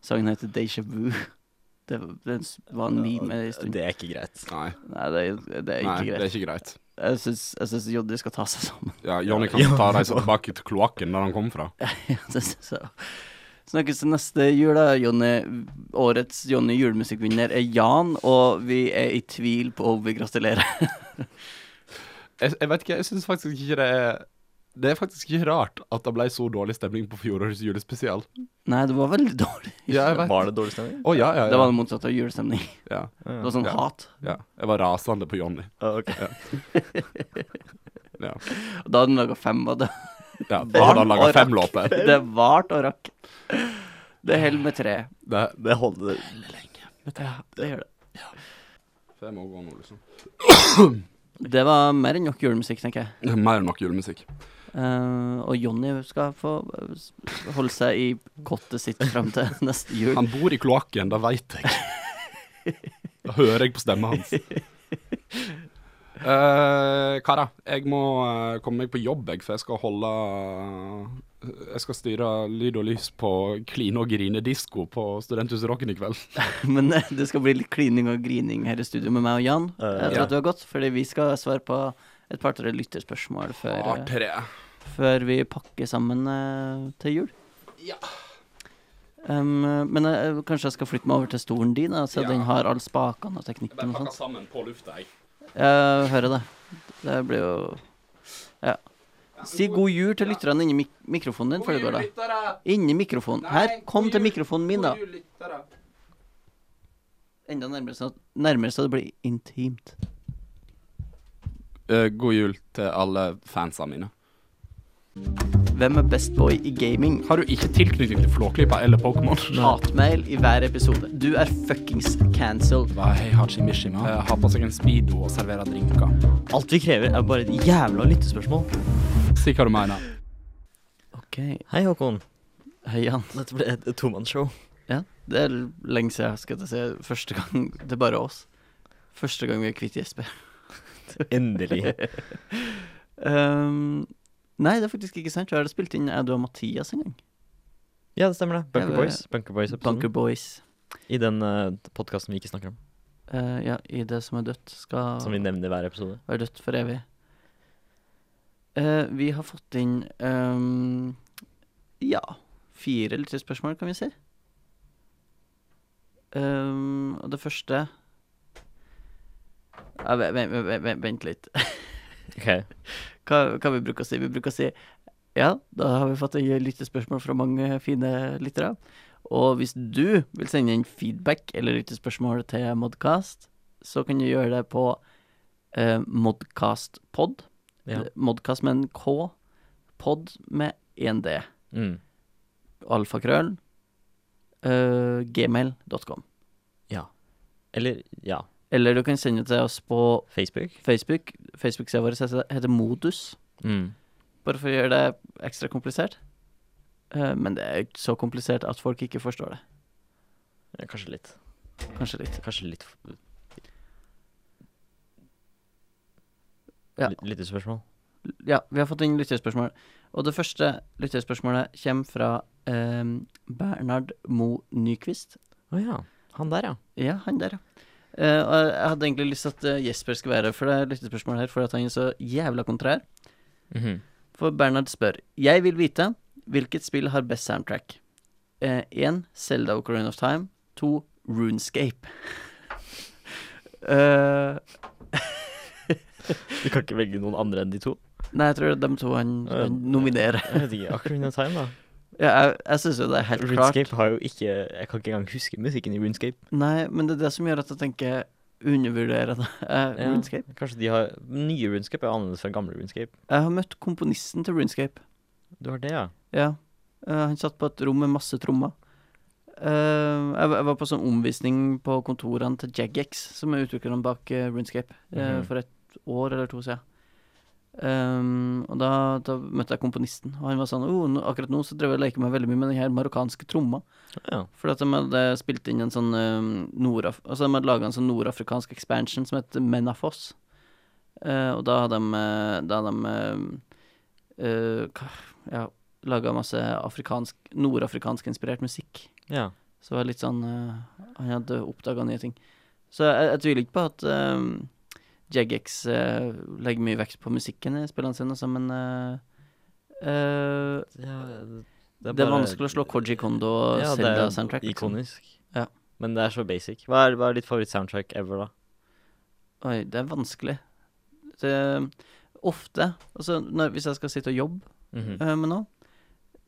Speaker 2: Sangen heter Deja Vu. <laughs> Det var- den s- var en meme en stund.
Speaker 3: Det er ikke greit.
Speaker 4: Nei,
Speaker 2: Nei, det er, det er
Speaker 4: nei
Speaker 2: ikke
Speaker 4: det er
Speaker 2: greit.
Speaker 4: ikke greit.
Speaker 2: Jeg syns- Jeg syns Joddi skal ta seg sammen. <laughs>
Speaker 4: Ja, Johnny kan <laughs>
Speaker 3: Ja.
Speaker 4: ta reise tilbake til kloakken der han kom fra.
Speaker 2: Ja, det syns jeg også. Snakkes til neste jul, da, Jonny. Årets Jonny julemusikkvinner er Jan, og vi er i tvil på om vi gratulerer. <laughs>
Speaker 4: Jeg, jeg vet ikke, jeg syns faktisk ikke det er Det er faktisk ikke rart at det ble så dårlig stemning på fjorårets julespesial.
Speaker 2: Nei, det var veldig dårlig.
Speaker 4: Ja, jeg vet.
Speaker 3: Var det dårlig stemning?
Speaker 4: Å ja, ja,
Speaker 2: Det
Speaker 4: ja.
Speaker 2: var det motsatte av julestemning.
Speaker 4: ja,
Speaker 2: Det var sånn
Speaker 4: Ja.
Speaker 2: hat.
Speaker 4: ja. Jeg var rasende på Johnny. Ja.
Speaker 2: Og da hadde han laga fem av det.
Speaker 4: Ja, da hadde han laga
Speaker 2: og
Speaker 4: fem
Speaker 2: rakk.
Speaker 4: låter.
Speaker 2: Det varte og rakk. Det holder med tre.
Speaker 4: Det,
Speaker 3: Det holder.
Speaker 2: Det gjør det.
Speaker 4: det må gå nå, liksom.
Speaker 2: Det var mer enn nok julemusikk, tenker jeg.
Speaker 4: Det er Mer enn nok julemusikk.
Speaker 2: Eh, og Jonny skal få eh, s- holde seg i kottet sitt fram til <laughs> neste jul.
Speaker 4: Han bor i kloakken, det veit jeg. Da hører jeg på stemmen hans. Eh, Kara, jeg må eh, komme meg på jobb, jeg, for jeg skal holde eh, Jeg skal styre lyd og lys på Kline og grine-disko på Studenthuset Rocken i kveld.
Speaker 2: Men eh, det skal bli litt klining og grining her i studio med meg og Jan.
Speaker 3: Eh,
Speaker 2: Etter
Speaker 4: ja.
Speaker 2: at du har gått, fordi vi skal svare på et par-tre lytterspørsmål før, eh,
Speaker 4: tre.
Speaker 2: før vi pakker sammen eh, til jul.
Speaker 4: Ja.
Speaker 2: Em, eh, men eh, kanskje jeg skal flytte meg over til stolen din, da, så
Speaker 4: Ja.
Speaker 2: den har alle spakene og
Speaker 4: Jeg
Speaker 2: teknikken
Speaker 4: bare
Speaker 2: og sånt.
Speaker 4: pakker sammen på lufta, jeg.
Speaker 2: Jeg hører det. Det blir jo Ja. Si god jul til lytterne inni mik mikrofonen din før du går, da. Inni mikrofonen. Her, kom til mikrofonen min, da. Enda nærmere, så, nærmere så det blir intimt.
Speaker 4: Eh, god jul til alle fansa mine.
Speaker 2: Hvem er best boy i gaming?
Speaker 4: Har du ikke tilknytning til Flåklypa eller Pokémon?
Speaker 2: Hatmail i hver episode. Du er fuckings cancelled.
Speaker 4: Hva er Heihachi Mishima? Har på seg en speedo og serverer drinker.
Speaker 3: Alt vi krever, er bare et jævla lyttespørsmål.
Speaker 4: Si hva du mener.
Speaker 2: OK.
Speaker 3: Hei, Håkon.
Speaker 2: Hei, Jan.
Speaker 3: Dette ble et tomannshow.
Speaker 2: Ja, det er lenge siden, skal jeg til å si. Første gang Det er bare oss. Første gang vi er kvitt Jesper.
Speaker 3: Endelig.
Speaker 2: Ehm, nei, det er faktisk ikke sant. Vi har spilt inn jeg, du og Mathias en gang.
Speaker 3: Ja, det stemmer, det. Bunker
Speaker 2: Jeg var-
Speaker 3: Boys. Bunker Boys-episoden.
Speaker 2: Bunker Boys.
Speaker 3: I den uh, podkasten vi ikke snakker om.
Speaker 2: Eh, ja, i det som er dødt, skal
Speaker 3: Som vi nevner i hver episode.
Speaker 2: være dødt for evig. Eh, vi har fått inn ehm, ja, fire eller tre spørsmål, kan vi si. Ehm, og det første ja, vent, vent, vent, vent, vent litt.
Speaker 3: Ok.
Speaker 2: Hva, hva vi bruker å si? Vi bruker å si ja, da har vi fått inn lyttespørsmål fra mange fine lyttere. Og hvis du vil sende inn feedback eller lyttespørsmål til Modcast, så kan du gjøre det på eh, Modcastpod.
Speaker 3: Ja.
Speaker 2: Modcast med en K, pod med en D.
Speaker 3: Mm.
Speaker 2: Alfakrøll. eh, gmail.com.
Speaker 3: Ja. Eller ja.
Speaker 2: Eller du kan sende det til oss på
Speaker 3: Facebook.
Speaker 2: Facebook. Facebook-sida vår heter heter Modus.
Speaker 3: Mm.
Speaker 2: Bare for å gjøre det ekstra komplisert. Eh, Men det er ikke så komplisert at folk ikke forstår det.
Speaker 3: Ja, kanskje litt.
Speaker 2: Kanskje litt.
Speaker 3: Kanskje litt f-
Speaker 2: Ja.
Speaker 3: Litt- Lyttespørsmål.
Speaker 2: Ja, vi har fått inn lytterspørsmål. Og det første lytterspørsmålet kommer fra eh, Bernhard Moe Nyquist.
Speaker 3: Å ja. Han der, ja.
Speaker 2: Ja, han der, ja. Eh, og jeg hadde egentlig lyst til at eh, Jesper skulle være for det lytterspørsmålet her, for at han er så jævla kontrær.
Speaker 3: Mhm.
Speaker 2: For Bernhard spør Jeg vil vite hvilket spill har best soundtrack. Eh, 1. Zelda Ocarina of Time. 2. Runescape. <laughs> eh
Speaker 3: Du kan ikke velge noen andre enn de to?
Speaker 2: Nei, jeg tror det er dem to han,
Speaker 3: Ja,
Speaker 2: han nominerer.
Speaker 3: Jeg vet ikke. Ocarina of <laughs> Time, da.
Speaker 2: Ja, jeg jeg syns jo det er helt
Speaker 3: Runescape har jo ikke Jeg kan ikke engang huske musikken i Runescape.
Speaker 2: klart. Nei, men det er det som gjør at jeg tenker undervurderer det. Eh,
Speaker 3: Ja.
Speaker 2: Runescape.
Speaker 3: Kanskje de har Nye Runescape er annerledes fra gamle Runescape.
Speaker 2: Jeg har møtt komponisten til Runescape.
Speaker 3: Du har det, ja?
Speaker 2: Ja. Eh, han satt på et rom med masse trommer. Eh, jeg, var- jeg var på sånn omvisning på kontorene til Jagex, som er utviklerne bak eh, Runescape, eh,
Speaker 3: Mhm.
Speaker 2: for et år eller to siden. Um, Og da, da møtte jeg komponisten, og han var sånn oh, nå, Akkurat nå så drev jeg og leker meg veldig mye med den her marokkanske tromma.
Speaker 3: Ja.
Speaker 2: For at de hadde spilt inn en sånn um, nordaf Altså de hadde laga en sånn nordafrikansk expansion som het Menafos. Eh, og da hadde de, eh, da hadde de eh, eh, hva- ja, laga masse afrikansk, nordafrikansk-inspirert musikk.
Speaker 3: ja.
Speaker 2: Så det var litt sånn eh, Han hadde oppdaga nye ting. Så jeg, jeg tviler ikke på at um, Jagex eh, legger mye vekst på musikken i spillene sine, altså, men eh, eh,
Speaker 3: det,
Speaker 2: det er, vanskelig å slå Koji Kondo og
Speaker 3: Ja, det er
Speaker 2: Zelda-soundtrack. liksom.
Speaker 3: ikonisk.
Speaker 2: Ja.
Speaker 3: Men det er så basic. Hva er, hva er ditt favoritt-soundtrack ever, da?
Speaker 2: Oi, det er vanskelig. Det, ofte, altså når, hvis jeg skal sitte og jobbe
Speaker 3: Mm.
Speaker 2: eh, med noe,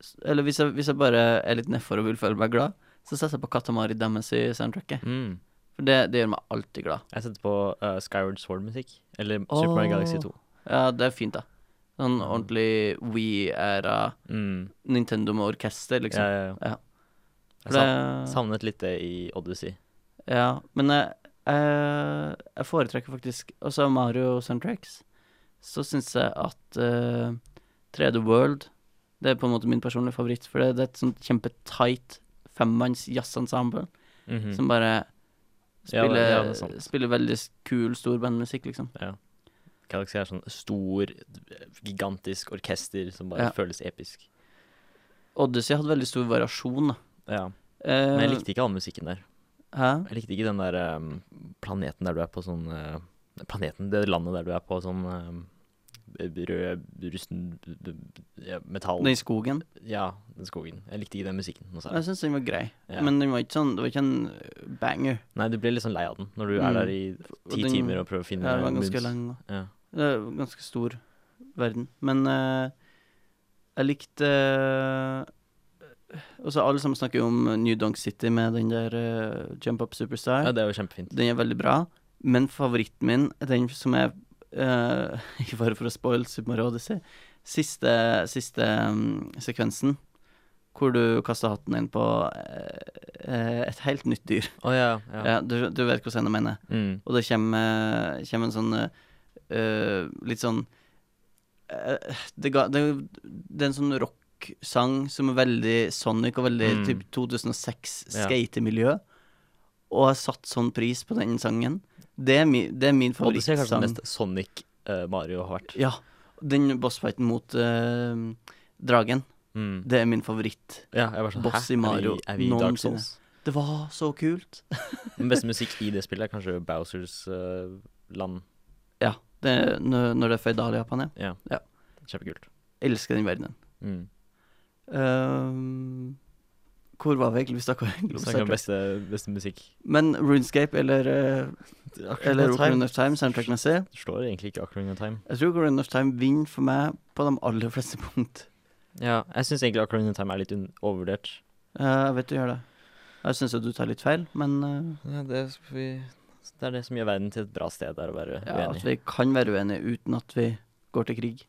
Speaker 2: s- eller hvis jeg, hvis jeg bare er litt nedfor og vil føle meg glad, så setter jeg på Katamari Damacy-soundtracket.
Speaker 3: Mm.
Speaker 2: For det, det gjør meg alltid glad.
Speaker 3: Jeg setter på eh, Skyward Sword-musikk. Eller Super Mario Galaxy
Speaker 2: Åh.
Speaker 3: 2.
Speaker 2: Ja, det er fint, da. Sånn ordentlig We-æra
Speaker 3: Mm.
Speaker 2: Nintendo med orkester,
Speaker 3: Ja,
Speaker 2: liksom.
Speaker 3: ja, ja.
Speaker 2: Ja. For
Speaker 3: Jeg sa-
Speaker 2: det,
Speaker 3: savnet litt det i Odyssey.
Speaker 2: ja, men jeg, jeg, jeg foretrekker faktisk også Mario soundtracks. Så syns jeg at eh, 3D World Det er på en måte min personlige favoritt, for det, det er et sånt kjempetight femmanns jazzensemble
Speaker 3: Mhm.
Speaker 2: som bare
Speaker 3: Ja, sånn, det-
Speaker 2: spiller,
Speaker 3: ja, det er sant.
Speaker 2: spiller veldig s- kul storbandmusikk, liksom.
Speaker 3: Galaxy er sånn stor, gigantisk orkester som bare
Speaker 2: Ja.
Speaker 3: føles episk.
Speaker 2: Odyssey hadde veldig stor variasjon, da.
Speaker 3: Ja.
Speaker 2: Eh,
Speaker 3: Men jeg likte ikke all musikken der.
Speaker 2: Hæ?
Speaker 3: Jeg likte ikke den der ehm, planeten der du er på sånn eh, Planeten, det landet der du er på sånn ehm, rød, rusten ja, metall
Speaker 2: Den i skogen?
Speaker 3: Ja, den skogen. Jeg likte ikke den musikken noe
Speaker 2: Jeg
Speaker 3: særlig.
Speaker 2: syns den var grei,
Speaker 3: Ja.
Speaker 2: men den var ikke sånn, det var ikke en øh, banger.
Speaker 3: Nei, du blir litt sånn lei av den når du er
Speaker 2: Mm.
Speaker 3: der i
Speaker 2: Og
Speaker 3: ti
Speaker 2: den-
Speaker 3: timer og prøver å finne
Speaker 2: Ja, den var
Speaker 3: moods.
Speaker 2: ganske lang. og-
Speaker 3: Ja.
Speaker 2: Det er en ganske stor verden. Men øh, jeg likte øh, Også alle sammen snakker jo om New Donk City med den der øh, Jump Up Superstar.
Speaker 3: ja, det er jo kjempefint.
Speaker 2: Den er veldig bra, men favoritten min er den som er <laughs> øh, Ikke bare for å spoile Super Mario Odyssey. Siste, siste mm, sekvensen, hvor du kaster hatten inn på øh, øh, et helt nytt dyr.
Speaker 3: Å ja. ja.
Speaker 2: Ja, du, du vet hvordan jeg mener.
Speaker 3: Mm.
Speaker 2: Og det kommer, kommer en sånn eh, Litt sånn eh, det, ga, det, det er en sånn rocksang som er veldig sonic og veldig
Speaker 3: Mm.
Speaker 2: typ 2006
Speaker 3: Ja.
Speaker 2: skatemiljø. Og jeg satte sånn pris på den sangen. Det er, mi, det er min
Speaker 3: Og du ser kanskje
Speaker 2: favorittsang.
Speaker 3: den mest Sonic eh, Mario har vært.
Speaker 2: Ja, den bossfighten mot eh, dragen,
Speaker 3: Mm.
Speaker 2: det er min favoritt.
Speaker 3: Ja, jeg var sånn,
Speaker 2: Boss
Speaker 3: hæ?
Speaker 2: i Mario
Speaker 3: er vi, er vi i Dark
Speaker 2: noensinne.
Speaker 3: Souls?
Speaker 2: Det var så kult.
Speaker 3: Den beste musikk i det spillet er kanskje Bowsers eh, land.
Speaker 2: Ja, det, når, når det er føydal i Japan, ja.
Speaker 3: Ja.
Speaker 2: Ja.
Speaker 3: Kjempekult.
Speaker 2: Elsker den verdenen.
Speaker 3: Mm.
Speaker 2: Ehm, hvor var vi egentlig? <laughs> Vi snakka egentlig om
Speaker 3: Snakk om
Speaker 2: soundtrack.
Speaker 3: beste, beste musikk.
Speaker 2: Men Runescape eller, eh, eller Ocarina of Time soundtrackmessig
Speaker 3: Slår egentlig ikke Ocarina of Time.
Speaker 2: Jeg tror Ocarina of Time vinner for meg på de aller fleste punkt.
Speaker 3: Ja, jeg syns egentlig Ocarina of Time er litt un overvurdert.
Speaker 2: Eh, jeg vet du gjør det. Jeg syns jo du tar litt feil, men eh,
Speaker 3: Ja, det, er det som gjør verden til et bra sted, er å være
Speaker 2: ja, at
Speaker 3: uenig.
Speaker 2: vi kan være uenige uten at vi går til krig.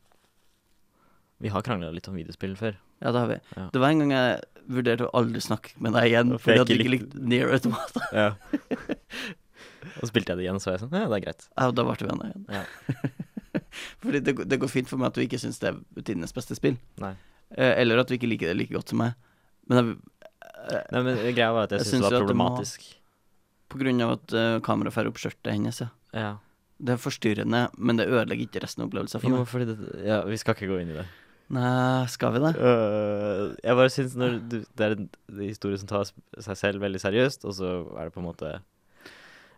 Speaker 3: Vi har krangla litt om videospill før.
Speaker 2: Ja, det har vi.
Speaker 3: Ja.
Speaker 2: Det var en gang jeg vurderte å aldri snakke med deg igjen
Speaker 3: For
Speaker 2: fordi
Speaker 3: jeg
Speaker 2: at du
Speaker 3: ikke
Speaker 2: ikke
Speaker 3: likte-
Speaker 2: likte Near Automata.
Speaker 3: Ja. <laughs> Og spilte jeg det igjen, så var jeg sånn Ja, det er greit.
Speaker 2: Ja, da ble vi venner igjen.
Speaker 3: Ja.
Speaker 2: <laughs> fordi det, går- det går fint for meg at du ikke syns det er tidenes beste spill.
Speaker 3: Nei.
Speaker 2: Eh, Eller at du ikke liker det like godt som meg. Men jeg,
Speaker 3: Nei, men eh, greia var at jeg,
Speaker 2: Jeg
Speaker 3: synes syns
Speaker 2: synes
Speaker 3: det
Speaker 2: jo
Speaker 3: var
Speaker 2: at det må-
Speaker 3: problematisk.
Speaker 2: eh, på grunn av at eh, kameraet får opp skjørtet hennes, ja.
Speaker 3: Ja.
Speaker 2: Det er forstyrrende, men det ødelegger ikke resten av opplevelsen for
Speaker 3: Jo,
Speaker 2: meg.
Speaker 3: fordi det Ja, vi skal ikke gå inn i det.
Speaker 2: Nei, skal vi det?
Speaker 3: Øh, jeg bare syns når du, det er en historie som tar seg selv veldig seriøst, og så er det på en måte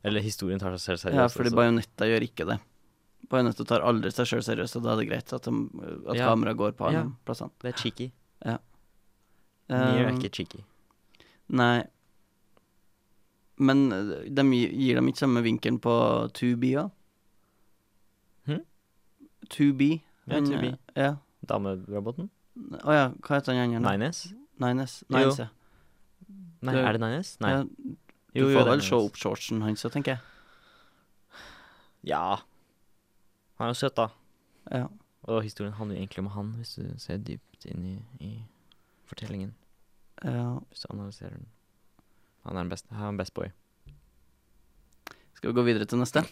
Speaker 3: Eller historien tar seg selv seriøst. altså.
Speaker 2: Ja, fordi
Speaker 3: og så-
Speaker 2: Bajonetta gjør ikke det. Bajonetta tar aldri seg sjøl seriøst, og da er det greit at, de, at
Speaker 3: Ja.
Speaker 2: kameraet går på alle
Speaker 3: Ja.
Speaker 2: plassene.
Speaker 3: Det er cheeky. Nier er
Speaker 2: Um,
Speaker 3: ikke cheeky.
Speaker 2: nei. Men eh, de gi- gir dem ikke samme vinkelen på 2B, da?
Speaker 3: Hm?
Speaker 2: 2B.
Speaker 3: Ja,
Speaker 2: han,
Speaker 3: 2B.
Speaker 2: eh, Ja.
Speaker 3: Dameroboten?
Speaker 2: Å ja, hva heter han andre?
Speaker 3: Nines?
Speaker 2: Nines.
Speaker 3: Jo.
Speaker 2: Nines, ja.
Speaker 3: Nei,
Speaker 2: Det-
Speaker 3: er det Nines? Nei.
Speaker 2: ja. Du
Speaker 3: Jo, jo,
Speaker 2: får
Speaker 3: det er
Speaker 2: vel se
Speaker 3: Nines.
Speaker 2: opp shortsen hans, så tenker jeg.
Speaker 3: Ja. Han er jo søt, da.
Speaker 2: Ja.
Speaker 3: Og historien handler jo egentlig om han, hvis du ser dypt inn i, i fortellingen.
Speaker 2: ja.
Speaker 3: Hvis du analyserer den. Han er den beste. Han er en best boy.
Speaker 2: Skal vi gå videre til neste?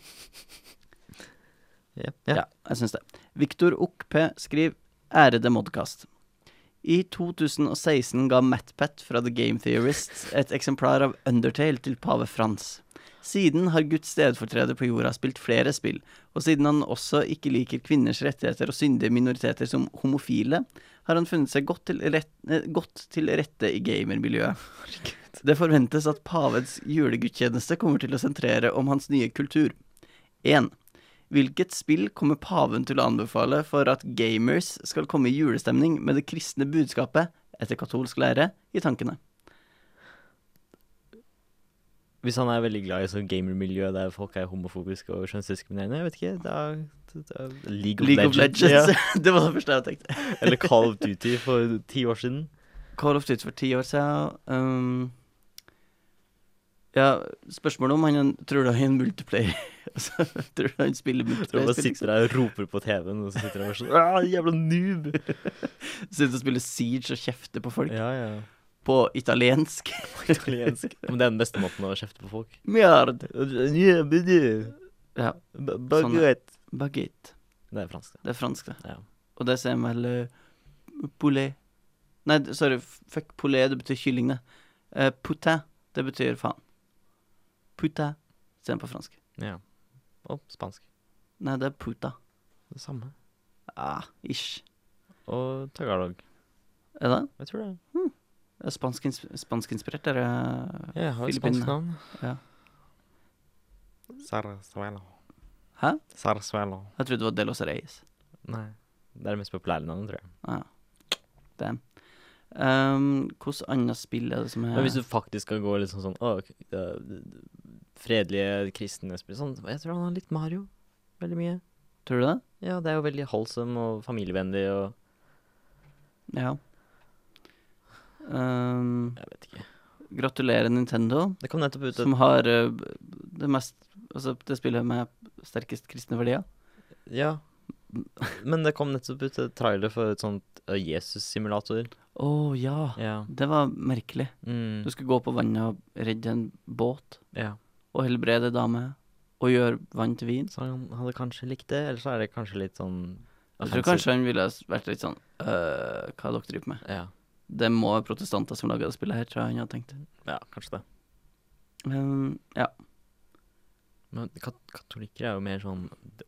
Speaker 3: Ja.
Speaker 2: Ja, jeg syns det. Viktor Okpe skriver Ærede Modcast. I 2016 ga MatPat fra The Game Theorists et eksemplar av Undertale til pave Frans. Siden har Guds stedfortreder på jorda spilt flere spill, og siden han også ikke liker kvinners rettigheter og syndige minoriteter som homofile, har han funnet seg godt til, rett, eh, godt til rette i gamermiljøet. Det forventes at pavens julegudstjeneste kommer til å sentrere om hans nye kultur. 1. Hvilket spill kommer paven til å anbefale for at gamers skal komme i julestemning med det kristne budskapet, etter katolsk lære, i tankene?
Speaker 3: Hvis han er veldig glad i sånn gamermiljø der folk er homofobiske og kjønnsdiskriminerende, jeg vet ikke, da, da League of
Speaker 2: League of
Speaker 3: Legends.
Speaker 2: Legends. <laughs> det var det første jeg tenkte.
Speaker 3: Ja. <laughs> Eller Call of Duty for ti år siden.
Speaker 2: Call of Duty for ti år siden. Um, ja, spørsmålet om han tror du han er en multiplayer. <laughs> Altså, tror du han spiller
Speaker 3: Tror
Speaker 2: multiplayer?
Speaker 3: han bare sitter der og roper på TV-en, og så sitter han bare sånn «Ah, Jævla noob!
Speaker 2: Sitter og spiller Siege og kjefter på folk.
Speaker 3: Ja, ja.
Speaker 2: På <laughs> italiensk.
Speaker 3: Italiensk. <laughs> Men det er den beste måten å kjefte på folk.
Speaker 2: Mjard.
Speaker 3: Ja, men du.
Speaker 2: Ja, Sånn,
Speaker 3: B-
Speaker 2: ja.
Speaker 3: baguette.
Speaker 2: baguette.
Speaker 3: Det er fransk, det.
Speaker 2: Det er fransk, det.
Speaker 3: Ja.
Speaker 2: Og det sier vel uh, poulet Nei, d- sorry, f- fuck poulet, det betyr kylling, det. Eh, poutin, det betyr faen. Puta, sier den på fransk.
Speaker 3: Ja. Og spansk.
Speaker 2: Nei, det er puta.
Speaker 3: Det samme.
Speaker 2: Ah, ish.
Speaker 3: Og tagalog.
Speaker 2: Er det?
Speaker 3: Jeg tror det.
Speaker 2: Er Spansk, ins spansk inspirert, er det
Speaker 3: Jeg har et
Speaker 2: Filippinene.
Speaker 3: spansk navn.
Speaker 2: Ja.
Speaker 3: Sarsuelo.
Speaker 2: Hæ?
Speaker 3: Sarsuelo.
Speaker 2: Jeg trodde det var Delos Reyes.
Speaker 3: Nei. Det er det mest populære navnet, tror jeg.
Speaker 2: Ah, ja. Damn. Um, Hvilket annet spill er det som er
Speaker 3: Men hvis du faktisk skal gå litt sånn sånn å, k- øh, d- d- Fredelige kristne spill sånn, Jeg tror han har litt Mario. Veldig mye.
Speaker 2: Tror du det?
Speaker 3: Ja, det er jo veldig holdsom og familievennlig og
Speaker 2: Ja. Um,
Speaker 3: Jeg vet ikke.
Speaker 2: gratulerer, Nintendo.
Speaker 3: Det kom nettopp ut et
Speaker 2: Som har eh, det mest Altså det spillet med sterkest kristne verdier. <laughs>
Speaker 3: Ja. Men det kom nettopp ut et trailer for et sånt øh, Jesus-simulator.
Speaker 2: Å ja.
Speaker 3: Ja.
Speaker 2: Det var merkelig.
Speaker 3: Mm.
Speaker 2: Du skulle gå på vannet og redde en båt
Speaker 3: ja.
Speaker 2: og helbrede ei dame og gjøre vann til vin.
Speaker 3: Så han hadde kanskje likt det, eller så er det kanskje litt sånn
Speaker 2: Jeg tror kanskje han ville vært litt sånn øh, Hva dere driver med?
Speaker 3: Ja,
Speaker 2: Det må være protestanter som lager det spillet her, tror jeg han hadde tenkt.
Speaker 3: ja kanskje det.
Speaker 2: Um, ja.
Speaker 3: Men kat katolikker er jo mer sånn de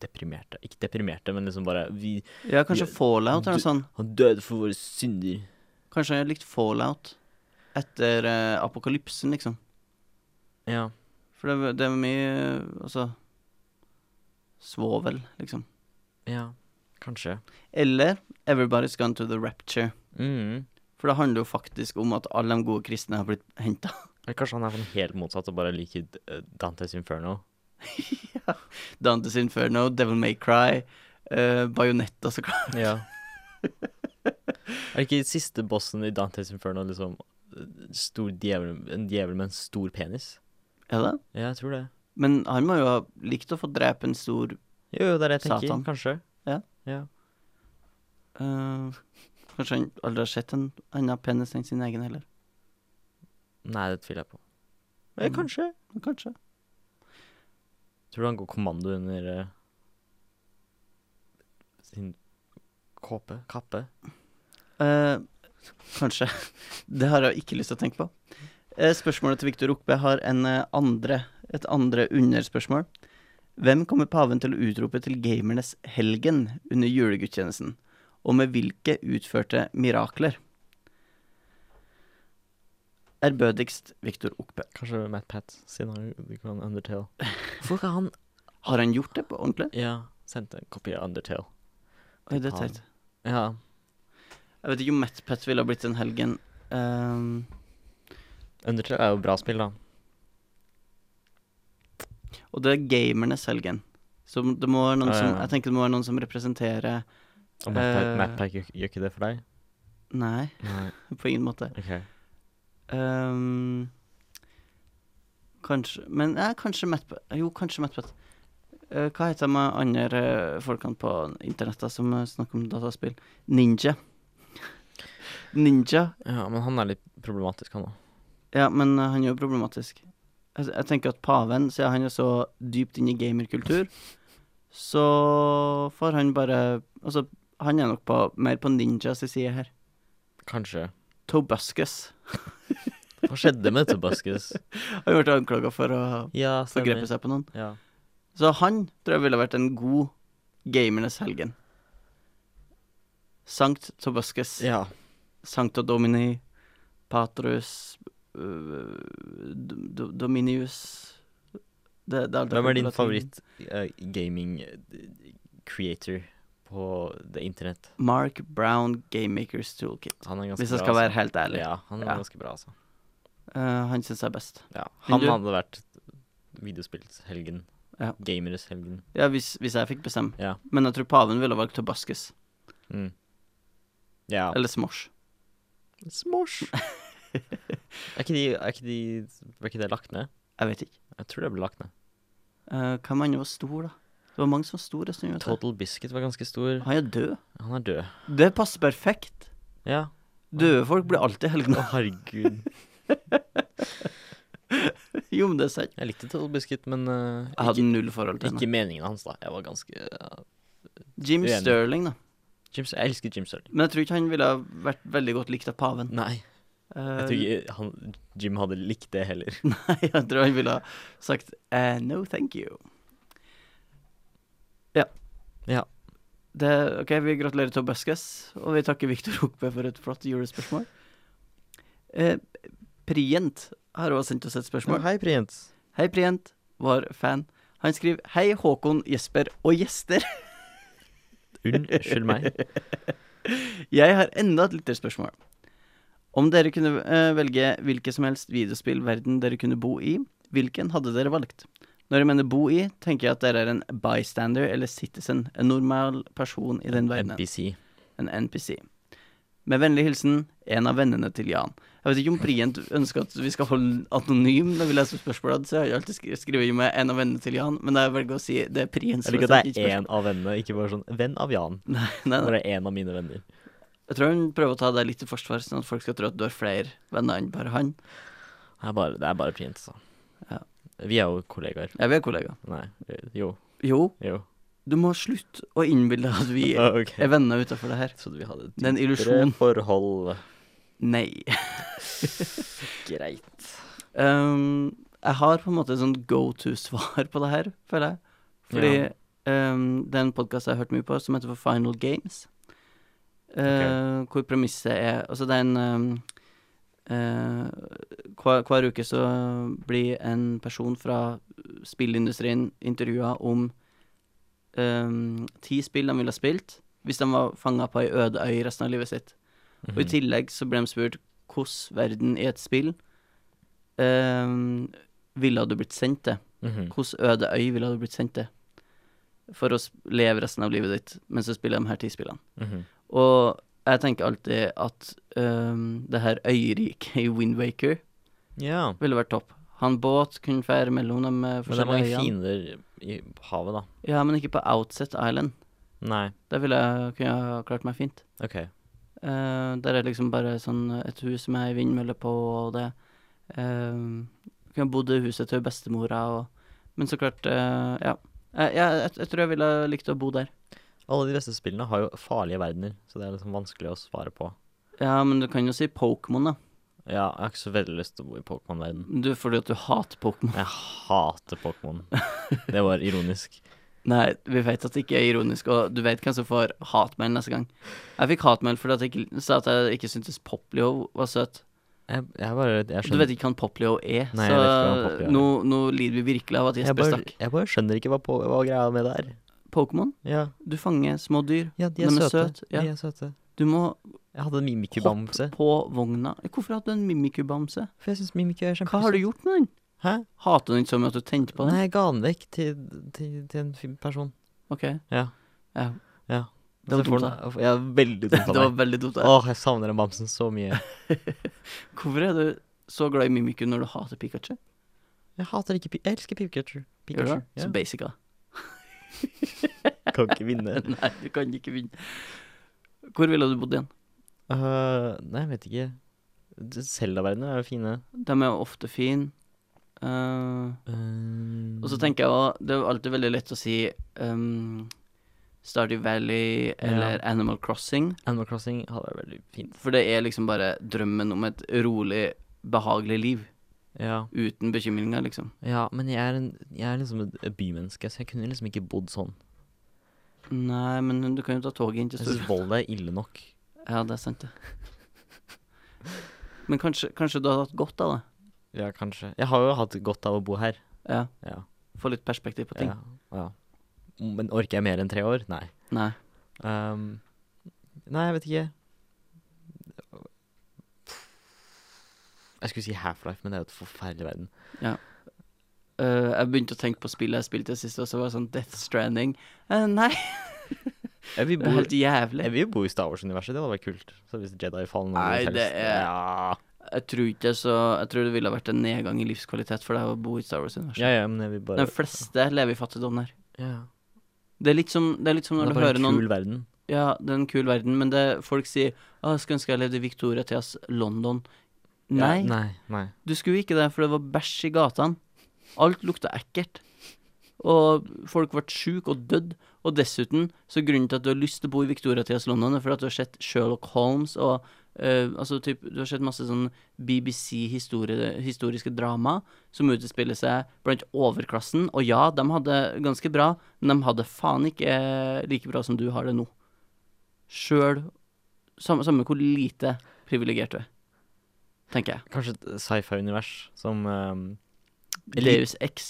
Speaker 3: deprimerte. Ikke deprimerte, men liksom bare vi,
Speaker 2: ja, kanskje
Speaker 3: Ja,
Speaker 2: Fallout eller noe
Speaker 3: du-
Speaker 2: sånt.
Speaker 3: Han døde for våre synder.
Speaker 2: Kanskje han hadde likt Fallout etter eh, apokalypsen, liksom.
Speaker 3: Ja.
Speaker 2: For det, det er mye Altså Svovel, liksom.
Speaker 3: Ja. Kanskje.
Speaker 2: Eller Everybody's Gone to the Rapture.
Speaker 3: Mm.
Speaker 2: For det handler jo faktisk om at alle de gode kristne har blitt <laughs> henta.
Speaker 3: Eller kanskje han er sånn helt motsatt og bare liker D- eh, Dantes Inferno.
Speaker 2: Dantes Inferno, Devil May Cry, eh, Bayonetta så klart.
Speaker 3: Ja. <laughs> er ikke siste bossen i Dantes Inferno liksom eh, stor djevel, en djevel med en stor penis?
Speaker 2: Er det?
Speaker 3: Ja, jeg tror det.
Speaker 2: Men han må jo ha likt å få drepe en stor
Speaker 3: Jo, jo, det er det jeg tenker.
Speaker 2: Satan.
Speaker 3: Kanskje.
Speaker 2: Ja.
Speaker 3: ja.
Speaker 2: eh, Kanskje han aldri har sett en annen penis enn sin egen heller.
Speaker 3: Nei, det tviler jeg på. Men
Speaker 2: Mm.
Speaker 3: kanskje.
Speaker 2: Men Kanskje.
Speaker 3: Tror du han går kommando under eh, sin kåpe? Kappe?
Speaker 2: Eh, kanskje. <laughs> Det har jeg ikke lyst til å tenke på. Eh, spørsmålet til Viktor Okbe har en eh, andre, et andre underspørsmål. Hvem kommer paven til å utrope til gamernes helgen under julegudstjenesten? Og med hvilke utførte mirakler? Ærbødigst Viktor Okbe.
Speaker 3: Kanskje Matt Pat, siden han ikke kan <laughs> Undertale. Hvorfor ikke han
Speaker 2: Har han gjort det på ordentlig?
Speaker 3: Ja, sendte en kopi av Undertale.
Speaker 2: Oi, det er
Speaker 3: Paven.
Speaker 2: teit.
Speaker 3: Ja.
Speaker 2: Jeg vet ikke om MatPat ville ha blitt den helgen. Ehm,
Speaker 3: Undertale er jo bra spill, da.
Speaker 2: og det er gamernes helgen. Så det må være noen
Speaker 3: Ja, ja,
Speaker 2: som,
Speaker 3: ja.
Speaker 2: jeg tenker det må være noen som representerer
Speaker 3: Og Matt Pat-
Speaker 2: Eh.
Speaker 3: Matt Pat gjør, gjør ikke det for deg?
Speaker 2: Nei,
Speaker 3: Nei.
Speaker 2: <laughs> på ingen måte.
Speaker 3: Ok.
Speaker 2: Ehm, kanskje Men ja, kanskje Mattpet. Jo, kanskje Mattpet. Eh, hva heter de andre folkene på internettet som eh, snakker om dataspill? Ninja. Ninja.
Speaker 3: Ja, men han er litt problematisk, han òg.
Speaker 2: Ja, men eh, han er jo problematisk. Eh, Jeg jeg tenker at paven, siden han er så dypt inne i gamerkultur, så får han bare Altså, han er nok på, mer på ninjas side her.
Speaker 3: Kanskje.
Speaker 2: Tobuscus.
Speaker 3: Hva skjedde med Tobaskus?
Speaker 2: Han ble anklaga for å
Speaker 3: <laughs> Ja,
Speaker 2: forgrepe seg på noen.
Speaker 3: Ja.
Speaker 2: Så han tror jeg ville vært en god gamernes helgen. Sankt Tobuscus,
Speaker 3: ja.
Speaker 2: Sankta Domini, Patrus øh, do, do, Dominius det, det aldri
Speaker 3: Hvem er
Speaker 2: kommet på
Speaker 3: din eh,
Speaker 2: latin.
Speaker 3: favoritt-gaming-creator eh, på det internett?
Speaker 2: Mark Brown Gamemakers Toolkit.
Speaker 3: Han er ganske
Speaker 2: Hvis jeg
Speaker 3: bra,
Speaker 2: skal være
Speaker 3: altså.
Speaker 2: helt ærlig.
Speaker 3: Ja, han er
Speaker 2: Ja.
Speaker 3: ganske bra, altså.
Speaker 2: Eh, han syns jeg er best.
Speaker 3: Ja.
Speaker 2: Men
Speaker 3: Han
Speaker 2: du-
Speaker 3: hadde vært videospillshelgen.
Speaker 2: Ja.
Speaker 3: Gameres-helgen.
Speaker 2: Ja, hvis, hvis jeg fikk bestemme.
Speaker 3: Ja.
Speaker 2: Men jeg tror paven ville valgt Tobascus.
Speaker 3: Mm. Ja.
Speaker 2: Eller Smosh.
Speaker 3: Smosh. er, ikke de, er ikke de Var ikke det lagt ned?
Speaker 2: Jeg vet ikke.
Speaker 3: Jeg tror det ble lagt ned.
Speaker 2: Uh, hvem andre var stor, da? Det var mange som var store en stund. vet du.
Speaker 3: Total Biscuit var ganske stor.
Speaker 2: Han er død.
Speaker 3: Han er død.
Speaker 2: Det passer perfekt.
Speaker 3: Ja.
Speaker 2: Døde folk blir alltid
Speaker 3: Å, <laughs>
Speaker 2: helgna.
Speaker 3: herregud.
Speaker 2: jo, men det er sant.
Speaker 3: Jeg likte Total Biscuit, men eh,
Speaker 2: Jeg hadde null forhold til
Speaker 3: ikke, ikke
Speaker 2: henne.
Speaker 3: meningen hans, da. Jeg var ganske ja.
Speaker 2: Jim
Speaker 3: uenig.
Speaker 2: Sterling, da.
Speaker 3: Jim, Sterling- Jeg elsker Jim Sterling.
Speaker 2: Men jeg tror ikke han ville ha vært veldig godt likt av paven.
Speaker 3: Nei. Jeg tror
Speaker 2: Eh,
Speaker 3: ikke han, Jim hadde likt det heller.
Speaker 2: <laughs> Nei, jeg tror han ville ha sagt eh, no, thank you. Ja.
Speaker 3: Ja.
Speaker 2: Det, ok, vi gratulerer til Buskus, og vi takker Viktor Hokbe for et flott julespørsmål. Eh, Prient har også sendt oss et spørsmål.
Speaker 3: hei, Prient.
Speaker 2: Hei, Prient, vår fan. Han skriver Hei, Håkon, Jesper og gjester.
Speaker 3: Unnskyld meg.
Speaker 2: Jeg har enda et lytterspørsmål. Om dere kunne eh, velge hvilke som helst videospillverden dere kunne bo i, hvilken hadde dere valgt? Når jeg mener bo i, tenker jeg at dere er en bystander eller citizen, en normal person i den verdenen.
Speaker 3: NPC.
Speaker 2: En NPC. Med vennlig hilsen en av vennene til Jan. Jeg vet ikke om Prient ønsker at vi skal holde anonym når vi leser spørsmålet, så jeg har alltid skri- skrevet med en av vennene til Jan, men jeg velger å si det er Prient
Speaker 3: Jeg
Speaker 2: som
Speaker 3: liker
Speaker 2: har
Speaker 3: at
Speaker 2: sendt
Speaker 3: det er
Speaker 2: inn
Speaker 3: én av vennene, ikke bare sånn venn av Jan.
Speaker 2: spørsmål. Nei, <laughs> nei, nei.
Speaker 3: Når det er én av mine venner.
Speaker 2: Jeg tror hun prøver å ta deg litt til forsvar, sånn at folk skal tro at du har flere venner enn bare han.
Speaker 3: Det er bare, det er bare Prient, altså.
Speaker 2: Ja.
Speaker 3: Vi er jo kollegaer.
Speaker 2: Ja, vi er kollegaer.
Speaker 3: Nei, eh, jo.
Speaker 2: Jo,
Speaker 3: Jo.
Speaker 2: du må slutte å innbille deg at
Speaker 3: <laughs>
Speaker 2: vi
Speaker 3: Ah, ok.
Speaker 2: er venner utenfor det her.
Speaker 3: Jeg trodde vi hadde
Speaker 2: Det er en
Speaker 3: dypere
Speaker 2: illusjon.
Speaker 3: forhold.
Speaker 2: Nei.
Speaker 3: Greit.
Speaker 2: Um, jeg har på en måte et sånt go to-svar på det her, føler jeg. Fordi um, det er en podkast jeg har hørt mye på, som heter for Final Games. Uh, Hvor premisset er Altså, det er en um, eh, hver, hver uke så blir en person fra spillindustrien intervjua om um, ti spill de ville ha spilt hvis de var fanga på ei øde øy resten av livet sitt. Og i tillegg så ble de spurt hvordan verden i et spill ehm, ville du blitt sendt til?
Speaker 3: Mhm.
Speaker 2: Hvordan øde øy ville du blitt sendt til? For å s- leve resten av livet ditt mens du spiller de her ti spillene.
Speaker 3: Mhm.
Speaker 2: Og jeg tenker alltid at ehm, det her øyriket i Windwaker
Speaker 3: Ja.
Speaker 2: ville vært topp. Han båt kunne fære mellom de eh,
Speaker 3: Men det er
Speaker 2: forskjellige
Speaker 3: mange
Speaker 2: øyene.
Speaker 3: fiender i havet, da.
Speaker 2: Ja, men ikke på Outset Island.
Speaker 3: Nei.
Speaker 2: Der ville jeg kunne ha klart meg fint.
Speaker 3: OK.
Speaker 2: Eh, der er liksom bare sånn et hus med ei vindmølle på, og det uh, Kunne bodd i huset til bestemora og Men så klart, eh, ja. Eh, ja, jeg, jeg tror jeg ville likt å bo der.
Speaker 3: Alle de beste spillene har jo farlige verdener, så det er liksom vanskelig å svare på.
Speaker 2: Ja, men du kan jo si Pokémon, da.
Speaker 3: Ja, jeg har ikke så veldig lyst til å bo i Pokémon-verden.
Speaker 2: Du, fordi at du hater Pokémon.
Speaker 3: Jeg hater Pokémon. Det var ironisk.
Speaker 2: <laughs> Nei, vi vet at det ikke er ironisk, og du vet hvem som får hatmail neste gang. Jeg fikk hatmail fordi at jeg ikke, sa at jeg ikke syntes Poplio var søt.
Speaker 3: Jeg, jeg bare jeg
Speaker 2: Du
Speaker 3: skjønner,
Speaker 2: vet ikke hva en Poplio er,
Speaker 3: Nei, jeg vet ikke hva en
Speaker 2: så
Speaker 3: Poplio er.
Speaker 2: nå, nå lider vi virkelig av at
Speaker 3: jeg,
Speaker 2: Jesper
Speaker 3: bare,
Speaker 2: stakk.
Speaker 3: jeg bare skjønner ikke hva, på, hva greia med det er.
Speaker 2: Pokémon,
Speaker 3: Ja,
Speaker 2: du fanger små dyr.
Speaker 3: ja de er
Speaker 2: De er
Speaker 3: søte.
Speaker 2: søt, ja.
Speaker 3: De er søte.
Speaker 2: Du må
Speaker 3: Jeg hadde en Mimikyu-bamse.
Speaker 2: hoppe på vogna. Hvorfor hadde du en Mimikyu-bamse?
Speaker 3: For jeg syns Mimikyu er
Speaker 2: Hva har
Speaker 3: kjempesøt.
Speaker 2: du gjort med den?
Speaker 3: Hæ?
Speaker 2: Hater du den så mye at du tenkte på den?
Speaker 3: Nei, jeg ga den vekk til, til, til en fin person.
Speaker 2: Ok.
Speaker 3: Ja.
Speaker 2: Ja.
Speaker 3: Ja.
Speaker 2: Det var
Speaker 3: Så får
Speaker 2: dumt,
Speaker 3: den- Ja,
Speaker 2: <laughs>
Speaker 3: veldig dumt
Speaker 2: Det
Speaker 3: av
Speaker 2: var
Speaker 3: meg.
Speaker 2: veldig dumt.
Speaker 3: Åh, jeg savner den bamsen så mye.
Speaker 2: Hvorfor er du så glad i Mimikyu når du hater Pikachu?
Speaker 3: Jeg hater ikke Pi- Jeg elsker Pikachu.
Speaker 2: Gjør du
Speaker 3: Pikachu.
Speaker 2: det? Så
Speaker 3: Ja.
Speaker 2: basic, da. <laughs>
Speaker 3: Kan ikke vinne.
Speaker 2: Nei, du kan ikke vinne. Hvor ville du bodd igjen?
Speaker 3: Øh, nei, jeg vet ikke. Zelda-verdener er jo fine.
Speaker 2: De er jo ofte fine. Eh,
Speaker 3: Ehm,
Speaker 2: og så tenker jeg også, det er jo alltid veldig lett å si um, Stardew Valley eller Animal Crossing.
Speaker 3: Animal Crossing hadde vært veldig fint.
Speaker 2: For det er liksom bare drømmen om et rolig, behagelig liv.
Speaker 3: Ja,
Speaker 2: Uten bekymringer, liksom.
Speaker 3: ja men jeg er, en, jeg er liksom et et bymenneske, så jeg kunne liksom ikke bodd sånn.
Speaker 2: Nei, men du kan jo ta toget inn til
Speaker 3: Jeg synes
Speaker 2: Storfjell.
Speaker 3: Volda er ille nok.
Speaker 2: Ja, det er sant, det. Men kanskje, kanskje du hadde hatt godt av det.
Speaker 3: Ja, kanskje. Jeg har jo hatt godt av å bo her.
Speaker 2: Ja,
Speaker 3: Ja.
Speaker 2: Få litt perspektiv på ting.
Speaker 3: ja, ja. Men orker jeg mer enn tre år? Nei.
Speaker 2: Nei.
Speaker 3: Ehm, nei, jeg vet ikke. Jeg skulle si Half-Life, men det er jo et forferdelig verden.
Speaker 2: Eh, jeg begynte å tenke på spillet jeg spilte sist, og så var det sånn Death Stranding. Eh, nei,
Speaker 3: Jeg vil
Speaker 2: det
Speaker 3: bo,
Speaker 2: er helt jævlig.
Speaker 3: jeg vil bo i Star Wars-universet, det hadde vært kult. Så hvis Jedi Fallen Order
Speaker 2: Nei,
Speaker 3: helst-
Speaker 2: det er-
Speaker 3: ja.
Speaker 2: Jeg tror ikke det, så Jeg tror det ville ha vært en nedgang i livskvalitet for deg å bo i Star Wars-universet.
Speaker 3: ja, ja, men jeg vil bare
Speaker 2: De fleste lever i fattigdom der.
Speaker 3: ja.
Speaker 2: Det er litt som, det er litt som
Speaker 3: Men
Speaker 2: når
Speaker 3: Det
Speaker 2: du
Speaker 3: er bare
Speaker 2: hører
Speaker 3: en
Speaker 2: noen
Speaker 3: kul verden.
Speaker 2: Ja, det er en kul verden, men det folk sier Å, jeg skulle ønske jeg levde i Victoria Theas London. Nei,
Speaker 3: Ja, nei, nei.
Speaker 2: du skulle ikke det, for det var bæsj i gatene. Alt lukta ekkelt. Og folk ble sjuke og dødd. Og dessuten, så grunnen til at du har lyst til å bo i Victoria Theas London, er fordi at du har sett Sherlock Holmes og eh, altså typ, Du har sett masse sånn BBC-historiske drama som utspiller seg blant overklassen. Og ja, de hadde ganske bra, men de hadde faen ikke eh, like bra som du har det nå. Sjøl Samme, samme hvor lite privilegert du er, tenker jeg.
Speaker 3: Kanskje et sci-fi-univers som ehm, litt-
Speaker 2: Deus Ex.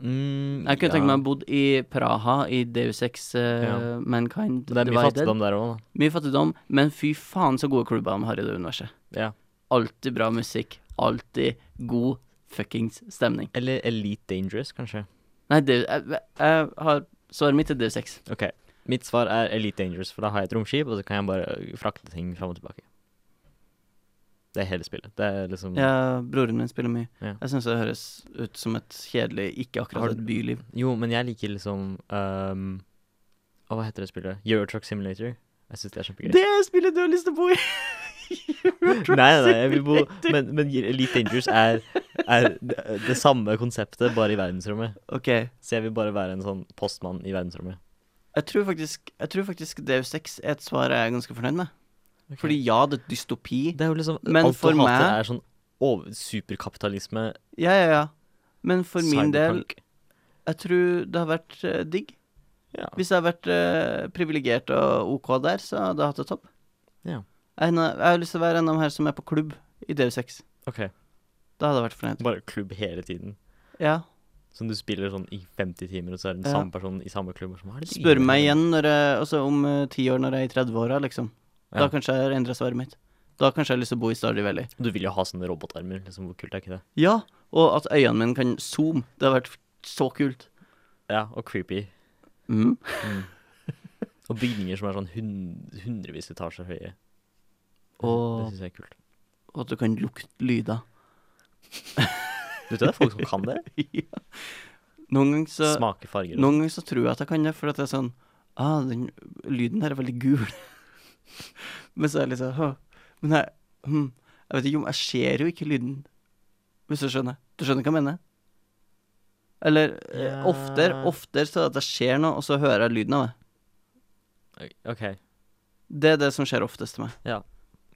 Speaker 3: mm,
Speaker 2: Jeg kunne
Speaker 3: ja.
Speaker 2: tenkt meg å bodd i Praha, i Deus Ex eh,
Speaker 3: Ja.
Speaker 2: Mankind
Speaker 3: Men det er mye
Speaker 2: Divided.
Speaker 3: fattigdom der òg, da.
Speaker 2: Mye fattigdom, men fy faen så gode klubber de har i det universet.
Speaker 3: Ja.
Speaker 2: Alltid bra musikk, alltid god fuckings stemning.
Speaker 3: Eller Elite Dangerous, kanskje.
Speaker 2: Nei, Deus, jeg, jeg har svaret mitt er Deus Ex.
Speaker 3: Ok, Mitt svar er Elite Dangerous, for da har jeg et romskip, og så kan jeg bare frakte ting fram og tilbake. Det er hele spillet. Det er liksom
Speaker 2: Ja, broren min spiller mye.
Speaker 3: Ja.
Speaker 2: Jeg syns det høres ut som et kjedelig, ikke
Speaker 3: Har
Speaker 2: akkurat
Speaker 3: du-
Speaker 2: et byliv.
Speaker 3: Jo, men jeg liker liksom ehm, Å, hva heter det spillet? Eurotruck Simulator. Jeg syns det er kjempegøy.
Speaker 2: Det er spillet du har lyst til å bo i!
Speaker 3: Nei, <laughs> nei, nei, jeg vil bo Men, men Elite Dangerous er, er det det samme konseptet, bare i verdensrommet.
Speaker 2: OK.
Speaker 3: Så jeg vil bare være en sånn postmann i verdensrommet.
Speaker 2: Jeg tror faktisk, jeg tror faktisk Deus Ex er et svar jeg er ganske fornøyd med. Fordi
Speaker 3: Fordi
Speaker 2: ja, det er dystopi.
Speaker 3: det er jo liksom
Speaker 2: Men
Speaker 3: Alt
Speaker 2: for
Speaker 3: du hater,
Speaker 2: meg-
Speaker 3: er sånn over, superkapitalisme,
Speaker 2: Ja, ja, ja. Men for min del,
Speaker 3: cyberpunk.
Speaker 2: jeg tror det har vært eh, digg.
Speaker 3: ja.
Speaker 2: Hvis jeg har vært eh, privilegert og OK der, så hadde jeg hatt det topp.
Speaker 3: Ja.
Speaker 2: Jeg, er en av- jeg har lyst til å være en av de her som er på klubb i Deus Ex.
Speaker 3: OK.
Speaker 2: Da hadde jeg vært fornøyd.
Speaker 3: Bare klubb hele tiden.
Speaker 2: Ja.
Speaker 3: Som du spiller sånn i 50 timer, og så er det den
Speaker 2: Ja.
Speaker 3: samme personen i samme klubb. og sånn, hva er det du
Speaker 2: Spør
Speaker 3: driver
Speaker 2: meg
Speaker 3: med?
Speaker 2: igjen når jeg, altså om eh, ti år, når jeg er i 30-åra, liksom. Da
Speaker 3: Ja.
Speaker 2: kanskje jeg har endra svaret mitt. Da kanskje jeg har lyst til å bo i Stardew Valley.
Speaker 3: Du vil jo ha sånne robotarmer. liksom, Hvor kult er ikke det?
Speaker 2: Ja, og at øynene mine kan zoome. Det har vært så kult.
Speaker 3: Ja, Og creepy.
Speaker 2: Mm.
Speaker 3: Mm. og bygninger som er sånn hund, hundrevis etasjer høye. Det
Speaker 2: Og,
Speaker 3: syns jeg er kult.
Speaker 2: og at du kan lukte lyder.
Speaker 3: Du vet det er folk som kan det? <laughs>
Speaker 2: <laughs> ja. Noen ganger så
Speaker 3: Smake farger. og sånn.
Speaker 2: Noen ganger så tror jeg at jeg kan det, for at det er sånn ah, den lyden her er veldig gul. <laughs> Men så er jeg litt sånn «Hå, Men jeg, hm, jeg vet ikke om Jeg ser jo ikke lyden, hvis du skjønner. Du skjønner hva jeg mener? Eller eh,
Speaker 3: Ja.
Speaker 2: oftere oftere så er det at jeg ser noe, og så hører jeg lyden av det.
Speaker 3: OK.
Speaker 2: Det er det som skjer oftest til meg.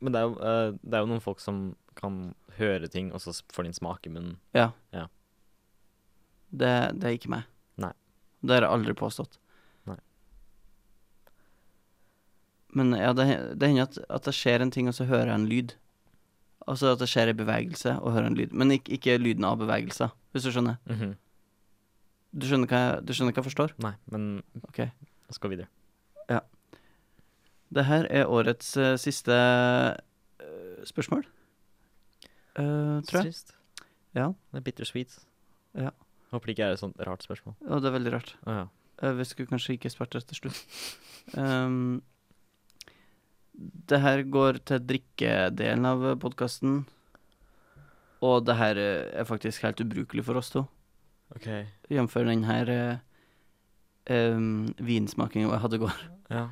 Speaker 3: Men det er, jo, eh, det er jo noen folk som kan høre ting, og så s- får de en smak i munnen.
Speaker 2: Det, det er ikke meg.
Speaker 3: Nei.
Speaker 2: Det har jeg aldri påstått.
Speaker 3: Nei.
Speaker 2: Men ja, det, det hender at, at det skjer en ting, og så hører jeg en lyd. Altså at det skjer en bevegelse, og hører en lyd. Men ikke, ikke lyden av bevegelser, hvis du skjønner.
Speaker 3: Mhm.
Speaker 2: Du skjønner hva jeg, du skjønner hva jeg forstår?
Speaker 3: Nei, men
Speaker 2: Ok.
Speaker 3: vi skal videre.
Speaker 2: Det her er årets eh, siste eh, spørsmål. Eh, tror jeg.
Speaker 3: Trist.
Speaker 2: Ja.
Speaker 3: Det er bittersweet.
Speaker 2: Ja.
Speaker 3: Håper det ikke er et sånt rart spørsmål.
Speaker 2: Og det er veldig rart.
Speaker 3: Å ja.
Speaker 2: Eh, Vi skulle kanskje ikke spart det til slutt. Um, det her går til drikkedelen av podkasten. Og det her eh, er faktisk helt ubrukelig for oss to,
Speaker 3: OK.
Speaker 2: ehm, jf. den her eh, um, vinsmakinga jeg hadde i går.
Speaker 3: Ja.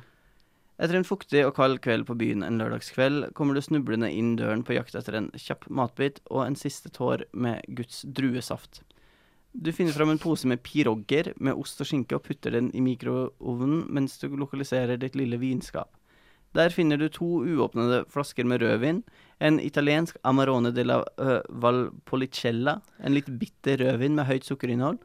Speaker 2: Etter en fuktig og kald kveld på byen en lørdagskveld kommer du snublende inn døren på jakt etter en kjapp matbit og en siste tår med Guds druesaft. Du finner fram en pose med pirogger med ost og skinke og putter den i mikroovnen mens du lokaliserer ditt lille vinskap. Der finner du to uåpnede flasker med rødvin, en italiensk Amarone della uh, Valpolicella, en litt bitter rødvin med høyt sukkerinnhold,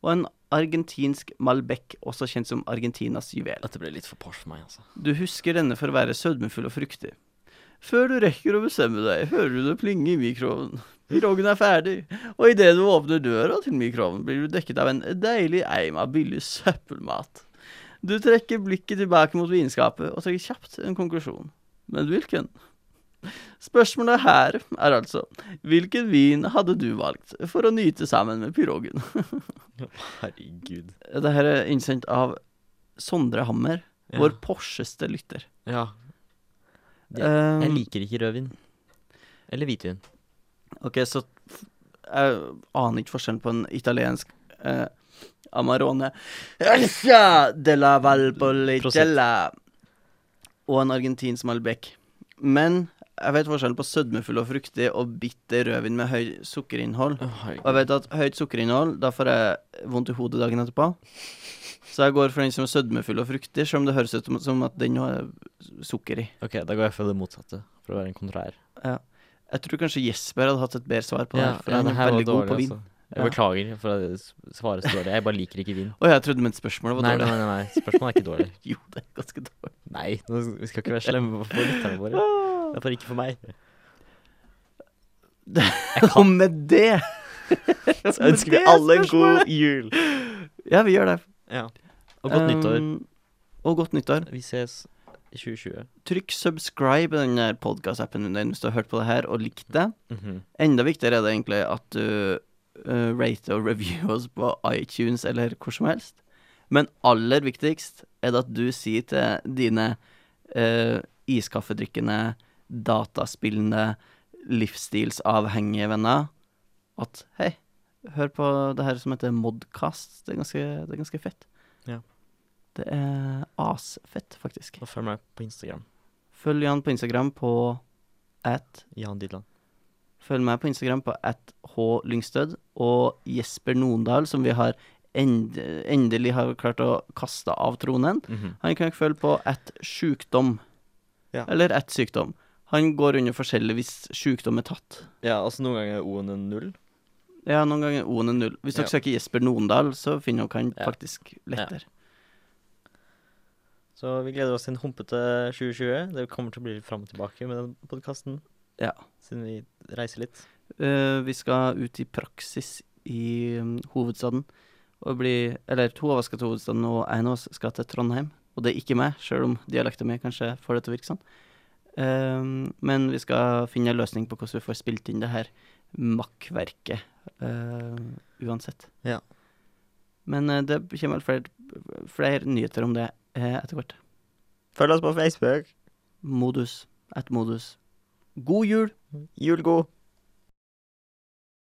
Speaker 2: og en argentinsk Malbec, også kjent som Argentinas juvel.
Speaker 3: Dette ble litt for pors for meg, altså.
Speaker 2: Du husker denne for å være sødmefull og fruktig. Før du rekker å bestemme deg, hører du det plinge i mikroovnen. Piroggen er ferdig, og idet du åpner døra til mikroovnen, blir du dekket av en deilig eim av billig søppelmat. Du trekker blikket tilbake mot vinskapet og trekker kjapt en konklusjon. Men hvilken? Spørsmålet her er altså hvilken vin hadde du valgt for å nyte sammen med piroggen?
Speaker 3: <laughs> Herregud.
Speaker 2: Dette er innsendt av Sondre Hammer,
Speaker 3: Ja.
Speaker 2: vår Porseste lytter.
Speaker 3: Ja. Det-
Speaker 2: Um,
Speaker 3: Jeg liker ikke rødvin. Eller hvitvin.
Speaker 2: Ok, så f- jeg aner ikke forskjellen på en italiensk eh, Amarone Elsa de la Valpolicella og en argentinsk Malbec. Men jeg vet forskjellen på sødmefull og fruktig og bitter rødvin med høy sukkerinnhold. Og jeg vet at høyt sukkerinnhold, da får jeg vondt i hodet dagen etterpå. Så jeg går for den som er sødmefull og fruktig, selv om det høres ut som- som at den har sukker i.
Speaker 3: Ok, da går jeg for det motsatte, for å være en kontrær.
Speaker 2: Ja. Jeg tror kanskje Jesper hadde hatt et bedre svar på det, her, for
Speaker 3: ja,
Speaker 2: han
Speaker 3: det
Speaker 2: er
Speaker 3: her var
Speaker 2: veldig god på
Speaker 3: dårlig,
Speaker 2: vin.
Speaker 3: altså.
Speaker 2: Ja.
Speaker 3: Jeg beklager for at det svaret står dårlig. Jeg bare liker ikke vin.
Speaker 2: Å, jeg trodde ment spørsmålet var
Speaker 3: Nei, nei,
Speaker 2: dårlig.
Speaker 3: nei, nei, spørsmålet er ikke dårlig.
Speaker 2: <laughs> Jo, det er ganske dårlig.
Speaker 3: Nei, nå s- vi skal ikke være slemme for lytterne våre. I hvert fall ikke for meg.
Speaker 2: Og med det
Speaker 3: <laughs> Så ønsker vi alle en god jul.
Speaker 2: Ja, vi gjør det.
Speaker 3: Ja. Og godt nyttår.
Speaker 2: Um, Og godt nyttår.
Speaker 3: Vi ses i 2020.
Speaker 2: Trykk 'subscribe' i den der podkastappen din hvis du har hørt på det her og likt det.
Speaker 3: Mhm.
Speaker 2: Enda viktigere er det egentlig at du uh, rater og reviewer <laughs> oss på iTunes eller hvor som helst. Men aller viktigst er det at du sier til dine uh, iskaffedrikkende, dataspillende, livsstilsavhengige venner at hei, hør på det her som heter Modcast. Det er ganske, det er ganske fett.
Speaker 3: Ja.
Speaker 2: Det er asfett, faktisk.
Speaker 3: Og følg meg på Instagram.
Speaker 2: Følg Jan på Instagram på at
Speaker 3: Jan Didland.
Speaker 2: Følg meg på Instagram på athlingstød og Jesper Nondal, som vi har end endelig har klart å kaste av tronen.
Speaker 3: Mhm.
Speaker 2: Han kan dere følge på at sjukdom,
Speaker 3: Ja.
Speaker 2: eller at sykdom. Han går under forskjellig hvis sjukdom er tatt.
Speaker 3: Ja, altså noen ganger er O-en en null.
Speaker 2: Ja, noen ganger O-en er null. Hvis dere
Speaker 3: Ja.
Speaker 2: søker Jesper Nondal, så finner dere han
Speaker 3: Ja.
Speaker 2: faktisk lettere.
Speaker 3: Så vi gleder oss til en humpete 2020. Det kommer til å bli litt fram og tilbake med den podkasten.
Speaker 2: Ja.
Speaker 3: Siden vi reiser litt.
Speaker 2: Eh, vi skal ut i praksis i mm, hovedstaden. Og bli, eller to av oss skal til hovedstaden, og en av oss skal til Trondheim. Og det er ikke meg, sjøl om dialekten min kanskje får det til å virke sånn. Eh, men vi skal finne en løsning på hvordan vi får spilt inn det her makkverket eh, uansett.
Speaker 3: Ja.
Speaker 2: Men eh, det kommer vel flere, flere nyheter om det eh, etter hvert.
Speaker 3: Følg oss på Facebook.
Speaker 2: Modus. Et modus. God jul!
Speaker 3: Jul god.